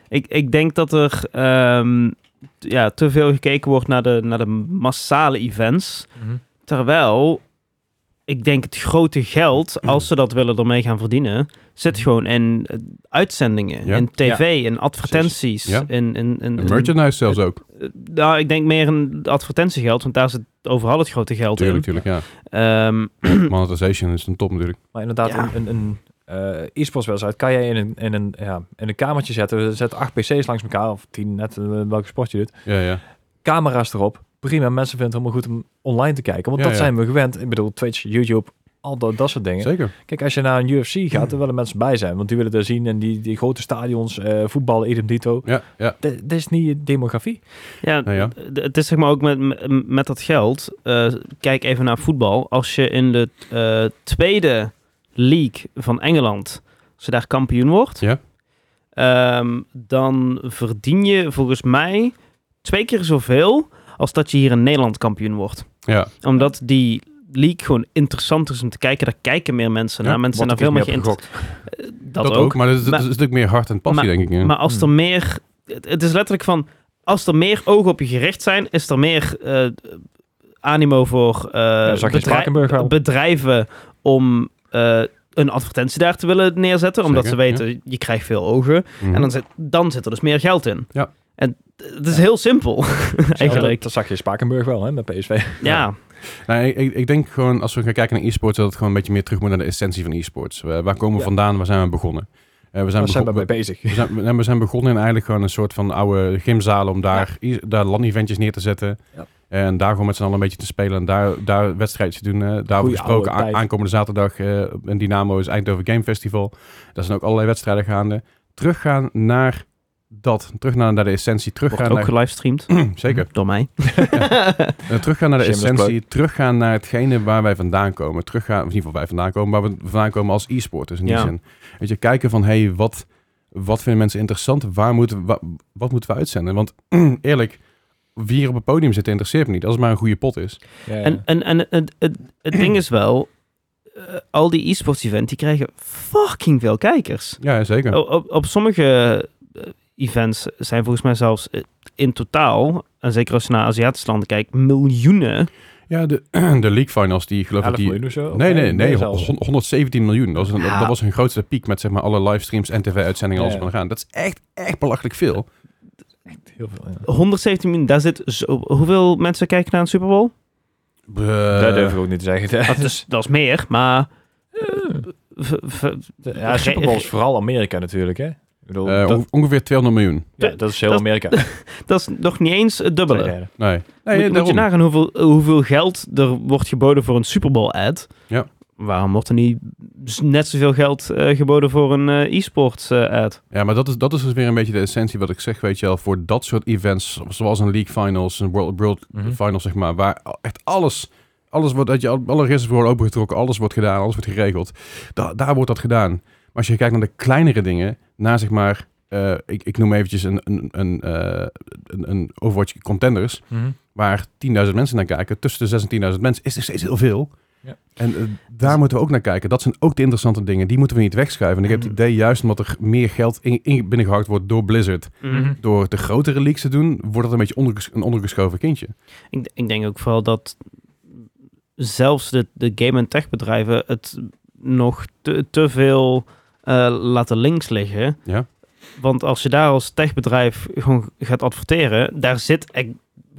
Speaker 1: ik, ik denk dat er ehm, t- ja, te veel gekeken wordt naar de, naar de massale events.
Speaker 4: Mhm.
Speaker 1: Terwijl, ik denk het grote
Speaker 3: (clears throat)
Speaker 1: geld, als ze dat willen ermee gaan verdienen, zit gewoon in eh, uitzendingen,
Speaker 3: Ja.
Speaker 1: in tv, in advertenties,
Speaker 3: Ja.
Speaker 1: in, in, in,
Speaker 3: En
Speaker 1: in-
Speaker 3: merchandise zelfs ook.
Speaker 1: eh, nou, ik denk meer in advertentiegeld, want daar zit overal het grote geld
Speaker 3: Tuurlijk, tuurlijk, ja.
Speaker 1: in. Ehm,
Speaker 3: Monetization is een top natuurlijk.
Speaker 4: Maar inderdaad,
Speaker 1: Ja.
Speaker 4: een, een, een, eh e-sports wedstrijd kan je in een, in, een, ja, in een kamertje zetten. Zet acht PC's langs elkaar, of tien, net eh, welke sport je doet.
Speaker 3: Ja, ja.
Speaker 4: Camera's erop. Prima, mensen vinden het helemaal goed om online te kijken. Want
Speaker 3: Ja,
Speaker 4: dat
Speaker 3: ja.
Speaker 4: zijn we gewend. Ik bedoel, Twitch, YouTube, al dat, dat soort dingen.
Speaker 3: Zeker.
Speaker 4: Kijk, als je naar een UFC gaat, er willen mensen bij zijn. Want die willen er zien en die, die grote stadions, eh voetbal, idem dito.
Speaker 3: Ja, ja.
Speaker 4: D- Dit is niet je demografie.
Speaker 1: Ja,
Speaker 3: Nou ja.
Speaker 1: d- het is zeg maar ook met, m- met dat geld. eh, kijk even naar voetbal. Als je in de eh, tweede league van Engeland, als je daar kampioen wordt,
Speaker 3: Ja.
Speaker 1: ehm, dan verdien je volgens mij twee keer zoveel als dat je hier in Nederland kampioen wordt.
Speaker 3: ja.
Speaker 1: Omdat die league gewoon interessanter is om te kijken. Daar kijken meer mensen
Speaker 3: Ja,
Speaker 1: naar. Mensen zijn daar
Speaker 4: Wordt
Speaker 1: veel
Speaker 4: er
Speaker 1: meer
Speaker 4: iets
Speaker 1: geïnteresseerd.
Speaker 4: op
Speaker 1: Dat, ook.
Speaker 3: Maar dat is, dat is
Speaker 1: Maar-
Speaker 3: een stuk meer hart en passie,
Speaker 1: maar-
Speaker 3: denk ik. ja.
Speaker 1: Maar als er meer... Het, het is letterlijk van... Als er meer ogen op je gericht zijn, is er meer eh, animo voor eh,
Speaker 4: zag je
Speaker 1: bedrij-
Speaker 4: Spakenburg wel.
Speaker 1: bedrijven om eh, een advertentie daar te willen neerzetten. Omdat
Speaker 3: Zeker,
Speaker 1: ze weten, je krijgt veel ogen.
Speaker 3: Mhm.
Speaker 1: En dan zit, dan zit er dus meer geld in.
Speaker 3: Ja.
Speaker 1: En het is heel simpel, (laughs)
Speaker 4: Eigenlijk,
Speaker 1: eigenlijk.
Speaker 4: dat zag je Spakenburg wel, hè, met (laughs) PSV.
Speaker 1: Ja.
Speaker 3: Nou, ik- ik, ik denk gewoon, als we gaan kijken naar e-sports, dat het gewoon een beetje meer terug moet naar de essentie van e-sports. Eh, waar komen we
Speaker 4: Ja.
Speaker 3: vandaan? Waar zijn we begonnen? Eh, we, zijn
Speaker 4: Daar zijn we
Speaker 3: begon-
Speaker 4: mee bezig.
Speaker 3: we, zijn, we- we zijn begonnen in eigenlijk gewoon een soort van oude gymzalen om daar, i- daar landeventjes neer te zetten.
Speaker 4: Ja.
Speaker 3: En daar gewoon met z'n allen een beetje te spelen en daar, daar wedstrijdjes te doen. eh, daarover
Speaker 4: Goeie
Speaker 3: gesproken,
Speaker 4: oude
Speaker 3: a-
Speaker 4: tijd.
Speaker 3: aankomende zaterdag eh, in Dynamo is Eindhoven Game Festival. Daar zijn ook allerlei wedstrijden gaande. Teruggaan naar dat, terug naar, naar de essentie,
Speaker 1: Wordt
Speaker 3: teruggaan
Speaker 1: ook
Speaker 3: naar...
Speaker 1: gelivestreamd.
Speaker 3: (clears throat) (laughs) Zeker.
Speaker 1: Door mij.
Speaker 3: Eh, teruggaan naar de
Speaker 4: Shameless
Speaker 3: essentie, teruggaan naar hetgene waar wij vandaan komen. Teruggaan, of in ieder geval wij vandaan komen, waar we vandaan komen als e-sporters in die
Speaker 1: Ja.
Speaker 3: zin. Weet je, kijken van, hé, hey, wat, wat vinden mensen interessant? Waar moeten, wa- wat moeten we uitzenden? Want (clears throat) eerlijk, wie hier op het podium zit, interesseert me niet. Als het maar een goede pot is.
Speaker 4: Ja, ja.
Speaker 1: En, en, en het, het, het ding is wel, eh, al die e-sports events, die krijgen fucking veel kijkers.
Speaker 3: Ja, zeker.
Speaker 1: O- Op, op sommige eh, events zijn volgens mij zelfs eh, in totaal, en zeker als je naar Aziatische landen kijkt, miljoenen.
Speaker 3: Ja, de, (clears throat) de league finals, die geloof ik...
Speaker 4: 11
Speaker 3: Die,
Speaker 4: miljoen of zo?
Speaker 3: nee,
Speaker 4: Of
Speaker 3: nee,
Speaker 4: meer
Speaker 3: nee,
Speaker 4: zelfs.
Speaker 3: hon- 117 miljoen. Dat was, een-
Speaker 1: Ja.
Speaker 3: dat was hun grootste piek met zeg maar alle livestreams en tv-uitzendingen alles
Speaker 4: Ja.
Speaker 3: van gaan. Dat is echt, echt belachelijk veel.
Speaker 4: Heel veel, ja.
Speaker 1: 117 miljoen, daar zit zo, hoeveel mensen kijken naar een Super Bowl?
Speaker 3: (laughs) Eh,
Speaker 4: dat durf ik ook niet te zeggen.
Speaker 1: Dat is, dat is meer, maar v- v-
Speaker 4: (laughs)
Speaker 1: eh,
Speaker 4: Ja, Super Bowl is vooral Amerika natuurlijk, hè? Ik bedoel,
Speaker 3: Eh,
Speaker 4: dat,
Speaker 3: onge- ongeveer 200 miljoen.
Speaker 4: ja, dat is
Speaker 1: (laughs)
Speaker 4: heel
Speaker 1: dat-
Speaker 4: Amerika.
Speaker 1: dat is nog niet eens het
Speaker 4: Twee
Speaker 1: dubbele.
Speaker 4: derde.
Speaker 3: Nee. nee
Speaker 1: moet, moet je
Speaker 3: daarom.
Speaker 1: nagaan hoeveel, hoeveel geld er wordt geboden voor een Super Bowl ad.
Speaker 3: Ja.
Speaker 1: Waarom wordt er niet z- net zoveel geld eh, geboden voor een eh, e-sports eh, ad?
Speaker 3: Ja, maar dat is, dat is dus weer een beetje de essentie wat ik zeg, weet je wel. Voor dat soort events, zoals een League Finals, een World, World
Speaker 4: Mhm.
Speaker 3: Finals, zeg maar. Waar echt alles, alles wordt, dat je, alle registers worden opengetrokken, alles wordt gedaan, alles wordt geregeld. Da- daar wordt dat gedaan. Maar als je kijkt naar de kleinere dingen, naar zeg maar, eh, ik, ik noem eventjes een, een, een, eh, een, een Overwatch Contenders,
Speaker 4: Mhm.
Speaker 3: waar 10.000 mensen naar kijken. Tussen de 6 en 10.000 mensen is er steeds heel veel.
Speaker 4: Ja.
Speaker 3: En eh, daar moeten we ook naar kijken. Dat zijn ook de interessante dingen. Die moeten we niet wegschuiven. En ik heb het idee, juist omdat er meer geld in, in- binnengehaald wordt door Blizzard,
Speaker 4: Mhm.
Speaker 3: door de grotere leaks te doen, wordt dat een beetje onderges- een ondergeschoven kindje.
Speaker 1: Ik, ik denk ook vooral dat zelfs de, de game- en techbedrijven het nog te, te veel eh, laten links liggen.
Speaker 3: Ja.
Speaker 1: Want als je daar als techbedrijf gewoon gaat adverteren, daar zit e-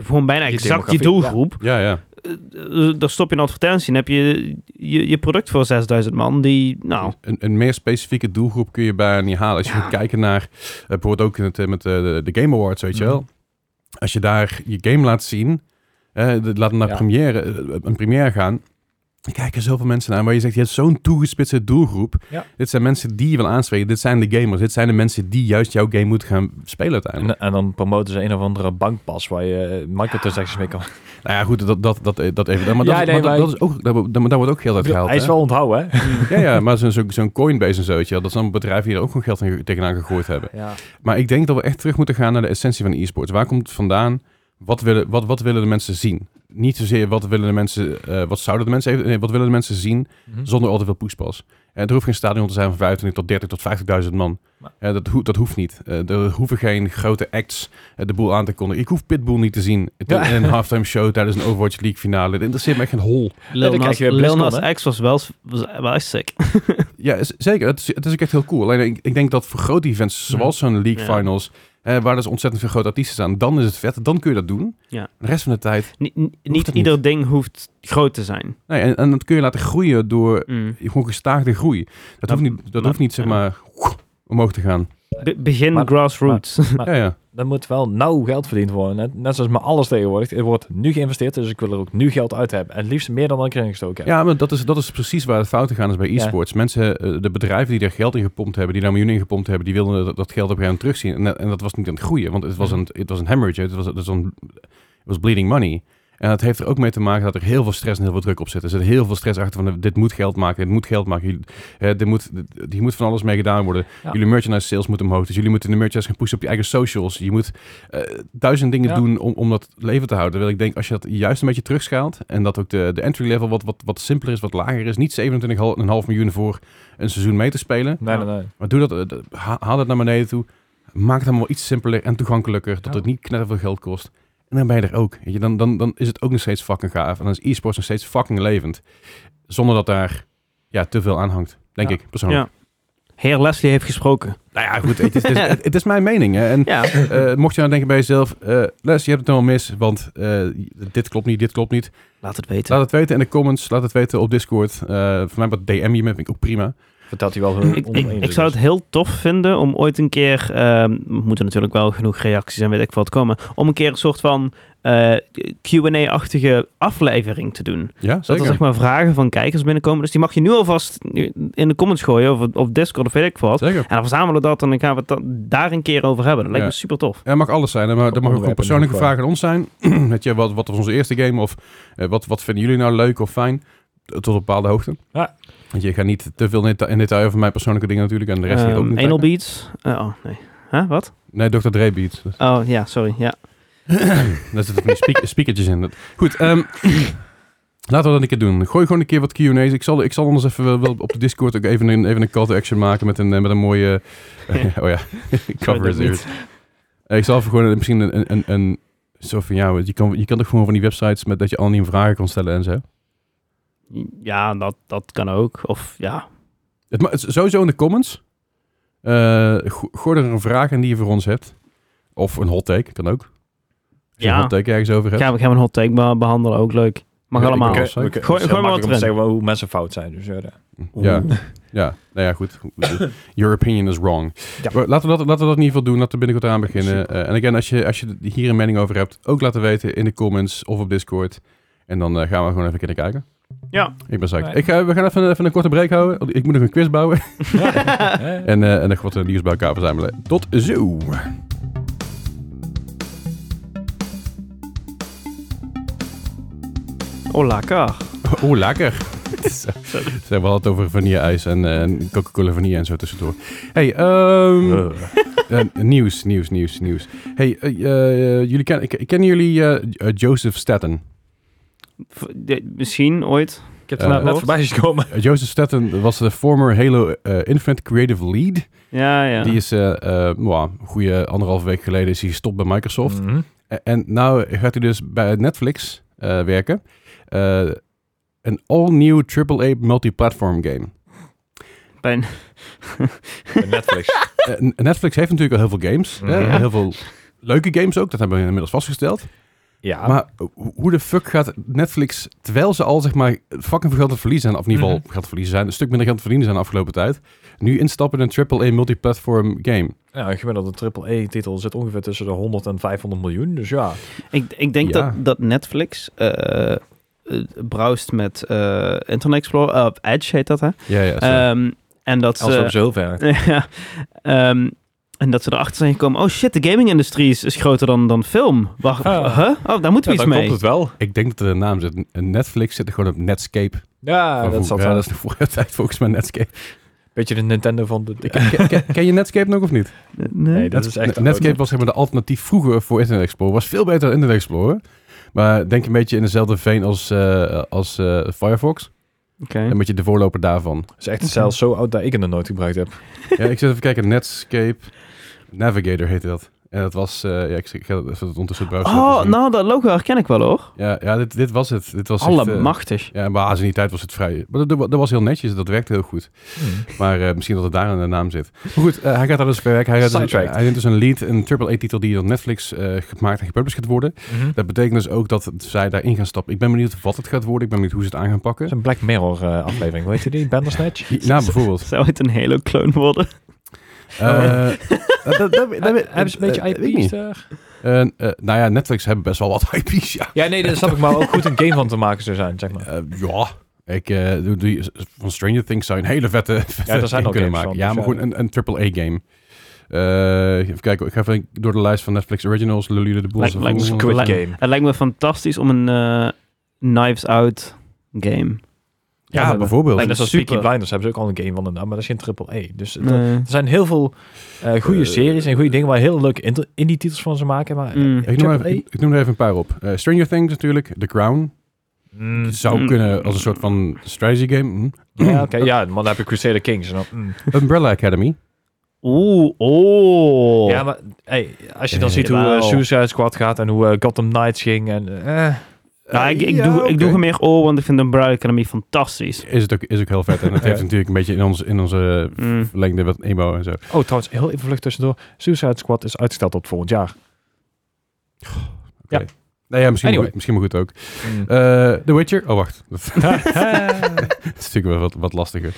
Speaker 1: gewoon bijna
Speaker 4: Je
Speaker 1: exact je
Speaker 4: demografie,
Speaker 1: doelgroep.
Speaker 3: Ja, ja.
Speaker 1: Eh, eh, daar stop je een advertentie en heb je je, je product voor 6000 man die, nou...
Speaker 3: Een, een meer specifieke doelgroep kun je bijna niet halen. Als je
Speaker 1: Ja.
Speaker 3: gaat kijken naar, eh, bijvoorbeeld ook in het, eh, met eh, de, de Game Awards, weet je
Speaker 4: Mhm.
Speaker 3: wel. Als je daar je game laat zien, eh, de- laat hem naar
Speaker 4: Ja.
Speaker 3: première, eh, een première gaan. dan Kijken zoveel mensen naar, maar je zegt, je hebt zo'n toegespitste doelgroep.
Speaker 4: Ja.
Speaker 3: Dit zijn mensen die je wil aanspreken. Dit zijn de gamers. Dit zijn de mensen die juist jouw game moeten gaan spelen uiteindelijk.
Speaker 4: En, en dan promoten ze een of andere bankpas waar je microtransactions mee kan.
Speaker 3: Nou ja, goed, dat, dat, dat, dat even. Maar,
Speaker 4: Ja,
Speaker 3: dat, is- maar
Speaker 4: nee,
Speaker 3: dat-
Speaker 4: maar-
Speaker 3: dat is ook, daar, daar- daar wordt ook geld uit gehaald.
Speaker 4: Hij is
Speaker 3: hè?
Speaker 4: wel onthouden, hè?
Speaker 3: Ja, ja maar zo'n zo, zo'n Coinbase en zo, weet je wel, dat zijn bedrijven die er ook gewoon geld in- tegenaan gegooid hebben.
Speaker 4: (laughs) Ja.
Speaker 3: Maar ik denk dat we echt terug moeten gaan naar de essentie van e-sports. Waar komt het vandaan? Wat willen, wat, wat willen de mensen zien? Niet zozeer wat willen de mensen, eh, wat zouden de mensen even, nee, wat willen de mensen zien
Speaker 4: Dus
Speaker 3: zonder al te veel poespas. En er hoeft geen stadion te zijn van 25 tot 30 tot 50.000 man.
Speaker 4: Maar-
Speaker 3: Eh, dat, ho- dat hoeft niet. Eh, er hoeven geen grote acts eh, de boel aan te kondigen. Ik hoef Pitbull niet te zien in
Speaker 4: Ja.
Speaker 3: een halftime show tijdens een Overwatch League finale. Dat interesseert me echt geen hol.
Speaker 1: Lil
Speaker 4: dan krijg
Speaker 1: Nas,
Speaker 4: je weer
Speaker 1: Lil
Speaker 4: BlizzCon,
Speaker 1: Nas X was wel, was wel echt sick. (laughs)
Speaker 3: Ja, z- zeker. Het is, het is ook echt heel cool. Alleen ik, ik denk dat voor grote events, zoals zo'n League
Speaker 1: Ja.
Speaker 3: Finals, eh, waar dus ontzettend veel grote artiesten staan, dan is het vet. Dan kun je dat doen.
Speaker 1: Ja.
Speaker 3: De rest van de tijd.
Speaker 1: Ni- ni- niet
Speaker 3: het
Speaker 1: ieder ding hoeft groot te zijn.
Speaker 3: Nee, en, en dat kun je laten groeien door
Speaker 1: Mm.
Speaker 3: gewoon gestaagde groei. Dat
Speaker 1: Maar-
Speaker 3: hoeft niet, dat
Speaker 1: maar-
Speaker 3: hoeft niet zeg
Speaker 1: ja.
Speaker 3: maar, omhoog te gaan.
Speaker 1: Be- begin
Speaker 4: Maar-
Speaker 1: grassroots.
Speaker 3: Ja, ja.
Speaker 4: Dan moet wel nauw geld verdiend worden. Net, net zoals met alles tegenwoordig. Er wordt nu geïnvesteerd, dus ik wil er ook nu geld uit hebben. En het liefst meer dan ik erin gestoken heb.
Speaker 3: Ja, maar dat is, dat is precies waar het fouten gaan is bij
Speaker 4: Ja.
Speaker 3: e-sports. Mensen, eh, de bedrijven die er geld in gepompt hebben, die daar miljoenen in gepompt hebben, die wilden dat, dat geld op gaan terugzien. En, dat- en dat was niet aan het groeien, want het was een, het was een hemorrhage, het was, het was, een, het was bleeding money. En dat heeft er ook mee te maken dat er heel veel stress en heel veel druk op zit. Er zit heel veel stress achter van eh, dit moet geld maken, dit moet geld maken. Jullie, eh, dit moet, dit- hier moet van alles mee gedaan worden.
Speaker 4: Ja.
Speaker 3: Jullie merchandise sales moeten omhoog. Dus jullie moeten de merchandise gaan pushen op je eigen socials. Je moet eh, duizend dingen
Speaker 4: Ja.
Speaker 3: doen om, om dat leven te houden. Terwijl ik denk, als je dat juist een beetje terugschaalt... en dat ook de, de entry level wat, wat, wat simpeler is, wat lager is... niet 27,5 miljoen voor een seizoen mee te spelen...
Speaker 4: Nee, nee, nee.
Speaker 3: maar doe dat, eh, dat- ha- haal dat naar beneden toe. Maak het allemaal iets simpeler en toegankelijker... dat
Speaker 4: Ja.
Speaker 3: het niet knetterveel geld kost. En dan ben je er ook. Weet je, dan, dan, dan is het ook nog steeds fucking gaaf. En dan is e-sports nog steeds fucking levend. Zonder dat daar ja, te veel aan hangt. Denk
Speaker 4: Ja.
Speaker 3: ik, persoonlijk.
Speaker 1: Ja. Heer Leslie heeft gesproken.
Speaker 3: Nou ja, goed. Het is, het is, het is mijn mening. hè. En
Speaker 1: Ja, (laughs)
Speaker 3: eh, mocht je nou denken bij jezelf, eh, Les, je hebt het helemaal mis, want eh, dit klopt niet, dit klopt niet.
Speaker 1: laat het weten.
Speaker 3: Laat het weten in de comments, laat het weten op Discord. Eh voor mij wat DM je met, vind ik ook prima.
Speaker 4: Vertelt hij wel hoe
Speaker 1: Ik, ik,
Speaker 4: oneens
Speaker 1: ik zou het heel tof vinden om ooit een keer, ehm, er moeten natuurlijk wel genoeg reacties en weet ik wat komen, om een keer een soort van eh, Q&A-achtige aflevering te doen.
Speaker 3: Ja,
Speaker 1: Zodat
Speaker 3: zeker.
Speaker 1: er zeg maar vragen van kijkers binnenkomen. Dus die mag je nu alvast in de comments gooien of op Discord of weet ik wat.
Speaker 3: zeker.
Speaker 1: En dan verzamelen we dat en dan gaan we het dan daar een keer over hebben. Dat lijkt
Speaker 3: Ja.
Speaker 1: me super tof.
Speaker 3: Ja, dat mag alles zijn. hè, Maar dat mag ook gewoon
Speaker 4: Onderwerpen
Speaker 3: persoonlijke
Speaker 4: in ieder
Speaker 3: vragen aan ons zijn. (clears throat) Weet je, wat, wat was onze eerste game? Of eh, wat, wat vinden jullie nou leuk of fijn? Tot een bepaalde hoogte.
Speaker 4: Ja.
Speaker 3: Want je gaat niet te veel in deta- in detail over mijn persoonlijke dingen natuurlijk. En de rest hier ook
Speaker 1: Ehm
Speaker 3: niet.
Speaker 1: anal beats. Eh, oh, nee. Huh, wat?
Speaker 3: Nee, Dr. Dre beat.
Speaker 1: Oh, ja, sorry. Ja.
Speaker 3: Daar zitten van die speak- speakertjes in. Dat- Goed, ehm, laten we dat een keer doen. Gooi gewoon een keer wat Q&A's. Ik zal, ik zal anders even wel, wel op de Discord ook even een, even een call to action maken met een, eh, met een mooie... (laughs) oh
Speaker 1: (laughs)
Speaker 3: ja, cover is
Speaker 1: dat
Speaker 3: eerst. Eh, Ik zal even gewoon een- misschien een... een, een zo van, ja, want je kan, je kan toch gewoon van die websites met dat je anoniem vragen kan stellen en zo.
Speaker 1: Ja, dat, dat kan ook. Of ja.
Speaker 3: Het, ma- het is sowieso in de comments. Eh, go- gooi er een vraag in die je voor ons hebt. Of een hot take, kan ook. Als je een
Speaker 1: Ja.
Speaker 3: hot take ergens over hebt.
Speaker 1: Gaan we, gaan we een hot take be- behandelen. Ook leuk. Mag
Speaker 3: Ja, ik
Speaker 1: allemaal.
Speaker 3: ook.
Speaker 4: Oké,
Speaker 3: Gooi-
Speaker 4: oké,
Speaker 1: gooi
Speaker 4: het is heel
Speaker 1: maar wat
Speaker 4: makkelijk om te
Speaker 1: erin.
Speaker 4: zeggen hoe mensen fout zijn. Dus, ja, ja.
Speaker 3: Ja. Ja, nou ja, goed. Your opinion is wrong.
Speaker 4: Ja.
Speaker 3: Maar Laten, we dat, laten we dat in ieder geval doen. Laten we binnenkort aan beginnen. Eh, en again, als je, als je hier een mening over hebt, ook laten weten in de comments of op Discord. En dan eh, gaan we gewoon even een keer naar kijken.
Speaker 1: Ja.
Speaker 3: Ik ben psyched.
Speaker 4: Alright.
Speaker 3: Ik ga, we gaan even, even een korte break houden. want Ik moet nog een quiz bouwen. (laughs) en, eh, en nog wat eh, nieuws bij elkaar verzamelen. Tot zo! (laughs)
Speaker 1: Oh, lekker.
Speaker 3: Oeh, lekker. Zo. Ze hebben altijd over vanille-ijs en eh, Coca-Cola vanille en zo tussendoor. hey, ehm... Eh, nieuws, nieuws, nieuws, nieuws. Hey, eh, eh, jullie ken, ik- kennen jullie eh, J- eh, Joseph Staten?
Speaker 1: V- de- misschien ooit.
Speaker 4: Ik heb
Speaker 3: Eh,
Speaker 4: het net- net
Speaker 1: hoort.
Speaker 4: voorbij is gekomen.
Speaker 3: Eh, Joseph Staten was de former Halo eh, Infinite Creative Lead.
Speaker 1: Ja, ja.
Speaker 3: Die is, eh eh, nou, een goede anderhalve week geleden is hij gestopt bij Microsoft.
Speaker 4: Mhm.
Speaker 3: En, en nou gaat hij dus bij Netflix eh, werken. Eh, Een all-new AAA multiplatform game.
Speaker 1: Pijn.
Speaker 4: Bij Netflix.
Speaker 3: Eh, N- Netflix heeft natuurlijk al heel veel games. hè,
Speaker 4: Ja.
Speaker 3: Heel veel leuke games ook. Dat hebben we inmiddels vastgesteld.
Speaker 4: Ja.
Speaker 3: Maar ho- hoe de fuck gaat Netflix, terwijl ze al zeg maar fucking veel geld aan het verliezen zijn, of in ieder geval
Speaker 4: Mhm.
Speaker 3: geld verliezen zijn, een stuk minder geld te verdienen zijn de afgelopen tijd, nu instappen in een AAA multiplatform game?
Speaker 4: Ja, een gemiddelde triple-E-titel zit ongeveer tussen de 100 en 500 miljoen. Dus ja,
Speaker 1: Ik, ik denk
Speaker 3: Ja.
Speaker 1: dat, dat Netflix eh, eh, browst met eh, Internet Explorer. eh, Edge heet dat, hè?
Speaker 3: Ja, ja. zo.
Speaker 1: Ehm, en dat
Speaker 4: als we
Speaker 1: (laughs)
Speaker 4: op
Speaker 1: ze...
Speaker 4: zo ver.
Speaker 1: Ja, ehm, en dat ze erachter zijn gekomen... Oh shit, de gaming-industrie is, is groter dan, dan film. Wacht,
Speaker 4: Ah.
Speaker 1: huh? Oh, daar moeten we
Speaker 4: Ja,
Speaker 1: iets
Speaker 4: dan
Speaker 1: mee.
Speaker 4: komt het wel.
Speaker 3: ik denk dat er de naam zit. N- Netflix zit er gewoon op Netscape.
Speaker 4: Ja,
Speaker 3: Of hoe-
Speaker 4: Ah, dat zat
Speaker 3: ja,
Speaker 4: wel.
Speaker 3: dat is de vorige (laughs) tijd volgens mij
Speaker 4: (laughs)
Speaker 3: Netscape.
Speaker 4: Beetje de Nintendo van de...
Speaker 3: Ken- ken- Ken je Netscape nog of niet?
Speaker 1: Nee.
Speaker 4: Nee, dat is echt...
Speaker 3: Net- Netscape was zeg maar de alternatief vroeger voor Internet Explorer. Was veel beter dan Internet Explorer. Maar denk een beetje in dezelfde veen als, eh, als eh, Firefox.
Speaker 1: Oké.
Speaker 4: Hm.
Speaker 3: Een beetje de voorloper daarvan.
Speaker 4: Dat is echt zelfs zo oud dat ik het nog nooit gebruikt heb.
Speaker 3: Ja, ik zit even kijken. Netscape. Navigator heette dat. En dat was, eh, ja, ik, ik ga dat even ondertussen browsen.
Speaker 1: Oh, nou, dat logo herken ik wel hoor.
Speaker 3: Ja, ja dit, dit was het. Dit was echt, eh,
Speaker 1: Allemachtig.
Speaker 3: ja, maar in die tijd was het vrij. Maar dat, dat was heel netjes, dat werkte heel goed.
Speaker 4: Hmm.
Speaker 3: Maar eh, misschien dat het daar aan de naam zit. Maar goed, eh, hij gaat daar dus bij werken. Hij, gaat dus,
Speaker 4: Sidetracked.
Speaker 3: hij neemt dus een lead, een AAA-titel die door Netflix eh, gemaakt en gepublished gaat worden.
Speaker 4: Mhm.
Speaker 3: Dat betekent dus ook dat zij daarin gaan stappen. Ik ben benieuwd wat het gaat worden. Ik ben benieuwd hoe ze het aan gaan pakken.
Speaker 4: Dat is een Black Mirror eh, aflevering, weet je die? Bandersnatch?
Speaker 3: Nou,
Speaker 1: (laughs)
Speaker 3: bijvoorbeeld.
Speaker 1: Zou het een Halo-clone worden?
Speaker 3: Eh, dat- dat- dat-
Speaker 4: Heb- Hebben ze een beetje
Speaker 3: eh, weet ik
Speaker 4: IP's
Speaker 3: niet.
Speaker 4: daar?
Speaker 3: Eh, eh, nou ja, Netflix hebben best wel wat (laughs) IP's, ja.
Speaker 4: Ja, nee, dat snap ik. Maar ook goed een game van te maken zou zijn, zeg maar.
Speaker 3: Eh, ja, ik, eh, doe- doe- van Stranger Things zou je een hele vette, (laughs) vette
Speaker 4: daar zijn
Speaker 3: game
Speaker 4: al
Speaker 3: kunnen
Speaker 4: games
Speaker 3: maken.
Speaker 4: van,
Speaker 3: ja,
Speaker 4: dus
Speaker 3: maar
Speaker 4: ja.
Speaker 3: gewoon een, een AAA-game. Eh, even kijken, ik ga even door de lijst van Netflix Originals, lullen jullie de boel.
Speaker 1: Lijkt-
Speaker 3: eens
Speaker 1: lijkt me
Speaker 3: even
Speaker 1: een
Speaker 3: op.
Speaker 1: Squid
Speaker 4: Squid
Speaker 1: Game.
Speaker 4: Game.
Speaker 1: Het lijkt me fantastisch om een eh, Knives Out game.
Speaker 3: ja,
Speaker 4: Ja,
Speaker 3: bijvoorbeeld.
Speaker 1: lijkt
Speaker 4: En
Speaker 1: me
Speaker 4: dat is
Speaker 1: super.
Speaker 4: Peaky Blinders, dus hebben ze ook al een game van de naam, maar dat is geen triple E. Dus dat-
Speaker 1: Nee.
Speaker 4: er zijn heel veel eh goede
Speaker 3: Eh,
Speaker 4: series en goede dingen waar heel leuke inter- indie titels van ze maken, maar...
Speaker 1: Mm.
Speaker 4: eh,
Speaker 3: ik, noem er
Speaker 4: triple
Speaker 3: even, ik noem er even een paar op. Eh, Stranger Things natuurlijk, The Crown.
Speaker 4: E? Mm.
Speaker 3: Zou
Speaker 1: Mm.
Speaker 3: kunnen als een soort van strategy game. Mm.
Speaker 4: Ja, oké, ja, maar dan heb je Crusader Kings. En dan, mm.
Speaker 3: Umbrella Academy.
Speaker 1: Oeh, oh.
Speaker 4: Ja, maar hey, als je dan
Speaker 3: Eh,
Speaker 4: ziet hoe eh,
Speaker 1: wauw.
Speaker 4: Suicide Squad gaat en hoe eh, Gotham Knights ging en... eh,
Speaker 1: Nou, ik, ik,
Speaker 3: Ja,
Speaker 1: doe,
Speaker 3: oké.
Speaker 1: ik doe hem meer oh, want ik vind de Umbrella Academy fantastisch.
Speaker 3: Is het ook, is ook heel vet. En dat
Speaker 4: Ja.
Speaker 3: heeft natuurlijk een beetje in, ons, in onze
Speaker 1: Mm.
Speaker 3: verlengde wat emo en zo.
Speaker 4: Oh, trouwens, heel even vlug tussendoor. Suicide Squad is uitgesteld tot volgend jaar.
Speaker 3: Nou ja, misschien,
Speaker 4: Anyway.
Speaker 3: goed, misschien maar goed ook.
Speaker 1: Mm. (laughs)
Speaker 4: (laughs)
Speaker 3: Eh, The Witcher. Oh, wacht. (laughs) Dat is natuurlijk wel wat, wat lastiger.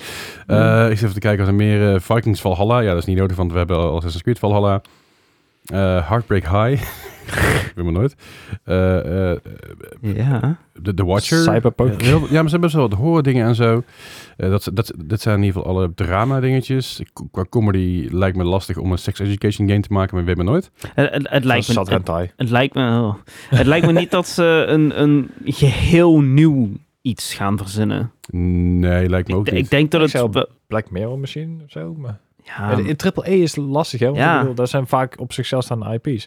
Speaker 3: Eh, Ik zit even te kijken als er meer eh, Vikings Valhalla. Ja, dat is niet nodig, want we hebben al Assassin's Creed Valhalla. Eh, Heartbreak High. (laughs) Weet maar nooit. Eh, eh,
Speaker 1: Ja.
Speaker 3: The, The Watcher.
Speaker 4: Cyberpunk.
Speaker 3: Ja, heel- ja, maar ze hebben best wel wat horror dingen en zo. Eh, dat, dat, dat zijn in ieder geval alle drama dingetjes. K- Qua comedy lijkt me lastig om een sex education game te maken, maar weet maar nooit.
Speaker 1: Het, het, het lijkt me,
Speaker 4: Zat
Speaker 1: het,
Speaker 4: hentai.
Speaker 1: het lijkt me, oh. het lijkt me niet dat ze een, een geheel nieuw iets gaan verzinnen.
Speaker 3: Nee, lijkt me
Speaker 1: Ik,
Speaker 3: ook
Speaker 1: ik
Speaker 3: niet.
Speaker 1: denk dat
Speaker 4: Ik
Speaker 1: het...
Speaker 4: zou-
Speaker 1: be-
Speaker 4: Black Mirror misschien of zo. Maar...
Speaker 1: Ja,
Speaker 4: Ja, de- triple E is lastig, hè? Want
Speaker 1: Ja.
Speaker 4: ik bedoel, dat zijn vaak op zichzelf staande IP's.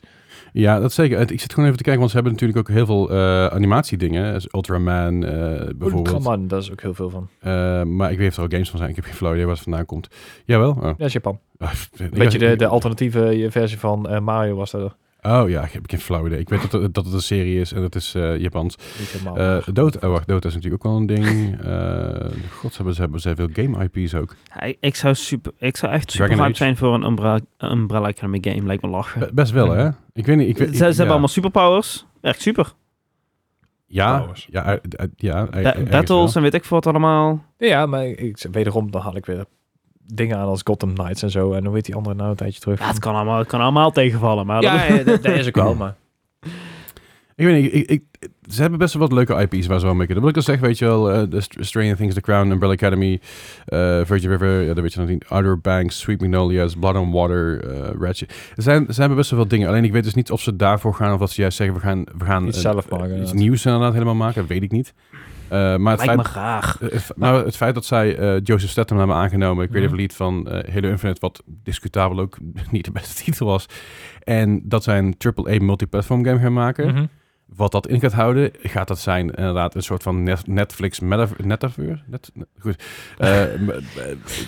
Speaker 3: Ja, dat zeker. Het- Ik zit gewoon even te kijken, want ze hebben natuurlijk ook heel veel eh, animatiedingen. Dus Ultraman eh, bijvoorbeeld.
Speaker 4: Ultraman, daar is ook heel veel van.
Speaker 3: Eh, maar ik weet of er al games van zijn. Ik heb geen flauw idee waar het vandaan komt. Jawel. Oh.
Speaker 4: Ja, is Japan.
Speaker 3: Ah, ik
Speaker 4: Weet je,
Speaker 3: dacht-
Speaker 4: de, de alternatieve eh, versie van eh, Mario was dat
Speaker 3: Oh ja, ik heb geen flauw idee. Ik weet dat, het- dat het een serie is en dat is eh, Japans.
Speaker 4: niet helemaal.
Speaker 3: Eh Dota, oh wacht, Dota is natuurlijk ook wel een ding. Eh God, ze hebben, ze hebben ze hebben veel game IP's ook.
Speaker 1: ik, ik zou, super, ik zou echt
Speaker 3: Dragon
Speaker 1: super hyped
Speaker 3: Age.
Speaker 1: zijn voor een Umbrella, Umbrella Academy game. Lijkt me lachen.
Speaker 3: Be- best wel, hè? Ik weet niet. Ik
Speaker 1: Ze,
Speaker 3: weet,
Speaker 1: ze
Speaker 3: ik-
Speaker 1: hebben
Speaker 3: ja.
Speaker 1: allemaal superpowers. Echt super.
Speaker 3: Ja,
Speaker 4: Powers.
Speaker 3: ja, eh, eh, ja, eh,
Speaker 1: Ba-
Speaker 3: ergens
Speaker 1: battles
Speaker 3: wel.
Speaker 1: en weet ik veel wat allemaal.
Speaker 4: Ja, maar ik, wederom, dan haal ik weer dingen aan als Gotham Knights en zo. En dan weet die andere nou een tijdje terug.
Speaker 1: Ja, het kan allemaal, het kan allemaal tegenvallen. Maar dat-
Speaker 4: ja, ja, dat, dat is ook (laughs) wel, maar...
Speaker 3: Ik weet niet, ik, ik- ze hebben best wel wat leuke IP's waar ze wel mee kunnen. Wat ik al zeg, weet je wel, eh, de Str- Stranger Things, The Crown, Umbrella Academy, eh Virgin River, ja, dat weet je nog niet, Outer Banks, Sweet Magnolias, Blood on Water, eh Ratchet. Ze, zijn, ze hebben best wel wat dingen. Alleen ik weet dus niet of ze daarvoor gaan of dat ze juist zeggen, we gaan, we gaan
Speaker 4: Iets
Speaker 3: een-
Speaker 4: zelf
Speaker 3: eh,
Speaker 4: maken,
Speaker 3: iets
Speaker 4: inderdaad.
Speaker 3: nieuws inderdaad helemaal maken, dat weet ik niet. Eh, maar (laughs) het
Speaker 1: lijkt me
Speaker 3: feit,
Speaker 1: graag.
Speaker 3: eh, het- maar het feit dat zij eh, Joseph Statham hebben aangenomen, ik weet
Speaker 4: Mhm.
Speaker 3: even lied van eh, Halo Infinite, wat discutabel ook (laughs) niet de beste titel was, en dat zij een AAA multiplatform game gaan maken,
Speaker 4: Mhm.
Speaker 3: wat dat in gaat houden, gaat dat zijn inderdaad een soort van net- Netflix metaver- metaverse? Net, net- goed.
Speaker 4: (laughs)
Speaker 3: Eh, m- eh,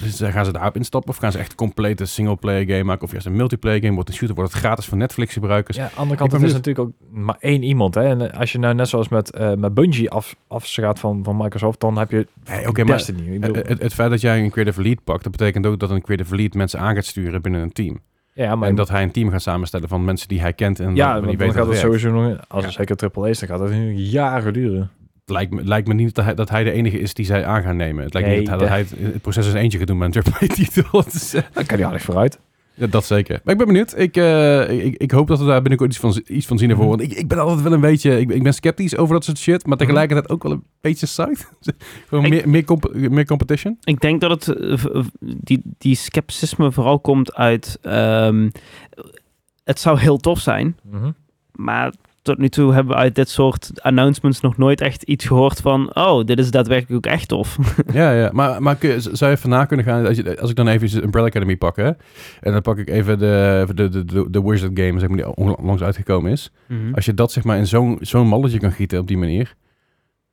Speaker 3: dus gaan ze daarop instappen of gaan ze echt een complete singleplayer game maken of juist een multiplayer game? Wordt een shooter, wordt het gratis voor Netflix gebruikers?
Speaker 4: Ja, aan de andere kant,
Speaker 3: ben
Speaker 4: het is natuurlijk ook maar één iemand. Hè? En eh, als je nou net zoals met, eh met Bungie af, afschaadt van, van Microsoft, dan heb je
Speaker 3: Hey,
Speaker 4: okay,
Speaker 3: oké, maar-
Speaker 4: Destiny. Ik bedoel,
Speaker 3: Eh, Het, het feit dat jij een creative lead pakt, dat betekent ook dat een creative lead mensen aan gaat sturen binnen een team.
Speaker 4: ja, maar
Speaker 3: En dat hij een team gaat samenstellen van mensen die hij kent en
Speaker 4: ja,
Speaker 3: waarvan hij weet
Speaker 4: want dan gaat
Speaker 3: dat
Speaker 4: het
Speaker 3: het werkt.
Speaker 4: sowieso nog, als
Speaker 3: Ja.
Speaker 4: het zeker triple A's, dan gaat dat nu jaren duren.
Speaker 3: Lijkt me, lijkt me niet dat hij, dat hij de enige is die zij aan gaan nemen. Het lijkt me
Speaker 4: Nee,
Speaker 3: niet dat hij, dat hij het, het proces in zijn eentje gaat doen met een (laughs) AAA-titel.
Speaker 4: Dan kan je aardig vooruit.
Speaker 3: Ja, dat zeker. Maar ik ben benieuwd. Ik, eh, ik, ik hoop dat we daar binnenkort iets van, z- iets van zien ervoor. Want ik, ik ben altijd wel een beetje... Ik, ben- ik ben sceptisch over dat soort shit. Maar tegelijkertijd ook wel een beetje psyched. (laughs) Gewoon
Speaker 1: Ik-
Speaker 3: meer, meer, comp- meer
Speaker 1: (laughs)
Speaker 3: competition.
Speaker 1: Ik denk dat het, eh, v- v- die, die scepticisme vooral komt uit... ehm, het zou heel tof zijn,
Speaker 4: Mhm.
Speaker 1: maar tot nu toe hebben we uit dit soort announcements nog nooit echt iets gehoord van... Oh, dit is daadwerkelijk ook echt tof. (laughs)
Speaker 3: ja, ja. Maar, maar kun je- zou je even na kunnen gaan... Als, je, als ik dan even Umbrella Academy pak, hè. En dan pak ik even de, de, de, de, de Wizard Game, zeg maar, die onlangs uitgekomen is.
Speaker 4: Mhm.
Speaker 3: Als je dat zeg maar in zo'n zo'n malletje kan gieten op die manier.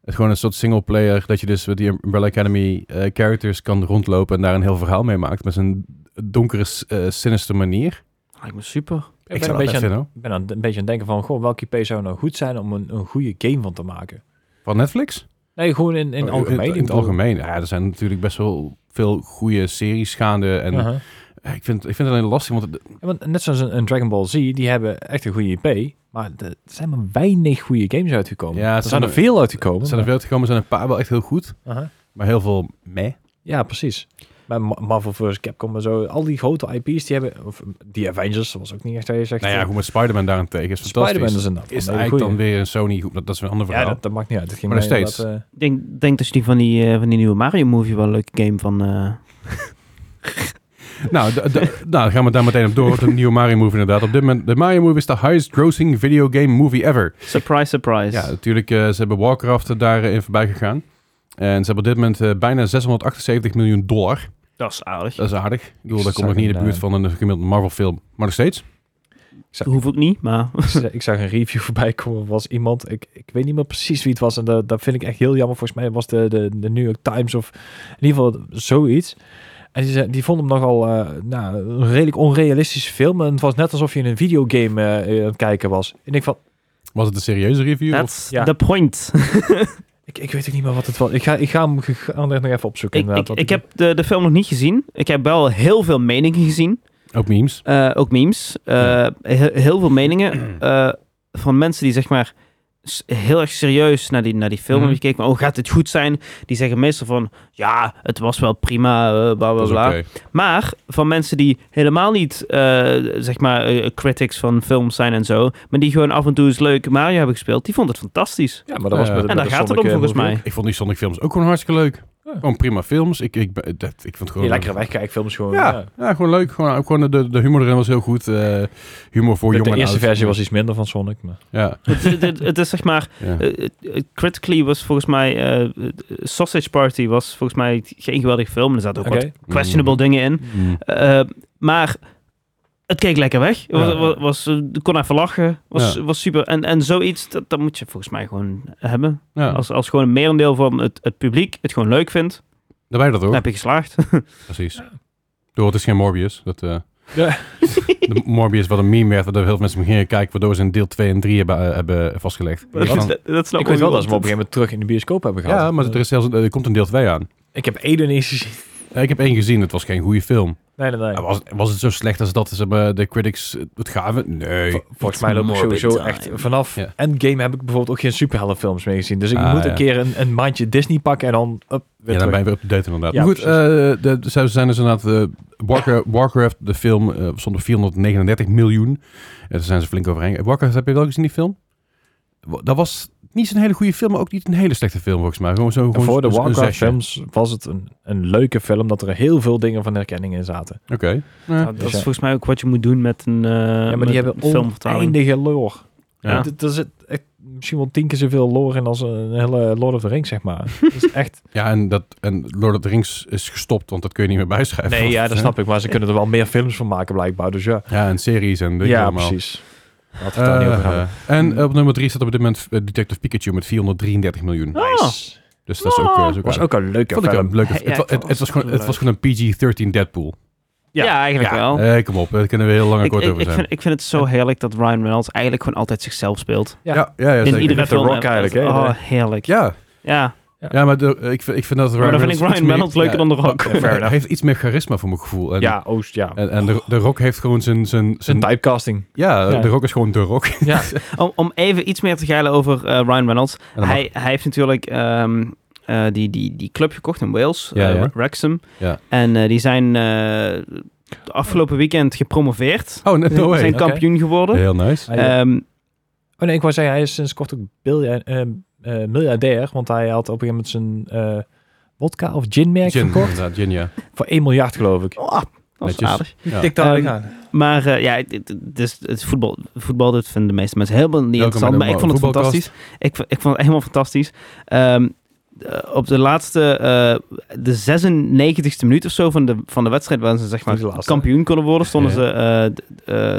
Speaker 3: Het gewoon een soort singleplayer dat je dus met die Umbrella Academy eh, characters kan rondlopen en daar een heel verhaal mee maakt. Met zo'n donkere, s- eh, sinister manier.
Speaker 1: Lijkt me super.
Speaker 4: Ik
Speaker 3: ik zou
Speaker 4: ben, een
Speaker 3: dat vet
Speaker 4: beetje aan,
Speaker 3: vinden hoor.
Speaker 4: ben aan, een beetje aan het denken van, goh, welke IP zou nou goed zijn om een, een goede game van te maken?
Speaker 3: Van Netflix?
Speaker 4: Nee, gewoon in, in het
Speaker 3: Oh,
Speaker 4: algemeen.
Speaker 3: In,
Speaker 4: ik
Speaker 3: het
Speaker 4: bedoel-
Speaker 3: algemeen. Ja, er zijn natuurlijk best wel veel goede series gaande. En
Speaker 4: Aha.
Speaker 3: eh, ik, vind, ik vind het alleen lastig, want het-
Speaker 4: Ja, want net zoals een, een Dragon Ball Z, die hebben echt een goede IP, maar er zijn maar weinig goede games uitgekomen.
Speaker 3: Ja, het
Speaker 4: er zijn
Speaker 3: zijn
Speaker 4: er
Speaker 3: er-
Speaker 4: veel
Speaker 3: er
Speaker 4: uitgekomen.
Speaker 3: zijn er veel te komen, er zijn een paar wel echt heel goed.
Speaker 4: maar- Aha.
Speaker 3: Maar heel veel meh.
Speaker 4: Ja, precies. Maar Ma- Marvel vs. Capcom en zo, al die grote IP's die hebben, of die Avengers, dat was ook niet echt waar je zegt.
Speaker 3: Nou ja,
Speaker 4: eh,
Speaker 3: hoe met Spider-Man daarentegen is fantastisch.
Speaker 4: Spider-Man is een
Speaker 3: is eigenlijk dan weer een Sony, goed, dat, dat is weer een ander
Speaker 4: Ja,
Speaker 3: verhaal.
Speaker 4: dat, dat maakt niet uit. Het ging
Speaker 3: Maar nog
Speaker 4: mij
Speaker 3: steeds.
Speaker 4: inderdaad, eh,
Speaker 1: Ik denk, denk dat je die van die, eh, van die nieuwe Mario movie wel een leuke game van... eh,
Speaker 3: Nou, d- d- nou, dan gaan we daar meteen op door. op De nieuwe Mario Movie inderdaad. Op dit moment, de Mario Movie is de highest grossing video game movie ever.
Speaker 1: surprise, surprise.
Speaker 3: Ja, natuurlijk, eh, ze hebben Warcraft er daarin in voorbij gegaan. En ze hebben op dit moment eh, bijna 678 miljoen dollar.
Speaker 1: dat is aardig.
Speaker 3: Dat is aardig. Ik bedoel, dat
Speaker 4: zag
Speaker 3: komt nog niet in de
Speaker 4: een,
Speaker 3: buurt
Speaker 4: eh,
Speaker 3: van een gemiddelde Marvel film. Maar nog steeds.
Speaker 1: Dat hoef ik niet, maar...
Speaker 3: (laughs)
Speaker 4: eh, ik zag- ik zag een review voorbij komen. Er was iemand, ik, ik weet niet meer precies wie het was. En dat, dat vind ik echt heel jammer. Volgens mij was de, de, de New York Times of in ieder geval zoiets. En die, zei- die vond hem nogal eh, nou, een redelijk onrealistische film. En het was net alsof je in een videogame eh, aan het kijken was. En ik van,
Speaker 3: Was het een serieuze review? of-
Speaker 1: That's
Speaker 4: Ja.
Speaker 1: the point. (laughs)
Speaker 4: ik, ik weet ook niet meer wat het was. Ik ga, ik ga hem ge- ga hem echt nog even opzoeken.
Speaker 1: ik, ik,
Speaker 4: inderdaad, wat
Speaker 1: ik heb de, de film nog niet gezien. Ik heb wel heel veel meningen gezien.
Speaker 3: Ook memes.
Speaker 1: Eh, ook memes. Eh,
Speaker 3: Ja.
Speaker 1: he- heel veel
Speaker 3: (clears throat)
Speaker 1: meningen eh, van mensen die zeg maar s- heel erg serieus naar die, naar die film
Speaker 4: Mhm.
Speaker 1: hebben gekeken. Maar, oh, gaat het goed zijn? Die zeggen meestal van, ja, het was wel prima, eh, bla bla
Speaker 3: Dat is
Speaker 1: bla.
Speaker 3: oké.
Speaker 1: Maar van mensen die helemaal niet, eh, zeg maar, eh, critics van films zijn en zo, maar die gewoon af en toe eens leuk Mario hebben gespeeld, die vond het fantastisch.
Speaker 4: Ja, maar dat was
Speaker 3: Eh,
Speaker 4: met,
Speaker 3: En
Speaker 1: en
Speaker 4: met
Speaker 1: daar
Speaker 4: de
Speaker 1: gaat het
Speaker 4: Sonic,
Speaker 1: om
Speaker 4: eh,
Speaker 1: volgens
Speaker 4: movie
Speaker 1: mij.
Speaker 4: ook.
Speaker 3: Ik vond die Sonic films ook gewoon hartstikke leuk.
Speaker 4: Ja.
Speaker 3: Gewoon prima films. Ik, ik, ben- dat, ik vond het
Speaker 4: Die
Speaker 3: gewoon...
Speaker 4: lekkere wegkijkfilms gewoon. Ja.
Speaker 3: Ja, ja, gewoon leuk. Gewoon, ook gewoon de, de humor erin was heel goed. Eh, humor voor
Speaker 4: De,
Speaker 3: jongen
Speaker 4: de eerste versie was iets minder van Sonic. Maar.
Speaker 3: Ja,
Speaker 1: het, het- het- het is zeg maar,
Speaker 3: ja.
Speaker 1: eh, eh, eh, critically was volgens mij, eh, Sausage Party was volgens mij geen geweldige film. Er zaten ook wat
Speaker 4: Oké.
Speaker 1: questionable
Speaker 3: Mm.
Speaker 1: dingen in.
Speaker 3: Mm.
Speaker 1: Eh, maar het keek lekker weg. Het Was, was, was, eh, kon even lachen. Was,
Speaker 3: Ja.
Speaker 1: was super. En, en zoiets, dat, dat moet je volgens mij gewoon hebben. (laughs)
Speaker 3: Ja,
Speaker 1: Als, als gewoon een merendeel van het, het publiek het gewoon leuk vindt,
Speaker 3: daar ben je dat ook.
Speaker 1: dan heb je geslaagd.
Speaker 3: Precies. Door het is geen Morbius. Dat, eh,
Speaker 4: Ja.
Speaker 3: de Morbius wat een meme werd, waardoor heel veel mensen gingen kijken, waardoor ze in deel 2 en 3 hebben, eh, hebben vastgelegd.
Speaker 4: Maar
Speaker 3: Van-
Speaker 1: (laughs) (laughs) dat, dat snap
Speaker 4: Ik weet wel dat
Speaker 1: niemand.
Speaker 4: ze hem op een gegeven moment terug in de bioscoop hebben gehad.
Speaker 3: ja, maar er, is zelfs, er komt een deel 2 aan.
Speaker 4: Ik heb Eden eens gezien.
Speaker 3: Eh, Ik heb één gezien, het was geen goede film.
Speaker 4: Nee, nee, nee.
Speaker 1: Ah,
Speaker 3: Eh, Was, was het zo slecht als dat ze hebben de critics eh, het gaven? Nee.
Speaker 4: Vo- Volgens mij loop ik
Speaker 1: morbid
Speaker 4: sowieso
Speaker 1: time.
Speaker 4: echt vanaf
Speaker 3: Ja.
Speaker 4: Endgame heb ik bijvoorbeeld ook geen superheldenfilms meer gezien. Dus ik
Speaker 3: Ah,
Speaker 4: moet
Speaker 3: ja.
Speaker 4: een keer een, een maandje Disney pakken en dan up, weer
Speaker 3: Ja, dan
Speaker 4: terug.
Speaker 3: ben je weer up to date inderdaad.
Speaker 4: Ja,
Speaker 3: maar goed, eh, de, de- ze zijn dus inderdaad... eh, Warcraft, Warcraft, de film, eh stond op 439 miljoen. Eh, daar zijn ze flink overheen. Eh, Warcraft, heb je wel gezien die film? Wa- Dat was niet zo'n hele goede film, maar ook niet een hele slechte film volgens mij. Gewoon zo,
Speaker 4: En
Speaker 3: gewoon
Speaker 4: voor de
Speaker 3: een- een
Speaker 4: Warcraft
Speaker 3: zesje.
Speaker 4: films was het een, een leuke film dat er heel veel dingen van herkenning in zaten. Dus
Speaker 3: Oké. Ja.
Speaker 1: Nou, dat is volgens mij ook wat je moet doen met een, eh
Speaker 4: Ja, maar
Speaker 1: met
Speaker 4: die hebben
Speaker 1: een filmvertaling.
Speaker 4: oneindige lore.
Speaker 1: Ja.
Speaker 4: Ja. Er zit echt misschien wel tien keer zoveel lore in als een hele Lord of the Rings, zeg maar. (laughs) Dat is echt...
Speaker 3: Ja, en, dat, en Lord of the Rings is gestopt, want dat kun je niet meer bijschrijven.
Speaker 4: Nee, ja, dat snap ik. Maar ze kunnen er wel meer films van maken blijkbaar. Dus ja,
Speaker 3: Ja, en series en dingen
Speaker 4: ja
Speaker 3: allemaal.
Speaker 4: precies. Laten we het daar niet over
Speaker 3: Eh,
Speaker 4: gaan.
Speaker 3: eh, en op nummer 3 staat op dit moment eh, Detective Pikachu met 433 miljoen.
Speaker 4: Oh. Nice.
Speaker 3: Dus dat is ook, eh, is ook
Speaker 4: was
Speaker 3: aardig.
Speaker 4: ook een leuke
Speaker 3: Vond ik
Speaker 4: film.
Speaker 3: een leuke
Speaker 1: Ja,
Speaker 3: het, wa-
Speaker 1: ik
Speaker 3: het,
Speaker 1: vond
Speaker 3: het was
Speaker 1: het
Speaker 3: gewoon, het
Speaker 1: leuk.
Speaker 3: was gewoon een PG-13 Deadpool.
Speaker 1: Ja, eigenlijk wel.
Speaker 3: Eh, kom op, daar kunnen we heel lang en
Speaker 1: ik,
Speaker 3: kort
Speaker 1: ik,
Speaker 3: over
Speaker 1: ik
Speaker 3: zijn.
Speaker 1: vind, ik vind het zo heerlijk dat Ryan Reynolds eigenlijk gewoon altijd zichzelf speelt.
Speaker 4: Ja.
Speaker 3: ja, ja, ja,
Speaker 1: In
Speaker 3: zeker.
Speaker 1: iedere
Speaker 4: Net The
Speaker 1: film.
Speaker 4: Rock eigenlijk, hè?
Speaker 1: Oh, heerlijk. Ja,
Speaker 3: Ja,
Speaker 1: ja.
Speaker 3: ja maar de- ik, vind, ik vind dat
Speaker 1: maar dan vind ik
Speaker 3: iets meer-
Speaker 1: Ryan Reynolds leuker
Speaker 3: ja,
Speaker 1: dan de Rock.
Speaker 4: Ja, fair
Speaker 3: Hij
Speaker 4: enough.
Speaker 3: heeft iets meer charisma voor mijn gevoel. En,
Speaker 4: Ja, Oost, ja.
Speaker 3: en, en de, de Rock heeft gewoon zijn... zijn,
Speaker 4: Zijn
Speaker 3: zijn
Speaker 4: typecasting.
Speaker 3: ja,
Speaker 4: Ja.
Speaker 3: de Rock is gewoon de Rock. En (laughs)
Speaker 4: Ja,
Speaker 1: Om, om even iets meer te geilen over eh, Ryan Reynolds.
Speaker 3: dan mag-
Speaker 1: Hij, hij heeft natuurlijk ehm, eh, die, die, die club gekocht in Wales,
Speaker 3: Ja,
Speaker 1: eh,
Speaker 3: ja.
Speaker 1: Wrexham.
Speaker 3: Ja.
Speaker 1: En eh, die zijn eh, de afgelopen weekend gepromoveerd.
Speaker 3: Oh, no, no
Speaker 1: Ze zijn
Speaker 3: way.
Speaker 4: Oké.
Speaker 1: kampioen geworden.
Speaker 3: Heel nice.
Speaker 4: Hij, eh,
Speaker 1: Ehm,
Speaker 4: oh nee, ik wou zeggen, hij is sinds kort ook bilja- eh, eh, miljardair. Want hij had op een gegeven moment zijn eh vodka of ginmerk
Speaker 3: Gin,
Speaker 4: verkocht.
Speaker 3: inderdaad, Gin,
Speaker 1: (laughs)
Speaker 3: ja.
Speaker 4: Voor 1 miljard, geloof ik. Ehm,
Speaker 1: oh, dat is
Speaker 3: Netjes.
Speaker 1: aardig.
Speaker 3: Ja.
Speaker 4: Tik
Speaker 1: daar
Speaker 4: aan.
Speaker 1: aan. Maar eh, ja, het, het- het is, het is voetbal, voetbal, dat vinden de meeste mensen helemaal niet
Speaker 3: Welkom
Speaker 1: interessant.
Speaker 3: bij
Speaker 1: Maar
Speaker 3: de
Speaker 1: ik vond het
Speaker 3: voetbalkast.
Speaker 1: fantastisch. Ik, v- ik vond het helemaal fantastisch. Ehm, eh, op de laatste, eh, de 96e minuut of zo van de, van de wedstrijd, waar ze zeg maar
Speaker 4: De laatste.
Speaker 1: kampioen konden worden, stonden
Speaker 3: Ja.
Speaker 1: ze eh, d- eh,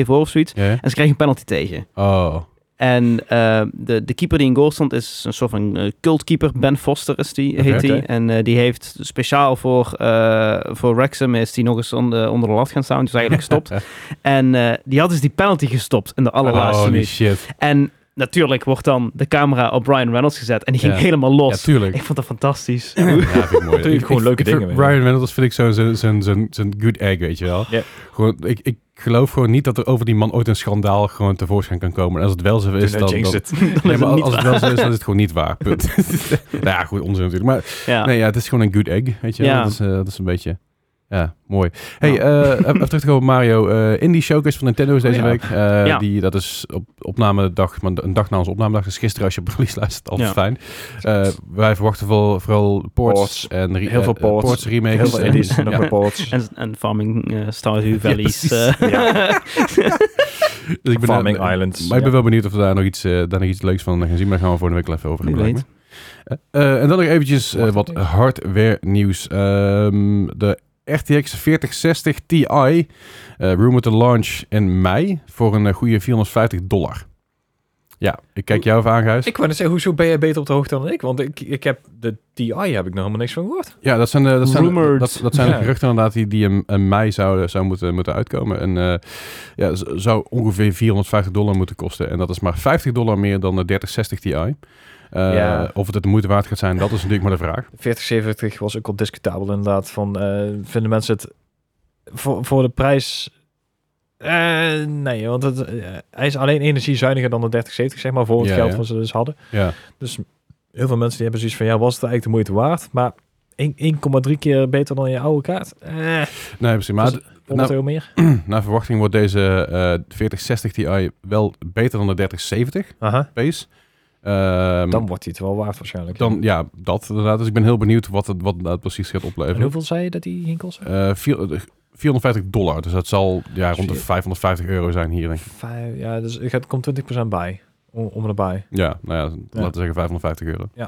Speaker 1: 3-2 voor of zoiets.
Speaker 3: Ja.
Speaker 1: En ze kregen een penalty tegen.
Speaker 3: Oh.
Speaker 1: En eh, de, de keeper die in goal stond is een soort van eh, cultkeeper.
Speaker 3: Mm.
Speaker 1: Ben Foster is die, heet
Speaker 4: Oké.
Speaker 1: die. En eh, die heeft speciaal voor, eh voor Wrexham is die nog eens onder, onder de lat gaan staan. Die is eigenlijk gestopt.
Speaker 3: (laughs)
Speaker 1: en eh, die had dus die penalty gestopt in de allerlaatste
Speaker 3: Holy
Speaker 1: minuut.
Speaker 3: shit.
Speaker 1: En natuurlijk wordt dan de camera op Brian Reynolds gezet. En die ging
Speaker 3: Ja.
Speaker 1: helemaal
Speaker 3: Ja,
Speaker 1: los.
Speaker 3: tuurlijk.
Speaker 1: ik vond dat
Speaker 3: (laughs)
Speaker 1: fantastisch.
Speaker 3: Ja, vind ik mooi.
Speaker 4: Doe je
Speaker 3: Ik-
Speaker 4: gewoon
Speaker 3: ik-
Speaker 4: leuke
Speaker 3: ik vind
Speaker 4: dingen mee.
Speaker 3: Ryan Reynolds vind ik zo'n zo, zo, zo, zo'n good egg, weet je wel.
Speaker 4: Ja.
Speaker 3: Gewoon, ik, ik geloof gewoon niet dat er over die man ooit een schandaal gewoon tevoorschijn kan komen. En als het wel zo is,
Speaker 4: Toen
Speaker 3: dan... (laughs)
Speaker 4: jinxed
Speaker 3: dan-
Speaker 4: het.
Speaker 3: Nee,
Speaker 1: is
Speaker 3: maar
Speaker 1: het niet
Speaker 3: als het wel zo is, dan is het gewoon niet waar. Punt. (laughs) nou ja, goed, onzin natuurlijk. Maar
Speaker 1: ja.
Speaker 3: nee, ja, het is gewoon een good egg, weet je wel.
Speaker 1: Ja.
Speaker 3: Dat, is, eh, dat is een beetje... Ja, mooi. Hey, eh, even terug te komen op Mario. eh indie Showcase van Nintendo is deze
Speaker 4: Oh ja.
Speaker 3: week. Eh,
Speaker 1: Ja.
Speaker 3: die, dat is op opnamedag, maar een dag na onze opnamedag. Dus gisteren als je op release luistert, altijd
Speaker 1: Ja.
Speaker 3: fijn. Eh, wij verwachten vooral, vooral ports,
Speaker 4: Ports.
Speaker 3: en re-
Speaker 4: Heel
Speaker 3: eh,
Speaker 4: veel
Speaker 3: eh,
Speaker 4: ports.
Speaker 3: remakes.
Speaker 4: Heel veel
Speaker 3: en-
Speaker 4: indies, nog
Speaker 3: (laughs) ja.
Speaker 4: wat ports.
Speaker 1: En, en Farming eh, Stardew Valley's.
Speaker 3: precies.
Speaker 1: eh,
Speaker 3: Dus ik ben,
Speaker 4: Farming
Speaker 3: eh,
Speaker 4: Islands.
Speaker 3: Maar ik ben
Speaker 4: Ja.
Speaker 3: wel benieuwd of we daar nog iets, eh, daar nog iets leuks van gaan zien. Maar daar gaan we volgende week wel even over
Speaker 1: Wie
Speaker 3: hebben, lijkt
Speaker 1: weet.
Speaker 3: me. Eh, eh, en dan nog eventjes eh,
Speaker 4: Wacht
Speaker 3: wat
Speaker 4: even.
Speaker 3: hardware nieuws. Ehm, de RTX 4060 Ti eh rumored to launch in mei voor een eh, goede 450 dollar. Ja, ik kijk jou even aan, Gijs.
Speaker 4: Ik wou net zeggen, hoezo ben jij beter op de hoogte dan ik? Want ik, ik heb de TI heb ik nog helemaal niks van gehoord.
Speaker 3: Ja, dat zijn, de, dat zijn,
Speaker 1: Rumored.
Speaker 3: dat, dat zijn de
Speaker 4: Ja.
Speaker 3: geruchten inderdaad die, die in, in mei zouden zou moeten, moeten uitkomen. En eh, ja, z- zou ongeveer 450 dollar moeten kosten. En dat is maar 50 dollar meer dan de 3060 Ti. Eh,
Speaker 4: Ja.
Speaker 3: Of het het de moeite waard gaat zijn, dat is natuurlijk maar de vraag.
Speaker 4: 4070 was ook al discutabel inderdaad. Van, eh, vinden mensen het voor, voor de prijs... Eh, nee, want het, eh, hij is alleen energiezuiniger dan de 3070, zeg maar, voor het
Speaker 3: Ja,
Speaker 4: geld
Speaker 3: ja.
Speaker 4: wat ze dus hadden.
Speaker 3: Ja,
Speaker 4: Dus heel veel mensen die hebben zoiets van, ja, was het eigenlijk de moeite waard? Maar één- 1,3 keer beter dan je oude kaart. Eh,
Speaker 3: nee, precies. Maar
Speaker 4: Dus-
Speaker 3: Nou.
Speaker 4: 100 euro meer.
Speaker 3: d- (clears throat) naar verwachting wordt deze eh 4060 Ti wel beter dan de 3070
Speaker 4: Aha.
Speaker 3: base. Ehm,
Speaker 4: Dan wordt hij het wel waard waarschijnlijk.
Speaker 3: dan, ja, dat inderdaad. Dus ik ben heel benieuwd wat het wat dat precies gaat
Speaker 4: en
Speaker 3: opleveren.
Speaker 4: hoeveel zei je dat die ging kosten?
Speaker 3: Eh, vier- eh, 450 dollar. Dus dat zal ja, rond de 550 euro zijn hier, denk ik.
Speaker 4: Vijf, ja, dus het komt 20% bij. Om, om en bij.
Speaker 3: Ja, nou ja, laten we
Speaker 4: Ja.
Speaker 3: zeggen 550 euro.
Speaker 1: (laughs)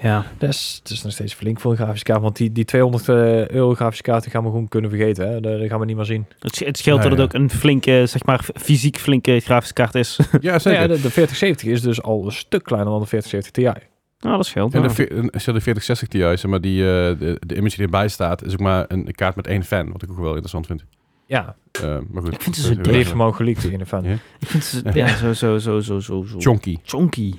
Speaker 1: Ja.
Speaker 4: Dus het is nog steeds flink voor een grafische kaart. Want die, die 200 eh, euro grafische kaarten gaan we gewoon kunnen vergeten. Hè? Dat, dat gaan we niet meer zien.
Speaker 1: Het, sch- het scheelt
Speaker 3: Nou
Speaker 1: dat
Speaker 3: ja.
Speaker 1: het ook een flinke, zeg maar, f- fysiek flinke grafische kaart is. (laughs)
Speaker 3: (laughs) Ja,
Speaker 4: Nou
Speaker 3: zeker.
Speaker 4: Ja, de, de 4070 is dus al een stuk kleiner dan de 4070 Ti.
Speaker 1: nou, dat scheelt.
Speaker 3: en de,
Speaker 1: ja.
Speaker 3: veer- en stel de 4060 Ti, zeg maar, die, eh, de, de image die erbij staat, is ook maar een kaart met één fan. Wat ik ook wel interessant vind.
Speaker 4: Ja,
Speaker 3: Eh, maar goed.
Speaker 1: Ik vind ze
Speaker 3: Dat
Speaker 1: zo
Speaker 3: is-
Speaker 4: die
Speaker 1: dik.
Speaker 4: heeft hem al geleakt tegen de fan.
Speaker 3: Ja.
Speaker 1: Ik vind ze ja, zo, zo, zo, zo, zo, zo.
Speaker 3: Chonky.
Speaker 1: Chonky.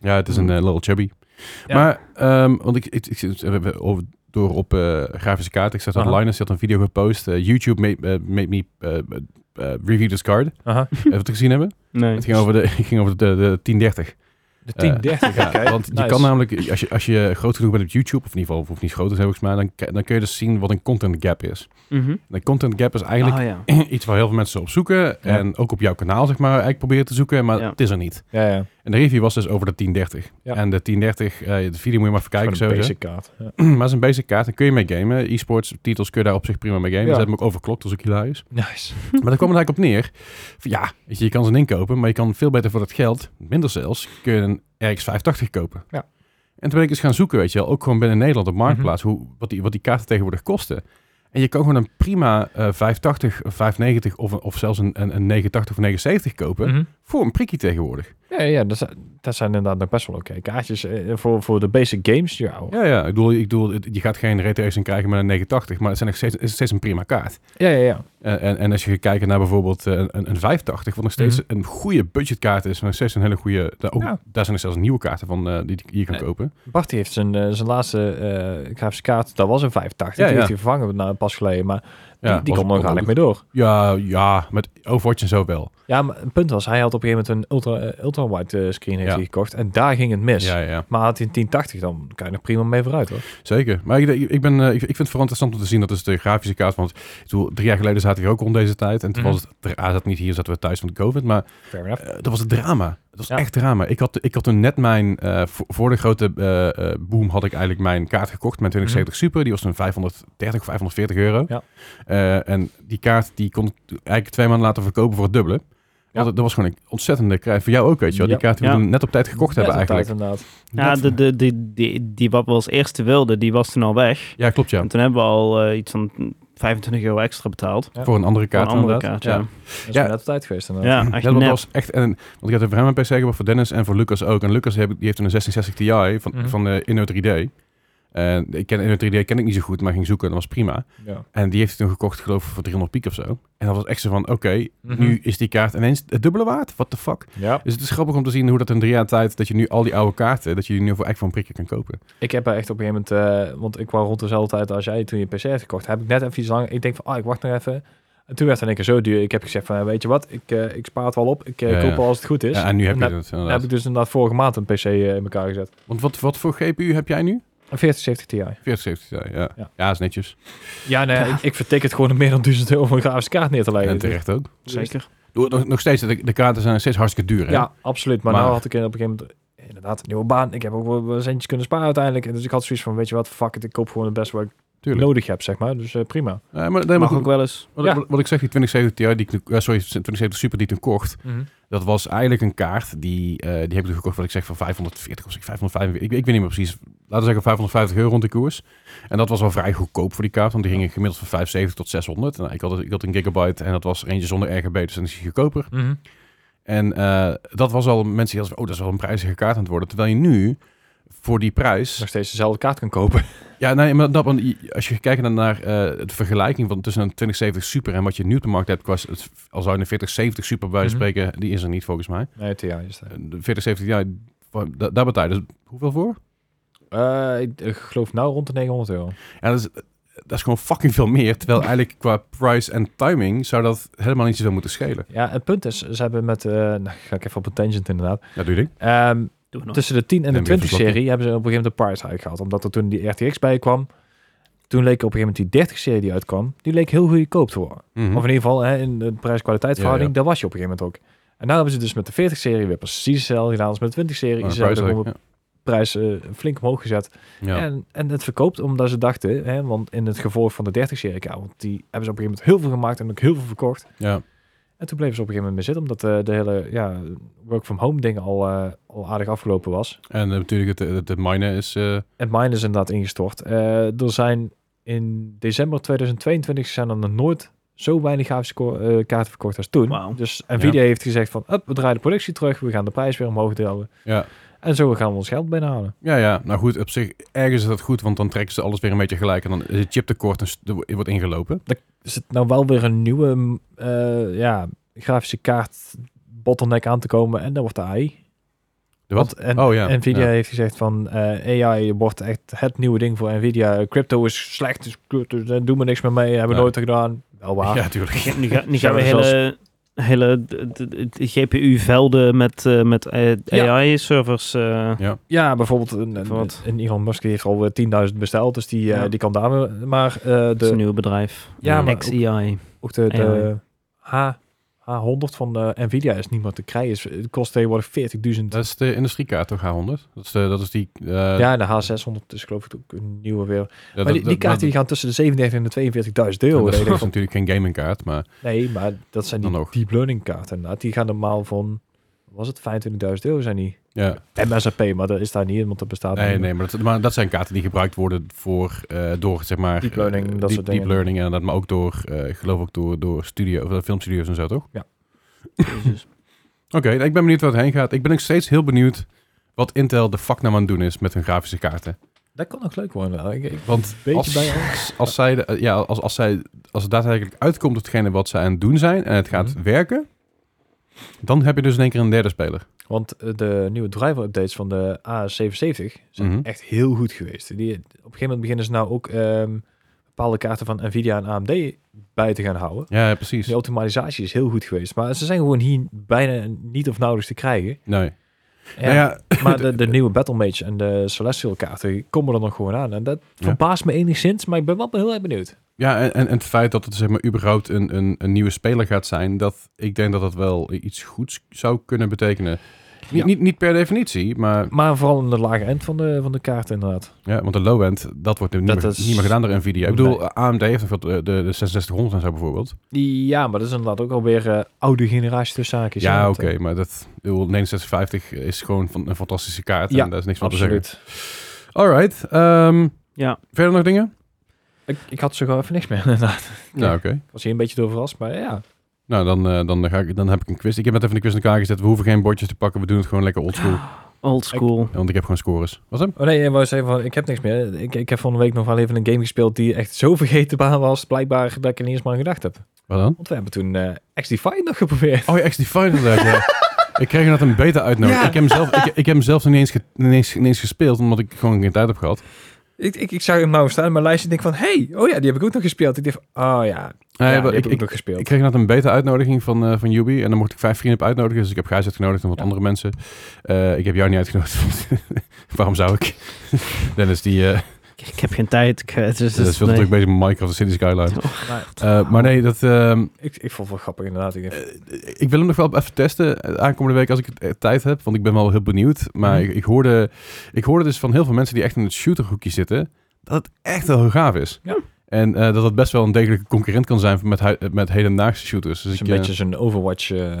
Speaker 3: Ja, het is een eh, little chubby.
Speaker 4: Hmm. Ja.
Speaker 3: Maar, ehm, want ik, ik, ik zit eh, over- door op eh, grafische kaart. Ik zat dat
Speaker 4: Aha.
Speaker 3: Linus, die had een video gepost. eh, YouTube made, eh, made me eh, eh, review this card.
Speaker 4: (laughs) Aha.
Speaker 3: Even het gezien hebben.
Speaker 1: Nee.
Speaker 3: Het ging over de, (laughs) het ging over de, de 1030.
Speaker 4: De (laughs) 1030.
Speaker 3: Ja,
Speaker 4: oké.
Speaker 3: want je
Speaker 4: Eh. Nice.
Speaker 3: kan nou namelijk, als je, als je groot genoeg bent op YouTube, of in ieder geval hoeft niet groot te zijn volgens mij, dan, k- dan kun je dus zien wat een content gap is.
Speaker 1: Mhm.
Speaker 3: En een content gap is eigenlijk
Speaker 1: Ah,
Speaker 3: (clears throat)
Speaker 1: ja.
Speaker 3: iets waar heel veel mensen op zoeken en ook op jouw kanaal zeg maar eigenlijk proberen te zoeken, maar
Speaker 1: Ja.
Speaker 3: het is er niet.
Speaker 4: Ja, ja.
Speaker 3: En de review was dus over de 1030.
Speaker 4: Ja.
Speaker 3: En de 1030, eh, de video moet je maar even kijken.
Speaker 4: Gewoon
Speaker 3: Zo,
Speaker 4: een
Speaker 3: hè.
Speaker 4: basic kaart.
Speaker 3: (clears throat)
Speaker 4: Ja.
Speaker 3: maar het is een basic kaart, daar kun je mee gamen. E-sports titels kun je daar op zich prima mee gamen.
Speaker 4: Ja.
Speaker 3: Ze hebben hem ook overklokt, dat is ook hilarisch.
Speaker 4: Nice.
Speaker 3: maar daar kwam het eigenlijk op neer. Van, ja, weet je, je kan ze inkopen, maar je kan veel beter voor dat geld, minder zelfs, kun je een RX 580 kopen.
Speaker 4: Ja.
Speaker 3: En toen ben ik eens gaan zoeken, weet je wel, ook gewoon binnen Nederland op Marktplaats,
Speaker 4: Mhm.
Speaker 3: hoe, wat, die, wat die kaarten tegenwoordig kosten. En je kan gewoon een prima eh 580 of 590 of, een- of zelfs een, een, een 980 of 79 kopen
Speaker 4: Mhm.
Speaker 3: voor een prikkie tegenwoordig.
Speaker 4: Ja, ja dat, zijn, dat zijn inderdaad nog best wel oké kaartjes. eh, Voor, voor de basic games, ja. oh. hoor.
Speaker 3: Ja, ja, ik bedoel, ik bedoel het- je gaat geen retracing krijgen met een 980, maar het zijn nog steeds, het is steeds een prima kaart.
Speaker 4: Ja, ja, ja.
Speaker 3: Eh, En, en, en als je gaat kijken naar bijvoorbeeld eh, een, een 580, wat nog steeds een goede budgetkaart is, maar nog steeds een hele goede. Daar, ook,
Speaker 4: Mhm. Ja.
Speaker 3: daar zijn er zelfs nieuwe kaarten van eh, die die je kan
Speaker 4: Ja.
Speaker 3: kopen.
Speaker 4: Bart die heeft zijn, eh, zijn laatste eh grafische kaart, dat was een 85.
Speaker 3: Ja, ja.
Speaker 4: die heeft hij vervangen na pas geleden, maar
Speaker 3: Ja,
Speaker 4: die, die
Speaker 3: was-
Speaker 4: kon er
Speaker 3: was-
Speaker 4: eigenlijk mee door.
Speaker 3: Ja, ja, met Overwatch en zo wel.
Speaker 4: Ja, maar het punt was, hij had op een gegeven moment een ultra, eh, ultra-wide eh, screen heeft
Speaker 3: Ja.
Speaker 4: hij gekocht en daar ging het mis.
Speaker 3: Ja, ja,
Speaker 4: Maar had hij een 1080, dan kan je er prima mee vooruit hoor.
Speaker 3: zeker. Maar ik, denk- ik, ben, eh, ik, ik vind het vooral interessant om te zien dat is de grafische kaart. Want ik bedoel, drie jaar geleden zaten we hier ook rond deze tijd. En toen
Speaker 4: Mhm.
Speaker 3: was het, ah, zat niet hier, zaten we thuis van COVID. Maar
Speaker 4: Fair enough.
Speaker 3: Eh, dat was het drama. Het was
Speaker 4: Ja.
Speaker 3: echt drama. Ik had, ik had toen net mijn... eh, vo- voor de grote eh, eh, boom had ik eigenlijk mijn kaart gekocht. Mijn 2070 Super. Die was toen 530 of 540 euro.
Speaker 4: Ja.
Speaker 3: Eh, en die kaart die kon ik eigenlijk twee maanden laten verkopen voor het dubbele. Want dat- dat was gewoon een ontzettende krijg. Voor jou ook, weet je wel. Die
Speaker 4: Ja.
Speaker 3: kaart die we
Speaker 1: Ja.
Speaker 3: toen net op tijd gekocht hebben
Speaker 4: Ja,
Speaker 3: eigenlijk.
Speaker 4: inderdaad.
Speaker 1: Ja, de, de, die, die, die wat we als eerste wilden, die was toen al weg.
Speaker 3: ja, klopt ja.
Speaker 1: En toen hebben we al eh, iets van 25 euro extra betaald.
Speaker 4: Ja.
Speaker 3: Voor een andere kaart.
Speaker 1: Voor een andere
Speaker 3: inderdaad.
Speaker 1: kaart, ja.
Speaker 4: Dat is
Speaker 3: Ja.
Speaker 4: ja. net op tijd geweest.
Speaker 1: Ja,
Speaker 4: inderdaad.
Speaker 1: echt
Speaker 3: Ja, dat
Speaker 1: nep.
Speaker 3: was echt een, want ik had het voor hem een PC gekocht, voor Dennis en voor Lucas ook. En Lucas heb, die heeft een 1660 Ti van,
Speaker 4: Mhm.
Speaker 3: van de Inno 3D. En ik ken Inno 3D ken ik niet zo goed, maar ging zoeken en dat was prima.
Speaker 4: Ja.
Speaker 3: En die heeft hij toen gekocht, geloof ik, voor 300 piek of zo. En dat was echt zo van, oké,
Speaker 4: Mhm.
Speaker 3: nu is die kaart ineens het dubbele waard. What the fuck?
Speaker 4: Ja.
Speaker 3: Dus het is grappig om te zien hoe dat in drie jaar tijd, dat je nu al die oude kaarten, dat je die nu voor echt voor een prikje kan kopen.
Speaker 4: Ik heb er echt op een gegeven moment, eh, want ik kwam rond dezelfde tijd als jij toen je een PC hebt gekocht, heb ik net even iets langer. Ik denk van, ah, ik wacht nog even. En toen werd het in één keer zo duur. Ik heb gezegd van, eh, weet je wat, ik, eh, ik spaar het wel op. Ik eh,
Speaker 3: Ja, ja.
Speaker 4: koop al als het goed is.
Speaker 3: Ja, en nu heb je
Speaker 4: dan
Speaker 3: het
Speaker 4: Dan heb
Speaker 3: inderdaad.
Speaker 4: ik dus inderdaad vorige maand een PC in elkaar gezet.
Speaker 3: Want wat, wat voor GPU heb jij nu?
Speaker 4: Een 4070 Ti.
Speaker 3: 4070 Ti, ja. Ja,
Speaker 4: Ja.
Speaker 3: is netjes.
Speaker 4: Ja, nee, Ik, ik vertik het gewoon om meer dan 1000 euro voor een grafische kaart neer te leggen.
Speaker 3: En terecht ook.
Speaker 1: Zeker.
Speaker 3: Nog, nog steeds, de, de kaarten zijn nog steeds hartstikke duur, hè?
Speaker 4: Ja, absoluut. Maar,
Speaker 3: Maar-
Speaker 4: nou had ik op een gegeven moment inderdaad een nieuwe baan. Ik heb ook wel wel centjes kunnen sparen uiteindelijk. En dus ik had zoiets van, weet je wat, fuck it, ik koop gewoon het beste wat ik
Speaker 3: Tuurlijk.
Speaker 4: nodig heb, zeg maar. Dus eh, prima.
Speaker 3: Eh, maar, nee, maar
Speaker 1: Mag
Speaker 3: goed,
Speaker 1: ook wel eens.
Speaker 3: Wat,
Speaker 4: Ja.
Speaker 3: wat, wat ik zeg, die 2070 Ti, die ik nu- eh, sorry, 2070 Super die ik toen kocht, dat was eigenlijk een kaart die, eh, die heb ik toen gekocht, wat ik zeg, van 540 of zeg ik 545, ik, ik weet niet meer precies. Laten we zeggen 550 euro rond de koers. En dat was wel vrij goedkoop voor die kaart, want die gingen gemiddeld van 75 tot 600. Nou, ik, had, ik had een gigabyte en dat was er eentje zonder RGB, dus dan is die goedkoper.
Speaker 4: Mhm.
Speaker 3: En eh, dat was al, mensen die hadden van, oh, dat is wel een prijzige kaart aan het worden. Terwijl je nu voor die prijs
Speaker 4: Nog steeds dezelfde kaart kan kopen. (laughs)
Speaker 3: ja, nee, maar dat, want je- als je kijkt naar- naar eh, de vergelijking van tussen een 2070 Super en wat je nu op de markt hebt, qua, het- al zou je een 4070 Super bij wijze van
Speaker 4: Mhm.
Speaker 3: spreken, die is er niet volgens mij. Eh,
Speaker 4: Nee, Ti is dat.
Speaker 3: De 4070, ja, wa- da- daar betaal je dus hoeveel voor?
Speaker 4: Eh, ik, ik geloof nou rond de 900 euro.
Speaker 3: Ja, dat is, eh, dat is gewoon fucking veel meer, terwijl eigenlijk qua price en timing zou dat helemaal niet zoveel moeten schelen.
Speaker 4: Ja, het punt is, ze hebben met, eh, nou ga ik even op een tangent inderdaad.
Speaker 3: Ja, doe je ding.
Speaker 4: Ehm,
Speaker 1: Doe het nog.
Speaker 4: tussen de 10 en de
Speaker 3: En weer
Speaker 4: 20 serie hebben ze op een gegeven moment de price hike gehad. Omdat er toen die RTX bij kwam, toen leek op een gegeven moment die 30 serie die uitkwam, die leek heel goedkoop te worden.
Speaker 3: Mhm.
Speaker 4: Of in ieder geval hè, in de prijs-kwaliteit verhouding,
Speaker 3: Ja,
Speaker 4: daar was je op een gegeven moment ook. En nou hebben ze dus met de 40-serie weer precies hetzelfde gedaan als met de 20-serie.
Speaker 3: Maar
Speaker 4: ze hebben
Speaker 3: price
Speaker 4: de
Speaker 3: hike,
Speaker 4: prijs eh, flink omhoog gezet.
Speaker 3: ja. Ja.
Speaker 4: En, en het verkoopt omdat ze dachten, hè, want in het gevolg van de 30-serie, ja, want die hebben ze op een gegeven moment heel veel gemaakt en ook heel veel verkocht.
Speaker 3: Ja.
Speaker 4: En toen bleven ze op een gegeven moment mee zitten, omdat eh, de hele ja, work-from-home ding al, eh, al aardig afgelopen was.
Speaker 3: En eh, natuurlijk, het, het, het minen is... eh,
Speaker 4: En mine is inderdaad ingestort. Eh, er zijn in december 2022 zijn er nog nooit zo weinig grafische ko- eh, kaarten verkocht als toen.
Speaker 1: Wauw.
Speaker 4: Dus Nvidia heeft gezegd van, "Hup, we draaien de productie terug, we gaan de prijs weer omhoog duwen.
Speaker 3: ja.
Speaker 4: En zo gaan we ons geld binnenhalen.
Speaker 3: Ja, ja, nou goed, op zich, ergens is dat goed, want dan trekken ze alles weer een beetje gelijk en dan is het chiptekort en st- er wordt ingelopen.
Speaker 4: Is het nou wel weer een nieuwe m, eh, ja, grafische kaart bottleneck aan te komen en dan wordt de AI.
Speaker 3: De wat?
Speaker 4: Want en,
Speaker 3: oh ja.
Speaker 4: Nvidia
Speaker 3: Ja.
Speaker 4: heeft gezegd van eh, AI wordt echt het nieuwe ding voor Nvidia. Crypto is slecht, dus crypto, doen we niks meer mee, hebben we
Speaker 3: Ja.
Speaker 4: nooit gedaan. Wel waar.
Speaker 3: Ja, tuurlijk.
Speaker 1: Ja, nu ga- nu
Speaker 4: Ze
Speaker 1: gaan we
Speaker 4: hebben
Speaker 1: hele, hele d- d- d- GPU-velden met, eh, met
Speaker 4: Ja.
Speaker 1: AI-servers.
Speaker 4: Ja, bijvoorbeeld een, een,
Speaker 1: Wat?
Speaker 4: een Elon Musk die heeft al eh, 10.000 besteld, dus die, eh,
Speaker 1: Ja.
Speaker 4: die kan daar weer- Maar eh,
Speaker 1: dat is een
Speaker 4: de,
Speaker 1: nieuw bedrijf.
Speaker 4: ja, maar ook,
Speaker 1: XEI.
Speaker 4: ook de, de
Speaker 1: AI.
Speaker 4: H, H100 van eh, Nvidia is niet meer te krijgen. Is, het kost tegenwoordig 40.000.
Speaker 3: Dat is de industriekaart toch, H100? Dat is, de, dat is die... eh,
Speaker 4: ja, en de H600 is geloof ik ook een nieuwe weer.
Speaker 3: dat-
Speaker 4: maar die, die
Speaker 3: dat-
Speaker 4: kaarten die
Speaker 3: dat-
Speaker 4: gaan tussen de 37.000 en de 42.000 euro.
Speaker 3: dat,
Speaker 4: Dat
Speaker 3: dat,
Speaker 4: je denkt
Speaker 3: is
Speaker 4: van,
Speaker 3: natuurlijk geen gamingkaart, maar
Speaker 4: nee, maar dat zijn
Speaker 3: (laughs)
Speaker 4: die
Speaker 3: Dan nog.
Speaker 4: deep learning kaarten inderdaad. Die gaan normaal van, was het 25.000 euro zijn die?
Speaker 3: ja.
Speaker 4: MSRP, maar dat is daar niet in, want dat bestaat
Speaker 3: Nee,
Speaker 4: niet.
Speaker 3: nee, maar dat, maar dat zijn kaarten die gebruikt worden voor, eh, door, zeg maar...
Speaker 4: Deep learning,
Speaker 3: eh,
Speaker 4: dat
Speaker 3: deep,
Speaker 4: soort dingen.
Speaker 3: Deep learning, inderdaad, maar ook door, eh, ik geloof ook door, door studio, of, eh, filmstudio's en zo, toch? Oké, nou, ik ben benieuwd waar het heen gaat. Ik ben nog steeds heel benieuwd wat Intel de fuck nou aan het doen is met hun grafische kaarten.
Speaker 4: Dat kan ook leuk worden. Nou, Ik, ik,
Speaker 3: Want
Speaker 4: beetje
Speaker 3: als,
Speaker 4: bij
Speaker 3: als zij, de- eh, ja, als, als zij, als het daadwerkelijk uitkomt op hetgene wat zij aan het doen zijn en het gaat
Speaker 4: Mhm.
Speaker 3: werken, dan heb je dus in één keer een derde speler.
Speaker 4: Want eh, de nieuwe driver updates van de A77 zijn
Speaker 3: Mhm.
Speaker 4: echt heel goed geweest. Die, op een gegeven moment beginnen ze nou ook ehm, bepaalde kaarten van Nvidia en AMD bij te gaan houden. Dus
Speaker 3: Ja, ja, precies.
Speaker 4: Die optimalisatie is heel goed geweest. Maar ze zijn gewoon hier bijna niet of nauwelijks te krijgen.
Speaker 3: Nee.
Speaker 4: Ja,
Speaker 3: Nou ja, (clears throat)
Speaker 4: (laughs) maar de, de nieuwe Battle Mage en de Celestial kaarten komen er nog gewoon aan. En dat verbaast me enigszins, maar ik ben wel heel erg benieuwd.
Speaker 3: ja en, en en het feit dat het zeg maar überhaupt een, een, een nieuwe speler gaat zijn, dat ik denk dat dat wel iets goeds zou kunnen betekenen. Niet,
Speaker 4: Ja.
Speaker 3: niet, niet per definitie, maar
Speaker 4: Maar vooral in de lage end van de, van de kaart inderdaad.
Speaker 3: ja, want de low-end, dat wordt nu niet,
Speaker 4: Dat
Speaker 3: meer,
Speaker 4: is-
Speaker 3: niet meer gedaan door Nvidia. Ik bedoel,
Speaker 4: Nee.
Speaker 3: AMD heeft nog wat, eh, de, de 6600 en zo bijvoorbeeld.
Speaker 4: Ja, maar dat is inderdaad ook alweer eh oude generatie tussen zaakjes.
Speaker 3: Ja, oké, maar dat, ik bedoel, 6950 is gewoon van, een fantastische kaart
Speaker 4: Ja,
Speaker 3: en daar is niks van te zeggen.
Speaker 4: Absoluut.
Speaker 3: Alright. ehm,
Speaker 1: Ja.
Speaker 3: Verder nog dingen?
Speaker 4: Ik, ik had zo gewoon even niks meer. (laughs) inderdaad.
Speaker 3: Nou, oké.
Speaker 4: Ik was hier een beetje door verrast, maar ja.
Speaker 3: Nou, dan, eh, dan, ga ik, dan heb ik een quiz. Ik heb net even een quiz in elkaar gezet. We hoeven geen bordjes te pakken. We doen het gewoon lekker oldschool.
Speaker 4: Ah.
Speaker 1: Old school.
Speaker 3: Want ik heb gewoon scores. Was hem?
Speaker 4: Oh nee, ik wou zeggen van, ik heb niks meer. Ik, ik heb van de week nog wel even een game gespeeld die echt zo vergetenbaar was, blijkbaar, dat ik er niet eens maar aan gedacht heb.
Speaker 3: Wat dan?
Speaker 4: Want we hebben toen eh XD5 nog geprobeerd. (laughs)
Speaker 3: Oh ja, XDefiant inderdaad, ja. Ik kreeg net een beta uitnodiging.
Speaker 1: Ja.
Speaker 3: Ik heb hem zelf, ik, ik heb hem zelf nog niet eens, ge- niet eens- niet eens gespeeld, omdat ik gewoon geen tijd heb gehad. Eh,
Speaker 4: Ik, ik, ik zou hem nou staan in mijn lijstje en denk van, hey, oh ja, die heb ik ook nog gespeeld. Ik dacht van, oh ja,
Speaker 3: Nee,
Speaker 4: ja,
Speaker 3: maar
Speaker 4: die
Speaker 3: ik,
Speaker 4: heb ik ook
Speaker 3: ik,
Speaker 4: nog gespeeld.
Speaker 3: ik kreeg net een beta uitnodiging van, eh van Yubi en dan mocht ik vijf vrienden op uitnodigen. Dus ik heb Gijs uitgenodigd en wat
Speaker 4: Ja.
Speaker 3: andere mensen. Eh, ik heb jou niet uitgenodigd. (laughs) want Waarom zou
Speaker 4: (laughs)
Speaker 3: ik? Dennis, die eh
Speaker 4: Dus
Speaker 1: Ik, ik heb geen tijd. Ik, eh, het is,
Speaker 3: dat is veel te
Speaker 1: nee.
Speaker 3: druk bezig met Minecraft en City Skyline.
Speaker 4: maar
Speaker 3: (laughs) Eh, maar nee, dat, ehm,
Speaker 4: ik, ik vond het wel grappig inderdaad. Ik dacht,
Speaker 3: Eh, ik wil hem nog wel even testen eh, aankomende week als ik eh, tijd heb, want ik ben wel heel benieuwd. Maar
Speaker 4: Mhm.
Speaker 3: ik, ik, hoorde, ik hoorde dus van heel veel mensen die echt in het shooterhoekje zitten, dat het echt wel heel gaaf is.
Speaker 4: Ja.
Speaker 3: En eh, dat het best wel een degelijke concurrent kan zijn met, hui- met hedendaagse shooters. Dus
Speaker 4: het is
Speaker 3: ik,
Speaker 4: een
Speaker 3: eh,
Speaker 4: beetje zo'n Overwatch. eh,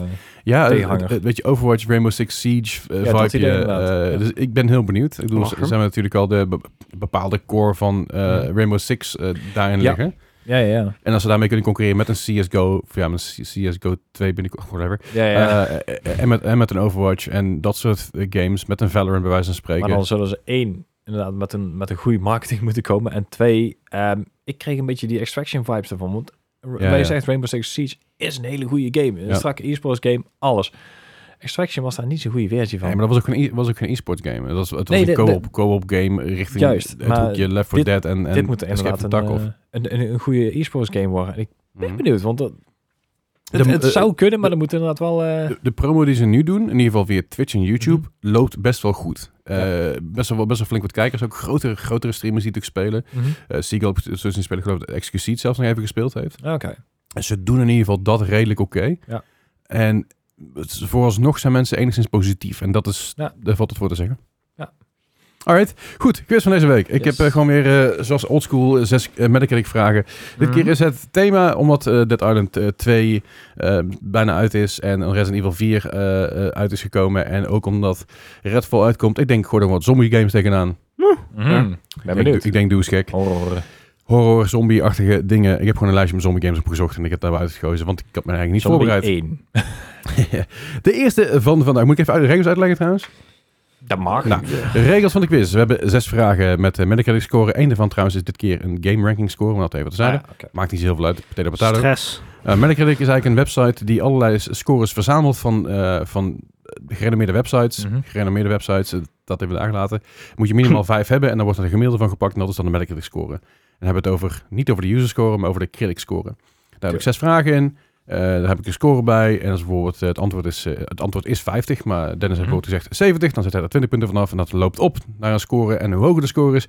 Speaker 3: ja, eh,
Speaker 4: tegenhanger.
Speaker 3: eh, weet je, Overwatch, Rainbow Six Siege eh,
Speaker 4: Ja, dat
Speaker 3: vibe.
Speaker 4: idee
Speaker 3: eh,
Speaker 4: inderdaad.
Speaker 3: eh,
Speaker 4: Ja.
Speaker 3: Dus ik ben heel benieuwd. Ik bedoel,
Speaker 1: Mag
Speaker 3: ze
Speaker 1: hem.
Speaker 3: zijn we natuurlijk al de be- bepaalde core van eh,
Speaker 4: Mhm.
Speaker 3: Rainbow Six eh, daarin
Speaker 4: Ja.
Speaker 3: liggen.
Speaker 4: ja, ja, ja.
Speaker 3: En als ze daarmee kunnen concurreren met een CSGO, of ja, met een CSGO 2 binnenkort, whatever.
Speaker 4: ja, ja.
Speaker 3: Eh, eh, en, met, en met een Overwatch en dat soort eh, games. Met een Valorant bij wijze van
Speaker 4: maar
Speaker 3: spreken.
Speaker 4: dan zullen ze één, inderdaad, met een, met een goede marketing (laughs) moeten komen. En twee, ehm, ik kreeg een beetje die Extraction vibes ervan. Want
Speaker 3: Ja,
Speaker 4: wij
Speaker 3: ja.
Speaker 4: zegt Rainbow Six Siege is een hele goede game. Een
Speaker 3: Ja.
Speaker 4: strakke e-sports game, alles. Extraction was daar niet zo'n goede versie van.
Speaker 3: Nee, maar dat was ook geen, e- was ook geen e-sport game. Dat was, het was
Speaker 4: Nee,
Speaker 3: een
Speaker 4: de-
Speaker 3: co-op, co-op game richting
Speaker 4: Juist,
Speaker 3: het
Speaker 4: maar
Speaker 3: hoekje Left 4 Dead en, en
Speaker 4: Dit moet
Speaker 3: Escape
Speaker 4: inderdaad
Speaker 3: from
Speaker 4: een,
Speaker 3: Tarkov.
Speaker 4: eh, een, een, een goede e-sports game worden. En ik ben
Speaker 3: Mhm.
Speaker 4: benieuwd, want dat, het,
Speaker 3: De-
Speaker 4: het
Speaker 3: eh,
Speaker 4: zou kunnen, maar dan moet inderdaad wel... eh,
Speaker 3: de, de promo die ze nu doen, in ieder geval via Twitch
Speaker 4: Mhm.
Speaker 3: en YouTube, loopt best wel goed. Eh, best, wel, best wel flink wat kijkers. Ook grotere, grotere streamers die natuurlijk spelen.
Speaker 4: mhm.
Speaker 3: Eh Seagull heeft zoals in spelen, geloof ik, dat Exquisite zelfs nog even gespeeld heeft.
Speaker 4: Oké.
Speaker 3: En ze doen in ieder geval dat redelijk oké.
Speaker 4: Ja.
Speaker 3: En het is- vooralsnog zijn mensen enigszins positief. En dat is,
Speaker 4: Ja.
Speaker 3: daar valt het voor te zeggen.
Speaker 4: Ja.
Speaker 3: Alright, goed. Quiz van deze week. Ik
Speaker 4: Yes.
Speaker 3: heb eh, gewoon weer, eh, zoals oldschool, eh, zes uh, Metacritic vragen. Dit
Speaker 4: Mhm.
Speaker 3: keer is het thema, omdat eh, Dead Island eh, 2 eh, bijna uit is en Resident Evil 4 eh, eh, uit is gekomen. En ook omdat Redfall uitkomt. Ik denk, gooi er wat zombie games tegenaan.
Speaker 4: Mhm. Ben
Speaker 3: ik, denk,
Speaker 4: benieuwd.
Speaker 3: ik denk, doe eens gek
Speaker 4: Horror.
Speaker 3: horror, zombie-achtige dingen. Ik heb gewoon een lijstje met zombie games opgezocht en ik heb daarbij uitgekozen, want ik had me eigenlijk niet
Speaker 4: Zombie
Speaker 3: (laughs) voorbereid.
Speaker 4: 1.
Speaker 3: de eerste van vandaag. Moet ik even uit de regels uitleggen trouwens?
Speaker 4: Dat mag.
Speaker 3: Nou, regels van de quiz. We hebben zes vragen met eh Metacritic score. Eén daarvan trouwens is dit keer een game ranking score, om dat even te
Speaker 4: Ah,
Speaker 3: zeggen.
Speaker 4: oké.
Speaker 3: Maakt niet zo heel veel uit. Potato, potato.
Speaker 1: Stress.
Speaker 3: Eh, Metacritic is eigenlijk een website die allerlei s- scores verzamelt van, eh, van gerenommeerde websites.
Speaker 4: Mhm.
Speaker 3: Gerenommeerde websites, eh, dat hebben we aangelaten. Moet je
Speaker 4: (laughs)
Speaker 3: minimaal vijf hebben en dan wordt er een gemiddelde van gepakt. En dat is dan de Metacritic score. En dan hebben we het over, niet over de user score, maar over de critic score. Daar heb ik
Speaker 4: Oké.
Speaker 3: zes vragen in. Eh, daar heb ik een score bij. En als bijvoorbeeld eh, het antwoord is, eh, het antwoord is 50, maar Dennis heeft
Speaker 4: Mhm.
Speaker 3: bijvoorbeeld gezegd 70. Dan zet hij er 20 punten vanaf en dat loopt op naar een score. En hoe hoger de score is,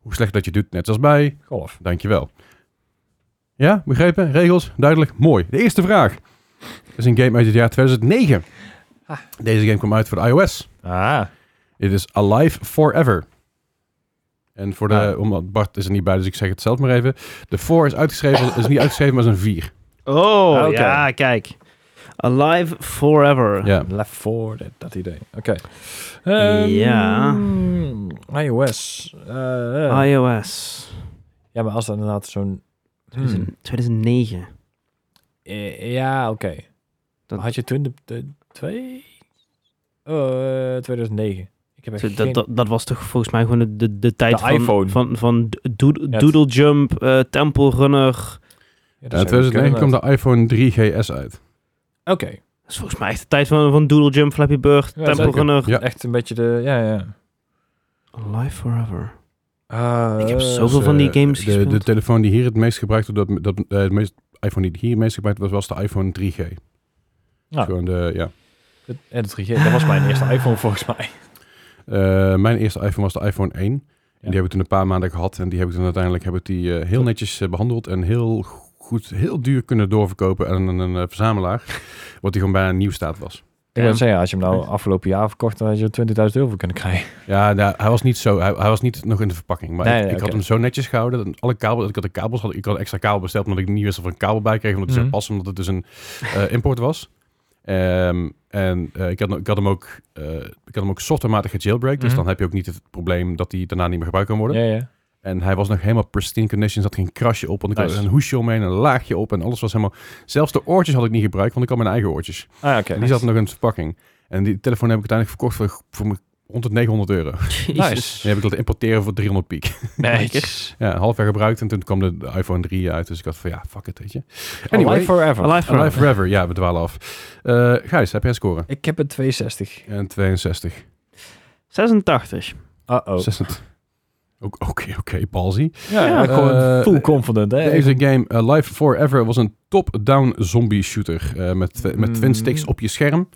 Speaker 3: hoe slechter dat je doet, net als bij
Speaker 4: Golf.
Speaker 3: Dankjewel. Ja, begrepen? Regels? Duidelijk? Mooi. De eerste vraag is een game uit het jaar 2009.
Speaker 4: Ah.
Speaker 3: Deze game kwam uit voor de iOS.
Speaker 4: Ah.
Speaker 3: It is Alive Forever. En voor de,
Speaker 4: Ah.
Speaker 3: omdat Bart is er niet bij, dus ik zeg het zelf maar even. De 4 is uitgeschreven, is niet uitgeschreven, maar is een 4.
Speaker 1: Oh,
Speaker 4: Ah, Oké.
Speaker 1: ja, kijk. Alive forever.
Speaker 3: Ja. Nou, dus
Speaker 4: Left 4 Dead, dat idee. Oké.
Speaker 1: Ja.
Speaker 4: Ehm, iOS. Eh, eh.
Speaker 1: iOS.
Speaker 4: ja, maar als dat inderdaad zo'n... Hmm.
Speaker 1: 2009.
Speaker 4: Eh, Ja, oké.
Speaker 1: Dat-
Speaker 4: Had je toen de, de twee? Eh, 2009. Ik heb echt
Speaker 1: Dat- Dat,
Speaker 4: geen-
Speaker 1: dat, dat was toch volgens mij gewoon de, de, de tijd
Speaker 4: De
Speaker 1: van,
Speaker 4: iPhone.
Speaker 1: van, van doodle,
Speaker 4: Net.
Speaker 1: doodle Jump, eh, Temple Runner.
Speaker 4: Ja,
Speaker 3: In
Speaker 4: dat zou
Speaker 3: 2009
Speaker 4: kunnen,
Speaker 3: kwam
Speaker 4: maar-
Speaker 3: de iPhone 3GS uit.
Speaker 4: Oké.
Speaker 1: Dat is volgens mij echt de tijd van, van Doodle Jump, Flappy Bird,
Speaker 4: Ja,
Speaker 1: Temple
Speaker 4: zeker.
Speaker 1: Runner.
Speaker 3: Ja.
Speaker 4: Echt een beetje de... Ja, ja.
Speaker 1: Alive Forever. (laughs)
Speaker 4: Ah,
Speaker 1: Ik heb
Speaker 4: eh,
Speaker 1: zoveel-
Speaker 3: Dus,
Speaker 1: van
Speaker 3: eh,
Speaker 1: die games
Speaker 3: de, de
Speaker 1: gespeeld.
Speaker 3: telefoon die hier het meest gebruikt wordt, dat, dat, eh, het meest, iPhone die hier het meest gebruikt was, was de iPhone 3G.
Speaker 4: Ja.
Speaker 3: Gewoon de, ja.
Speaker 4: Dat, ja, eh, dat, regeer- dat was mijn eerste iPhone volgens
Speaker 3: (laughs)
Speaker 4: mij.
Speaker 3: Eh, mijn eerste iPhone was de iPhone 1. En
Speaker 4: Ja.
Speaker 3: die heb ik toen een paar maanden gehad. En die heb ik toen uiteindelijk heb ik die, eh, heel netjes eh, behandeld. En heel goed, heel duur kunnen doorverkopen aan een, een, eh,
Speaker 4: (laughs)
Speaker 3: verzamelaar. Wat die gewoon bijna nieuw staat was.
Speaker 4: Ik
Speaker 1: Damn.
Speaker 4: wil zeggen, als je hem nou afgelopen jaar verkocht, dan had je er 20.000 euro voor kunnen krijgen.
Speaker 3: Ja, nou, hij was niet zo. Hij, hij was niet nog in de verpakking. Maar
Speaker 4: Nee,
Speaker 3: ik,
Speaker 4: nee,
Speaker 3: ik had
Speaker 4: oké.
Speaker 3: hem zo netjes gehouden. Dat alle kabels, ik had de kabels, had, ik had een extra kabel besteld. Omdat ik niet wist of er een kabel bij kreeg. Omdat het zou
Speaker 4: Mhm.
Speaker 3: passen, omdat het dus een eh, import was. Ehm, en eh, ik, had, ik had hem ook, eh, ik had hem ook softwarematig gejailbreak. Dus
Speaker 4: Mhm.
Speaker 3: dan heb je ook niet het probleem dat die daarna niet meer gebruikt kan worden.
Speaker 4: Ja, ja.
Speaker 3: En hij was nog helemaal pristine condition. Er zat geen krasje op. Want ik
Speaker 4: Nice.
Speaker 3: had een hoesje omheen, een laagje op. En alles was helemaal... Zelfs de oortjes had ik niet gebruikt, want ik had mijn eigen oortjes.
Speaker 4: Ah, oké.
Speaker 3: En die zat nog in de verpakking. En die telefoon heb ik uiteindelijk verkocht voor, voor mijn- rond het 900 euro. (laughs) En
Speaker 1: Jezus.
Speaker 3: die heb ik laten importeren voor 300 piek. (laughs)
Speaker 4: Netjes.
Speaker 3: Ja, een half jaar gebruikt en toen kwam de, de iPhone 3 uit. Dus ik dacht van ja, fuck it, weet je.
Speaker 4: Anyway.
Speaker 3: Anyway,
Speaker 4: forever.
Speaker 1: Alive
Speaker 3: Alive
Speaker 1: Forever.
Speaker 3: Forever. Ja, we dwalen af. Eh Gijs, heb jij een score?
Speaker 4: Ik heb een 62.
Speaker 3: En 62.
Speaker 1: 86.
Speaker 4: Uh-oh.
Speaker 3: 60. Ook- Oké, oké, palsy.
Speaker 4: Ja,
Speaker 1: Ja.
Speaker 4: ik ben gewoon
Speaker 3: Eh,
Speaker 4: full confident, hè.
Speaker 3: Deze game, eh, Live Forever, was een top-down zombie shooter. eh, met, tw- met
Speaker 4: Mm.
Speaker 3: twin sticks op je scherm.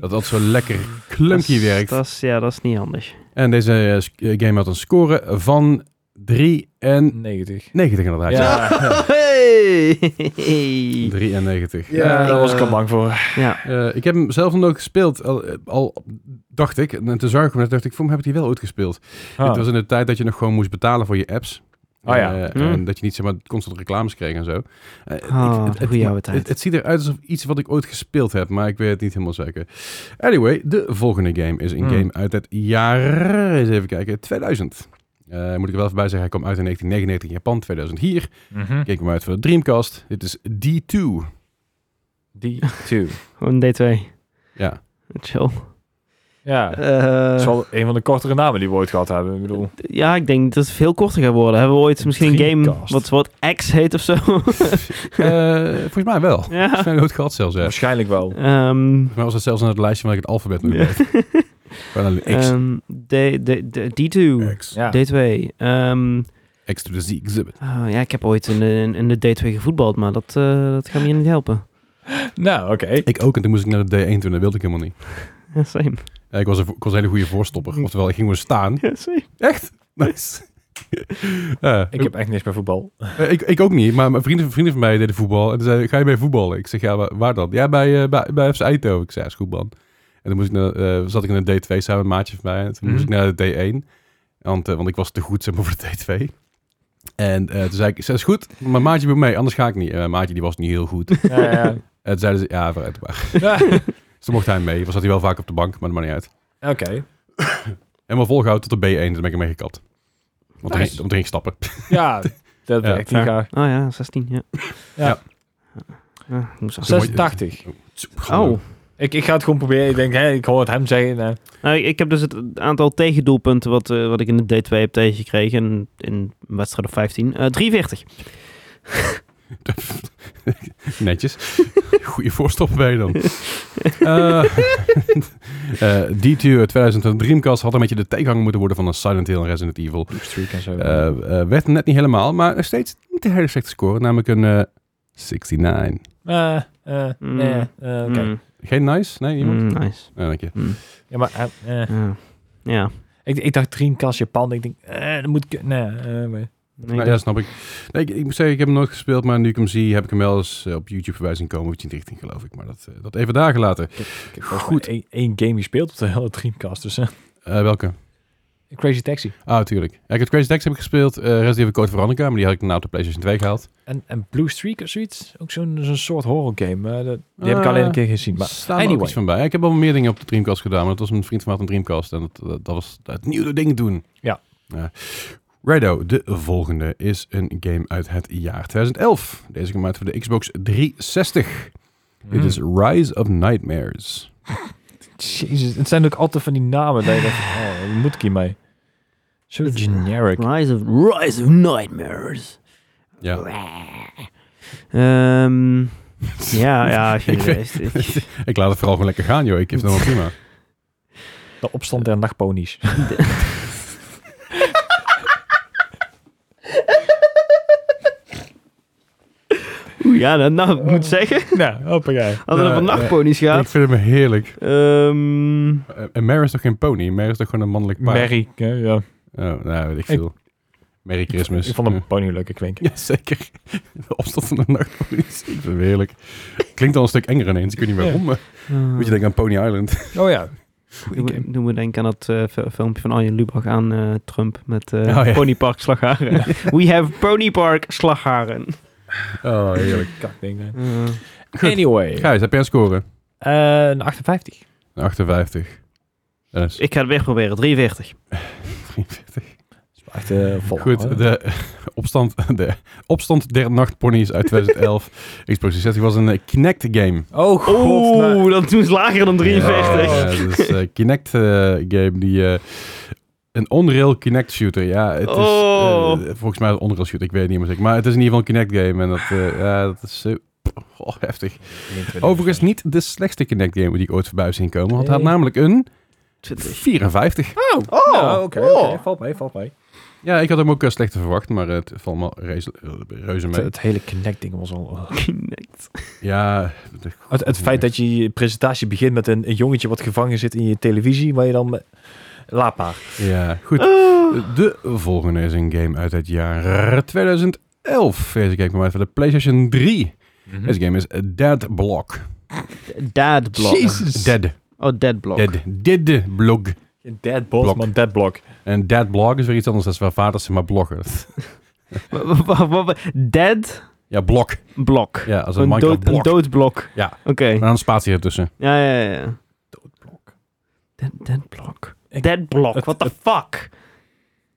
Speaker 3: Dat dat zo lekker clunky
Speaker 1: Dat is-
Speaker 3: werkt.
Speaker 1: dat is- ja, dat is niet handig.
Speaker 3: En deze eh, sc- eh, game had een score van 93
Speaker 4: 90.
Speaker 3: inderdaad.
Speaker 4: Ja.
Speaker 3: Ja.
Speaker 1: (laughs)
Speaker 3: (laughs)
Speaker 1: Hey!
Speaker 3: 93.
Speaker 4: Ja,
Speaker 3: Eh,
Speaker 4: daar was ik al bang (laughs) voor.
Speaker 1: Ja.
Speaker 3: Eh, ik heb hem zelf nog gespeeld, al, eh, al dacht ik, en toen zag ik hem, en dacht ik, voor me heb ik die wel ooit gespeeld. Het was in de tijd dat je nog gewoon moest betalen voor je apps.
Speaker 4: Ah. Oh ja.
Speaker 3: Eh,
Speaker 1: Hmm.
Speaker 3: En dat je niet zeg maar, constant reclames kreeg en zo. Eh, ik-
Speaker 1: Oh, de goeie oude tijd.
Speaker 3: Het, het ziet eruit alsof iets wat ik ooit gespeeld heb, maar ik weet het niet helemaal zeker. Anyway, de volgende game is een
Speaker 4: Hmm.
Speaker 3: game uit het jaar, eens even kijken, 2000. Eh, moet ik er wel even bij zeggen, hij kwam uit in 1999 in Japan, 2000 hier.
Speaker 4: Mhm.
Speaker 3: Ik keek hem uit voor de Dreamcast. Dit is D2.
Speaker 4: Die 2.
Speaker 1: Gewoon D2. (laughs)
Speaker 3: Ja,
Speaker 1: Chill.
Speaker 4: Ja.
Speaker 1: Eh,
Speaker 4: Dat is wel een van de kortere namen die we ooit gehad hebben. Ik bedoel,
Speaker 1: ja, ik denk dat het veel korter gaat worden. Hebben we ooit misschien een game
Speaker 4: Dreamcast.
Speaker 1: wat, wat X heet of zo? (laughs)
Speaker 3: Eh, volgens mij wel.
Speaker 1: ja. Oh,
Speaker 3: Zijn we het gehad zelfs, hè?
Speaker 4: waarschijnlijk wel.
Speaker 1: Ehm,
Speaker 3: Maar was het zelfs aan het lijstje waar ik het alfabet nu
Speaker 1: Ja.
Speaker 3: weet. Gewoon alleen X.
Speaker 1: ehm, D, D, D, D2.
Speaker 3: X.
Speaker 4: Ja.
Speaker 1: D2. Ehm,
Speaker 3: X to the Z exhibit.
Speaker 1: ah, ja, ik heb ooit in de, in de D2 gevoetbald, maar dat, eh, dat gaat me hier niet helpen.
Speaker 4: Nou, oké.
Speaker 3: Ik ook, en toen moest ik naar de D1 toen, dat wilde ik helemaal niet.
Speaker 1: Ja, same.
Speaker 3: Ja, ik, was een, vo- ik was een hele goede
Speaker 4: Mm.
Speaker 3: voorstopper, oftewel ik ging gewoon
Speaker 4: (laughs)
Speaker 3: staan.
Speaker 1: Ja, same.
Speaker 3: Echt? Nice. (laughs) Eh,
Speaker 4: Ik heb echt niks met voetbal.
Speaker 3: eh, ik, ik ook niet, maar mijn vrienden, vrienden van mij deden voetbal. En toen zeiden, ga je mee voetballen? Ik zeg, ja, wa- waar dan? Ja, bij, eh, bij, bij FC Eindhoven. Ik zei, ja, is goed, man. En toen moest ik naar, eh, zat ik in de D2 samen met een maatje van mij. En toen moest ik
Speaker 4: Mhm.
Speaker 3: naar de D1, want, eh, want ik was te goed zeg maar, voor de D2. En eh, toen zei ik, "Zeg, is goed, maar maatje moet mee, anders ga ik niet. En mijn maatje die was niet heel goed.
Speaker 4: (laughs) Ja, ja.
Speaker 3: En toen zeiden ze, ja, vooruit maar.
Speaker 4: (laughs) Ja,
Speaker 3: Dus toen mocht hij mee. Was zat hij wel vaak op de bank, maar dat maakt niet uit.
Speaker 4: Oké.
Speaker 3: Helemaal volgehouden tot de B1, toen dus ben ik ermee gekapt. Want er
Speaker 4: Nice.
Speaker 3: ging, want er ging stappen.
Speaker 4: Ja, dat
Speaker 3: Ja,
Speaker 4: werkt niet
Speaker 1: fair.
Speaker 4: graag.
Speaker 1: Oh ja, 16, ja. Ah,
Speaker 4: Ja.
Speaker 1: Ja, ik moest af-
Speaker 3: Zo moet je-
Speaker 4: 86.
Speaker 1: Oh.
Speaker 4: Ik, ik ga het gewoon proberen. Ik denk, hè, ik hoor het hem zeggen. eh,
Speaker 1: Nou, ik, ik heb dus het aantal tegendoelpunten wat, eh, wat ik in de D2 heb tegengekregen. In, in een wedstrijd of 15. Eh 43.
Speaker 3: (laughs) Netjes. (laughs) Goeie voorstopper ben je dan. Eh, (laughs) eh, D2 uit 2020 Dreamcast had een beetje de tegenhanger moeten worden van een Silent Hill en Resident Evil.
Speaker 4: Deep Streak en zo.
Speaker 3: Eh, eh, werd net niet helemaal, maar nog steeds niet de hele slechte score. Namelijk een eh, 69.
Speaker 4: Eh, eh,
Speaker 1: Mm.
Speaker 4: eh, eh, Oké.
Speaker 1: Mm,
Speaker 3: Geen nice? Nee, niemand?
Speaker 1: mm, nice.
Speaker 3: Nee, dank je.
Speaker 1: Mm,
Speaker 4: Ja, maar eh, eh,
Speaker 1: ja. Ja.
Speaker 4: ik, ik dacht Dreamcast Japan. Ik denk, eh, dat moet ik... Nee, eh, maar-
Speaker 1: Nee,
Speaker 3: Nou, ja, snap ik. Nee, ik. ik moet zeggen, ik heb hem nooit gespeeld, maar nu ik hem zie, heb ik hem wel eens eh, op YouTube voorbij zien komen. 2019 geloof ik, maar dat, eh, dat even daar gelaten.
Speaker 4: ik heb Goed. Één, één game gespeeld op de hele Dreamcast. Dus, eh,
Speaker 3: Eh, welke?
Speaker 4: Crazy Taxi.
Speaker 3: Ah, tuurlijk. Ja, ik heb Crazy Taxi heb ik gespeeld, eh Resident Evil Code Veronica, maar die had ik daarna op de PlayStation 2 gehaald.
Speaker 4: En, en Blue Streak of zoiets. Ook zo'n zo'n soort horror game. eh, dat, die heb ik alleen een keer gezien. Maar
Speaker 3: Staan er ook
Speaker 4: anyway.
Speaker 3: iets van bij. Ik heb al meer dingen op de Dreamcast gedaan, maar dat was een vriend van mij had een Dreamcast. En dat, eh, dat, dat was het nieuwe ding doen.
Speaker 4: Ja.
Speaker 3: ja. Rido, de volgende is een game uit het jaar 2011. Deze kwam uit voor de Xbox 360.
Speaker 4: Mm.
Speaker 3: Dit is Rise of Nightmares.
Speaker 4: Jezus, het zijn ook altijd van die namen dat je denkt, oh, wat moet ik hiermee? Zo generic.
Speaker 1: Rise of, Rise of Nightmares.
Speaker 3: Ja.
Speaker 1: Ehm, ja, ja. geen
Speaker 3: (laughs) Ik
Speaker 1: idee.
Speaker 3: Ik laat het vooral gewoon lekker gaan, joh. Ik heb het helemaal prima.
Speaker 4: De opstand der (laughs) nachtponies.
Speaker 1: (laughs) Oeh, ja, nou, nou, ik moet zeggen.
Speaker 4: nou, hoppakee.
Speaker 1: Als het
Speaker 3: Nou,
Speaker 1: over
Speaker 3: ja.
Speaker 1: nachtponies
Speaker 3: Ik
Speaker 1: gaat.
Speaker 3: vind hem heerlijk.
Speaker 1: Ehm,
Speaker 3: Eh, En Mare is toch geen pony? Mare is toch gewoon een mannelijk paard?
Speaker 4: (laughs) Merry. hè, ja.
Speaker 3: Oh, nou, weet ik veel. Merry Christmas.
Speaker 4: Ik vond
Speaker 3: Ja.
Speaker 4: hem pony leuke klinken.
Speaker 3: Ja, (laughs) zeker. De opstand van de nachtpolitie. Ik vind het heerlijk. Klinkt al een stuk enger ineens. Ik weet niet waarom. maar
Speaker 1: eh,
Speaker 3: Moet je denken aan Pony Island.
Speaker 4: Oh ja.
Speaker 1: Doen we, doen we denken aan dat eh, fi- filmpje van Arjen Lubach aan eh, Trump met eh,
Speaker 3: Oh, ja.
Speaker 1: ponypark
Speaker 3: (laughs)
Speaker 1: slagharen. We have ponypark slagharen.
Speaker 3: Oh, heerlijk.
Speaker 4: Kak ding. hè.
Speaker 1: Eh,
Speaker 3: Goed.
Speaker 4: Anyway.
Speaker 3: Gijs, heb jij een score?
Speaker 4: Eh, een 58.
Speaker 3: Een 58. Dat is
Speaker 1: ik ga het weer proberen, 43.
Speaker 3: 43.
Speaker 4: Echt eh vol.
Speaker 3: Goed, de opstand, de opstand der nachtponies (laughs) uit 2011. Xbox 360 was een eh, Kinect game.
Speaker 4: Oh god. nou-
Speaker 1: Oeh, dat is lager dan 43.
Speaker 3: Ja, ja, dat is een Kinect eh, game die... eh, een Unreal Kinect shooter, ja. Het
Speaker 1: Oh.
Speaker 3: is, eh, volgens mij een Unreal shooter, ik weet het niet meer zeker. Maar het is in ieder geval een Kinect game en dat, eh, ja, dat is zo oh, heftig. Overigens niet de slechtste Kinect game die ik ooit voorbij heb zien komen. Want het had
Speaker 4: Nee.
Speaker 3: namelijk een
Speaker 1: 20.
Speaker 3: 54.
Speaker 1: Oh,
Speaker 4: Nou, oké,
Speaker 1: oh.
Speaker 4: oké, valt mee, valt mee.
Speaker 3: Ja, ik had hem ook eh, slechter verwacht, maar het valt me reuze, reuze
Speaker 4: Het,
Speaker 3: mee.
Speaker 4: het hele connecting was al...
Speaker 1: oh. Kinect.
Speaker 3: Ja,
Speaker 4: Het, het feit dat je je presentatie begint met een, een jongetje wat gevangen zit in je televisie, waar je dan... met- Laat maar.
Speaker 3: ja, goed. De volgende is een game uit het jaar 2011. Deze game kwam uit voor de PlayStation 3.
Speaker 4: Hm?
Speaker 3: Deze game is Dead Block.
Speaker 1: Dad block.
Speaker 3: Dead.
Speaker 1: Oh, dead block.
Speaker 3: Dead. Dead Block.
Speaker 4: Een dead block,
Speaker 3: Blok.
Speaker 4: man, dead block.
Speaker 3: En Dead Blog is weer iets anders dan waar vaders maar bloggen.
Speaker 1: Wa- wa- wa- wa- Dead
Speaker 3: Ja, blok.
Speaker 1: block.
Speaker 3: Ja, als een,
Speaker 1: Een,
Speaker 3: Minecraft
Speaker 1: dood, een
Speaker 3: blok.
Speaker 1: doodblok.
Speaker 3: Ja.
Speaker 1: Oké.
Speaker 3: En dan een spatie ertussen. (laughs)
Speaker 1: Ja, ja, ja, ja.
Speaker 4: Doodblok.
Speaker 1: Dead, dead block.
Speaker 4: Ik-
Speaker 1: dead block.
Speaker 4: het-
Speaker 1: What the fuck?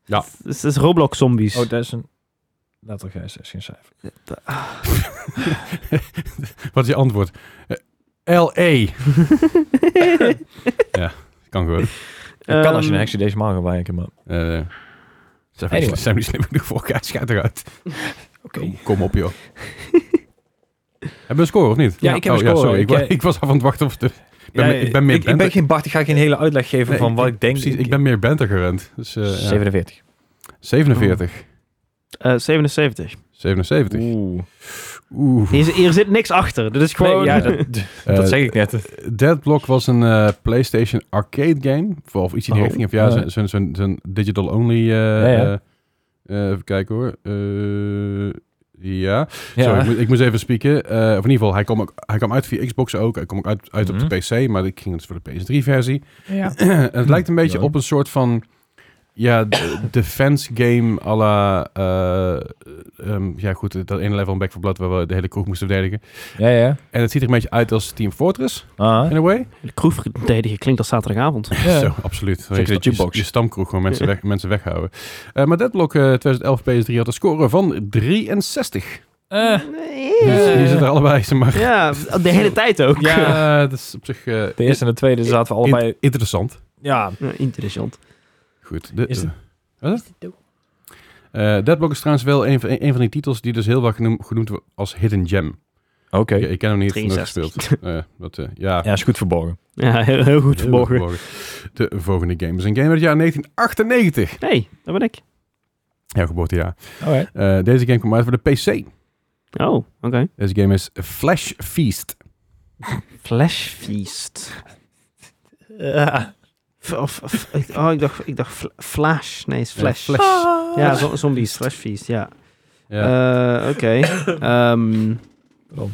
Speaker 3: Ja.
Speaker 1: Het is- Het is Roblox zombies.
Speaker 4: Oh, dat is een... Letterlijk, is is geen cijfer.
Speaker 1: Eh,
Speaker 3: Wat is je antwoord? Eh, L.A. (laughs) ja, kan gewoon.
Speaker 4: Dat kan als je
Speaker 1: Ehm,
Speaker 4: een hexie deze mag gaan wijken, man.
Speaker 3: Eh zijn, we,
Speaker 4: Anyway.
Speaker 3: niet- zijn we niet slim genoeg voor elkaar? Schijt eruit.
Speaker 4: Oké.
Speaker 3: Kom, kom op, joh. (laughs) Hebben we een score of niet?
Speaker 4: Ja, ik heb
Speaker 3: oh,
Speaker 4: een
Speaker 3: ja,
Speaker 4: score.
Speaker 3: sorry. Ik,
Speaker 4: Ik,
Speaker 3: wa-
Speaker 4: eh,
Speaker 3: ik was af aan het wachten of... de- Ik ben,
Speaker 4: Ja,
Speaker 3: me- ik ben meer
Speaker 4: ik, ik ben geen Bart, ik ga geen hele uitleg geven
Speaker 3: Nee,
Speaker 4: van wat ik denk.
Speaker 3: Precies, ik ben meer Benter gewend. Dus, eh, ja.
Speaker 4: 47.
Speaker 3: 47.
Speaker 1: eh, 77.
Speaker 3: 77.
Speaker 4: Oeh.
Speaker 3: Oeh.
Speaker 1: Hier, is- hier zit niks achter. Dit is gewoon...
Speaker 4: Nee, (laughs) ja,
Speaker 1: (laughs)
Speaker 4: dat, dat
Speaker 3: Eh,
Speaker 4: zeg ik net.
Speaker 3: Deadblock was een eh, PlayStation arcade game. Voor, of iets in die
Speaker 4: Oh.
Speaker 3: richting. Of ja,
Speaker 4: Eh.
Speaker 3: zo'n zo'n zo'n digital only. eh,
Speaker 4: ja.
Speaker 3: eh, eh, even kijken hoor. Eh, ja.
Speaker 4: Ja.
Speaker 3: Sorry, ik, moest, ik moest even spieken. Eh, of in ieder geval, hij kwam, ook, hij kwam uit via Xbox ook. Hij kwam ook uit, uit op
Speaker 4: Mhm.
Speaker 3: de PC. Maar ik ging dus voor de PS3-versie.
Speaker 4: ja.
Speaker 3: (clears throat) het lijkt een beetje
Speaker 4: Ja.
Speaker 3: op een soort van... Ja, d- (clears throat) defense game à la... eh, ehm, ja, goed. Dat ene level in Back 4 Blood waar we de hele kroeg moesten verdedigen.
Speaker 4: Ja, ja.
Speaker 3: En het ziet er een beetje uit als Team Fortress,
Speaker 4: Ah.
Speaker 3: in a way.
Speaker 1: De kroeg verdedigen klinkt als zaterdagavond.
Speaker 4: Ja.
Speaker 3: Zo, absoluut.
Speaker 4: Zeker
Speaker 3: je,
Speaker 4: de jukebox.
Speaker 3: Je, je stamkroeg gewoon mensen, weg, mensen weghouden. Eh, maar Deadblock eh 2011 PS3 had een score van 63.
Speaker 4: Eh,
Speaker 3: Dus
Speaker 4: Ja.
Speaker 3: hier zitten er allebei.
Speaker 1: (laughs)
Speaker 3: Ze maar
Speaker 1: Ja, de hele tijd ook.
Speaker 3: ja, (laughs) dat is op zich eh,
Speaker 4: de eerste en de tweede zaten we
Speaker 3: in-
Speaker 4: allebei...
Speaker 3: interessant.
Speaker 4: Ja.
Speaker 1: Ja, interessant.
Speaker 3: Goed. De,
Speaker 4: Is het-
Speaker 3: wat is het? Eh, Deadblock is trouwens wel een van, een van die titels die dus heel vaak genoemd, genoemd wordt als Hidden Gem.
Speaker 4: Oké.
Speaker 3: Ik, ik ken hem niet, nooit
Speaker 1: 63.
Speaker 3: (laughs) gespeeld. Eh, dat, eh, ja,
Speaker 4: Ja, is goed verborgen.
Speaker 1: Ja, heel, heel goed
Speaker 3: heel erg
Speaker 1: verborgen.
Speaker 3: De volgende game is een game uit het jaar 1998.
Speaker 1: hey, daar ben ik.
Speaker 3: Jouw geboortejaar.
Speaker 4: Oké.
Speaker 3: Eh, deze game kwam uit voor de PC.
Speaker 1: Oh, oké.
Speaker 3: Deze game is Flash Feast.
Speaker 1: Flash Feast. F- of- of- ik- oh, ik dacht, ik dacht fl- Flash. Nee, is Flash.
Speaker 3: Ja,
Speaker 1: Ja, zo- zombies. Flash Feast, ja.
Speaker 3: Ja. Oh.
Speaker 1: Eh, oké. Ehm,
Speaker 4: Pardon.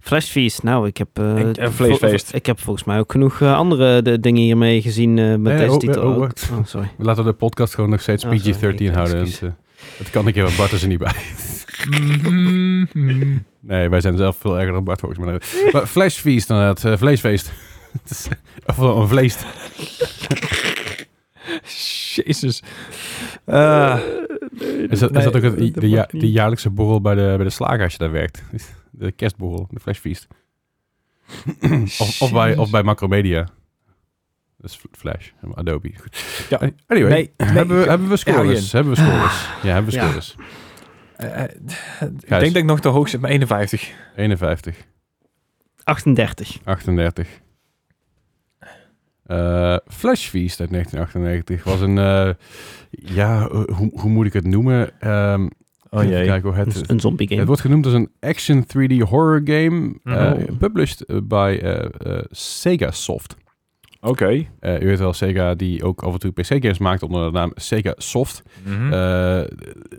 Speaker 1: Flash Feast. Nou, ik heb... eh,
Speaker 4: En- en Vleesfeest.
Speaker 1: vol- Ik heb volgens mij ook genoeg eh, andere de, dingen hiermee gezien eh, met
Speaker 3: Nee,
Speaker 1: deze
Speaker 3: oh,
Speaker 1: titel.
Speaker 3: oh,
Speaker 1: ook.
Speaker 3: wacht.
Speaker 1: oh, sorry.
Speaker 3: Laten we de podcast gewoon nog steeds
Speaker 1: Oh,
Speaker 3: PG-13
Speaker 1: sorry, ik-
Speaker 3: houden.
Speaker 1: excuus.
Speaker 3: want, eh, dat kan ik hier, want Bart is er niet bij. (laughs) Nee, wij zijn zelf veel erger dan Bart volgens mij. Maar Flash Feast inderdaad. eh, vleesfeest. (laughs) Het is- eh, of wel een vleest.
Speaker 4: (laughs) Jezus. Eh,
Speaker 3: Is dat, is
Speaker 4: Nee,
Speaker 3: dat ook het,
Speaker 1: dat
Speaker 3: de, ja-
Speaker 1: mag niet.
Speaker 3: de jaarlijkse borrel bij de, bij de slager als je daar werkt? (laughs) De kerstborrel, de Flash Feast. of, of, bij, of bij Macromedia. Dat is Flash, Adobe. Goed. Eh,
Speaker 4: Ja.
Speaker 3: Anyway,
Speaker 4: Nee, nee,
Speaker 3: hebben, we,
Speaker 4: ik-
Speaker 3: hebben we
Speaker 4: hou
Speaker 3: scores?
Speaker 4: je (sighs)
Speaker 3: Hebben we scores? Ja, hebben we
Speaker 1: Ja.
Speaker 3: scores.
Speaker 4: eh, eh, ik denk dat ik nog de hoogste heb, maar 51.
Speaker 3: 51.
Speaker 1: 38.
Speaker 3: 38. Eh Flash Feast uit 1998 was een, eh, ja, eh, hoe, hoe moet ik het noemen? Ehm
Speaker 4: Oh
Speaker 3: even
Speaker 4: jee.
Speaker 3: kijken hoe het,
Speaker 1: Een zombie game.
Speaker 3: het wordt genoemd als een action 3D horror game,
Speaker 1: Mhm.
Speaker 3: eh,
Speaker 4: Oh.
Speaker 3: published eh, by eh, eh, Sega Soft.
Speaker 4: Oké.
Speaker 3: Eh, u weet wel, Sega die ook af en toe PC-games maakt onder de naam Sega Soft.
Speaker 4: Mhm.
Speaker 3: Eh,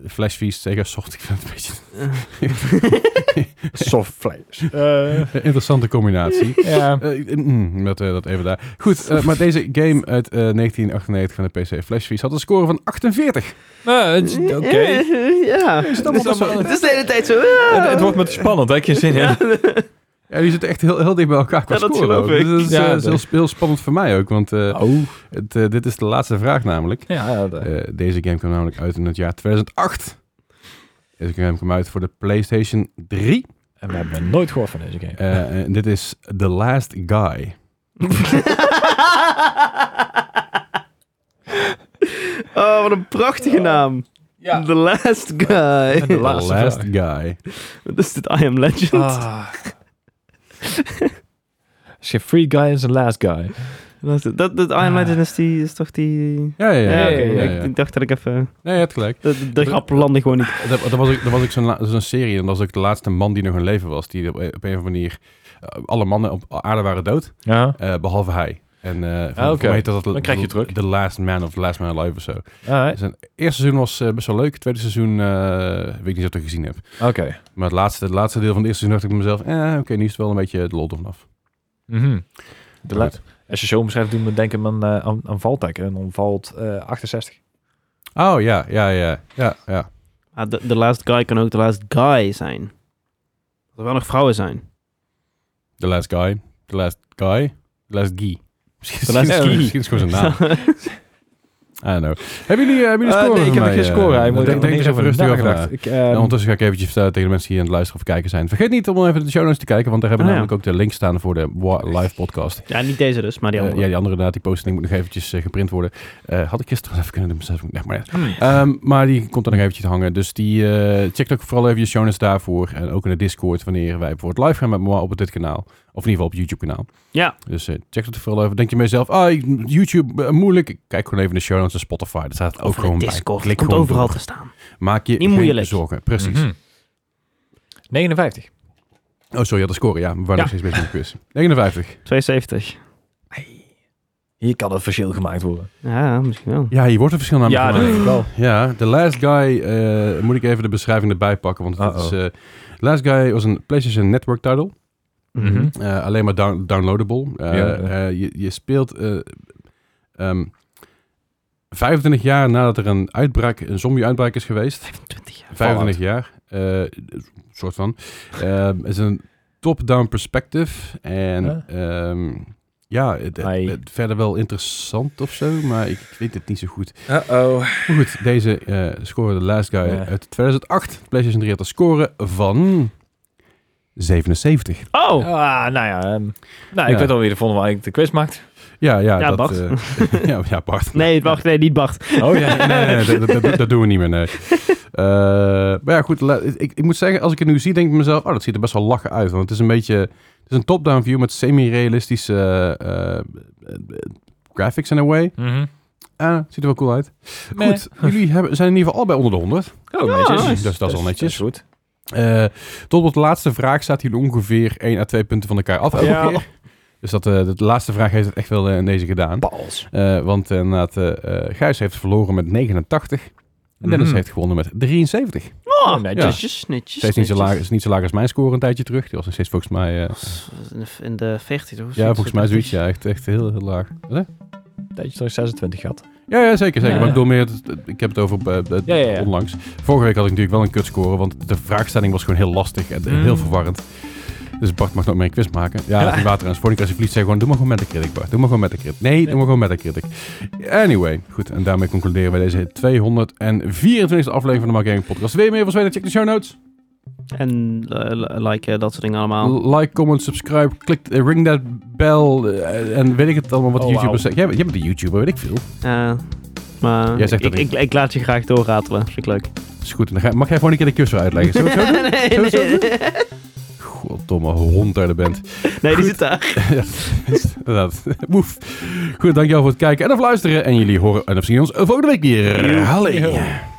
Speaker 3: Flash Feast, Sega Soft, (laughs) ik vind het een beetje
Speaker 4: Soft flames. Eh,
Speaker 3: een interessante combinatie.
Speaker 1: (laughs)
Speaker 4: ja.
Speaker 3: Eh, mm, dat, eh, dat even daar. Goed, eh, maar deze game uit eh, 1998 van de PC Flash Feast had een score van 48.
Speaker 4: Eh, het- Oké.
Speaker 1: Ja. (laughs)
Speaker 3: allemaal best wel-
Speaker 1: Het is de hele tijd zo. "Ah." (laughs)
Speaker 4: Het, het wordt me te spannend, hè? Ik heb Geen zin in.
Speaker 1: Ja.
Speaker 3: Ja, die zitten echt heel, heel dicht bij elkaar qua
Speaker 1: Ja, dat
Speaker 3: score.
Speaker 1: geloof
Speaker 3: ook.
Speaker 1: ik.
Speaker 3: Dus dat is,
Speaker 4: Ja,
Speaker 3: eh,
Speaker 4: dat-
Speaker 3: heel, heel spannend voor mij ook, want eh,
Speaker 4: Oh.
Speaker 3: het, eh, dit is de laatste vraag namelijk.
Speaker 4: Ja, ja, de-
Speaker 3: Eh, deze game kwam namelijk uit in het jaar 2008. Deze game kwam uit voor de PlayStation 3.
Speaker 4: en we hebben nooit gehoord van deze game.
Speaker 3: Eh, en dit is The Last Guy.
Speaker 1: oh, wat een prachtige naam. The Last Guy.
Speaker 4: De
Speaker 3: The
Speaker 4: laatste
Speaker 3: Last
Speaker 4: vraag.
Speaker 3: Guy.
Speaker 1: Wat is dit? I Am Legend?
Speaker 4: Ah. Is free guy is the last guy.
Speaker 1: Dat, dat, dat I Am Legend is, die, is toch die...
Speaker 3: Ja, ja, ja.
Speaker 1: Ah. Ja,
Speaker 3: ja,
Speaker 1: oké.
Speaker 3: ja,
Speaker 1: ik,
Speaker 3: ja.
Speaker 1: ik dacht dat ik even...
Speaker 3: Nee, je hebt gelijk.
Speaker 1: De, de, de grap landde gewoon niet.
Speaker 3: Dat, dat was, ook- dat was ook zo'n, la- zo'n serie. En dat was ook de laatste man die nog in leven was. Die op, een- op een of andere manier... eh, Alle mannen op aarde waren dood,
Speaker 4: Ja.
Speaker 3: eh, behalve hij. En eh van-
Speaker 4: Ah, oké.
Speaker 3: voor mij heet dat,
Speaker 4: Dan krijg je druk.
Speaker 3: The Last Man of The Last Man Alive of zo.
Speaker 4: Alright.
Speaker 3: Zijn eerste seizoen was eh, best wel leuk. Tweede seizoen eh, weet ik niet of ik het gezien heb.
Speaker 4: Oké.
Speaker 3: Maar het laatste, het laatste deel van het eerste seizoen dacht ik mezelf... Eh, oké, nu is het wel een beetje het lol ervan af.
Speaker 4: Mhm. De
Speaker 3: Maar
Speaker 4: la-
Speaker 3: goed.
Speaker 4: Als je zo omschrijft, doet me denken aan, eh, aan, aan Valtek en dan valt eh, 68.
Speaker 3: Oh, ja, ja, ja. Ja, ja.
Speaker 1: Ah, de, de last guy kan ook de last guy zijn. Dat er wel nog vrouwen zijn.
Speaker 3: The Last Guy. The Last Guy. The Last Guy. Misschien,
Speaker 1: The Last
Speaker 3: misschien-
Speaker 1: Guy.
Speaker 3: misschien is het gewoon zijn naam.
Speaker 4: (laughs)
Speaker 3: I don't know. Hebben jullie, hebben jullie
Speaker 4: Eh,
Speaker 3: scoren
Speaker 4: nee, ik
Speaker 3: van
Speaker 4: heb
Speaker 3: mij,
Speaker 4: geen
Speaker 3: eh,
Speaker 4: score. Hij moet
Speaker 3: denk,
Speaker 4: er
Speaker 3: denk
Speaker 4: nog
Speaker 3: eens
Speaker 4: eens
Speaker 3: even rustig over na.
Speaker 4: nagedacht. Ik, ehm,
Speaker 3: En ondertussen ga ik eventjes eh, tegen de mensen die aan het luisteren of kijken zijn. Vergeet niet om even de show notes te kijken, want daar hebben we
Speaker 1: Ah, ja.
Speaker 3: namelijk ook de link staan voor de wa- live podcast.
Speaker 1: (laughs) ja, niet deze dus, maar die
Speaker 3: Eh,
Speaker 1: andere.
Speaker 3: ja, die andere inderdaad, die posting moet nog eventjes eh, geprint worden. Eh, had ik gisteren even kunnen doen, maar zelfs- nee, maar ja.
Speaker 4: hmm.
Speaker 3: Ehm, maar die komt dan nog eventjes hangen. Dus die eh, check ook vooral even je show notes daarvoor. En ook in de Discord wanneer wij bijvoorbeeld live gaan met Moa op dit kanaal. Of in ieder geval op YouTube kanaal.
Speaker 1: Ja.
Speaker 3: Dus eh, check dat vooral even. Denk je bij jezelf, ah, ik- YouTube, eh, moeilijk. Kijk gewoon even in de show notes en Spotify. Dat staat ook
Speaker 1: Over de
Speaker 3: gewoon bij.
Speaker 1: Discord.
Speaker 3: Klik
Speaker 1: Komt
Speaker 3: gewoon
Speaker 1: overal
Speaker 3: door.
Speaker 1: te staan.
Speaker 3: Maak je
Speaker 1: Niet
Speaker 3: geen
Speaker 1: moeilijk.
Speaker 3: zorgen. Precies.
Speaker 4: Mhm. 59.
Speaker 3: Oh, sorry, ja, de score. Ja, we waren nog
Speaker 1: Ja.
Speaker 3: steeds bezig met de quiz. 59.
Speaker 1: 72.
Speaker 4: Hier kan het verschil gemaakt worden.
Speaker 1: Ja, misschien wel.
Speaker 3: Ja, hier wordt een verschil namelijk
Speaker 4: ja, dat
Speaker 3: gemaakt.
Speaker 4: denk ik wel.
Speaker 3: Ja, The Last Guy eh, moet ik even de beschrijving erbij pakken. Want het
Speaker 4: Uh-oh.
Speaker 3: is, eh, Last Guy was een PlayStation Network title.
Speaker 1: Mhm.
Speaker 3: Eh, alleen maar down- downloadable. Eh,
Speaker 4: Ja.
Speaker 3: eh, je, je speelt eh, ehm, 25 jaar nadat er een uitbraak, een zombie-uitbraak is
Speaker 4: (laughs)
Speaker 3: geweest.
Speaker 1: 25 jaar.
Speaker 3: 25 jaar, eh, soort van. Ehm, Het is een top-down perspective. En ehm, ja, het, het-
Speaker 4: Ai.
Speaker 3: het verder wel interessant of zo, maar ik weet het niet zo goed.
Speaker 4: Uh-oh.
Speaker 3: Maar goed, deze eh score, The Last Guy
Speaker 4: Ja.
Speaker 3: uit 2008. PlayStation 3 had een score van 77.
Speaker 1: Oh!
Speaker 4: Ah, nou ja. ehm, nou,
Speaker 3: Ja.
Speaker 4: ik weet alweer de volgende waar ik de quiz maakt.
Speaker 3: Ja, ja,
Speaker 1: Ja,
Speaker 3: dat,
Speaker 1: Bart.
Speaker 4: (laughs)
Speaker 3: eh, ja, ja,
Speaker 1: (laughs)
Speaker 3: Bart.
Speaker 1: Nee, wacht, nee, niet Bart.
Speaker 4: Oh
Speaker 3: Nee, nee, nee, nee, dat, dat- dat doen we niet meer, nee. Eh, maar ja, goed, la- ik, ik moet zeggen, als ik het nu zie, denk ik mezelf, oh, dat ziet er best wel lachen uit. Want het is een beetje, het is een top-down view met semi-realistische eh, eh, graphics in a way.
Speaker 4: Mhm.
Speaker 3: Ah, ziet er wel cool uit.
Speaker 4: Meh.
Speaker 3: Goed, jullie hebben, zijn in ieder geval al bij onder de 100.
Speaker 4: Oh,
Speaker 1: Ja,
Speaker 4: netjes.
Speaker 1: nice.
Speaker 3: Dus dat is al netjes.
Speaker 4: is goed.
Speaker 3: Eh, tot op de laatste vraag staat jullie ongeveer 1 à 2 punten van elkaar af. elke
Speaker 4: Ja.
Speaker 3: keer. Dus dat, eh, de laatste vraag heeft het echt wel eh, in deze gedaan.
Speaker 4: Pals.
Speaker 3: Eh, want eh, inderdaad, eh, eh, Gijs heeft verloren met 89. En Dennis
Speaker 4: Mhm.
Speaker 3: heeft gewonnen met 73.
Speaker 1: Oh,
Speaker 4: Oh, netjes.
Speaker 1: netjes, netjes.
Speaker 3: Steeds niet zo,
Speaker 1: netjes.
Speaker 3: laag, is niet zo laag als mijn score een tijdje terug. Die was nog steeds volgens mij... eh,
Speaker 1: In de- In de 40 toch?
Speaker 3: ja, volgens mij zoiets. Ja, echt, echt heel, heel laag. Hè?
Speaker 4: Dat je toch 26 had.
Speaker 3: Ja, ja, zeker. zeker.
Speaker 4: Ja.
Speaker 3: Maar ik bedoel meer... het- het- Ik heb het over eh, eh,
Speaker 4: Ja, ja, ja.
Speaker 3: onlangs. Vorige week had ik natuurlijk wel een kutscore. Want de vraagstelling was gewoon heel lastig. En
Speaker 4: Mm.
Speaker 3: heel verwarrend. Dus Bart mag nog meer een quiz maken. Ja,
Speaker 4: Ja.
Speaker 3: dat is niet water en sporing. Als je vliegt, zeg gewoon... Doe maar gewoon met de critic, Bart. Doe maar gewoon met de critic. Nee, doe maar gewoon met de critic. Anyway. Goed. En daarmee concluderen wij deze 224e aflevering van de Mark Gaming Podcast. Wil je meer van Zweden? Check de show notes.
Speaker 1: En eh, li- like, eh, dat soort dingen allemaal.
Speaker 3: Like, comment, subscribe, klik, eh, ring that bell eh, en weet ik het allemaal wat
Speaker 4: Oh,
Speaker 3: YouTubers
Speaker 4: wauw.
Speaker 3: zeggen. Jij, bent- jij bent een YouTuber, weet ik veel.
Speaker 1: Eh, maar
Speaker 3: Jij zegt
Speaker 1: ik,
Speaker 3: dat
Speaker 1: ik, ik laat je graag doorratelen. Vind ik leuk.
Speaker 3: Is goed, dan ga, mag jij gewoon een keer de kussen uitleggen? Zullen we het zo
Speaker 1: (laughs)
Speaker 3: doen?
Speaker 1: nee,
Speaker 3: Zullen we
Speaker 1: nee.
Speaker 3: het Goddomme hond uit de band.
Speaker 1: nee, die zit daar.
Speaker 3: Inderdaad. (laughs) Woef. Goed, dankjewel voor het kijken en of luisteren. En jullie horen en of zien ons volgende week weer. Hallo.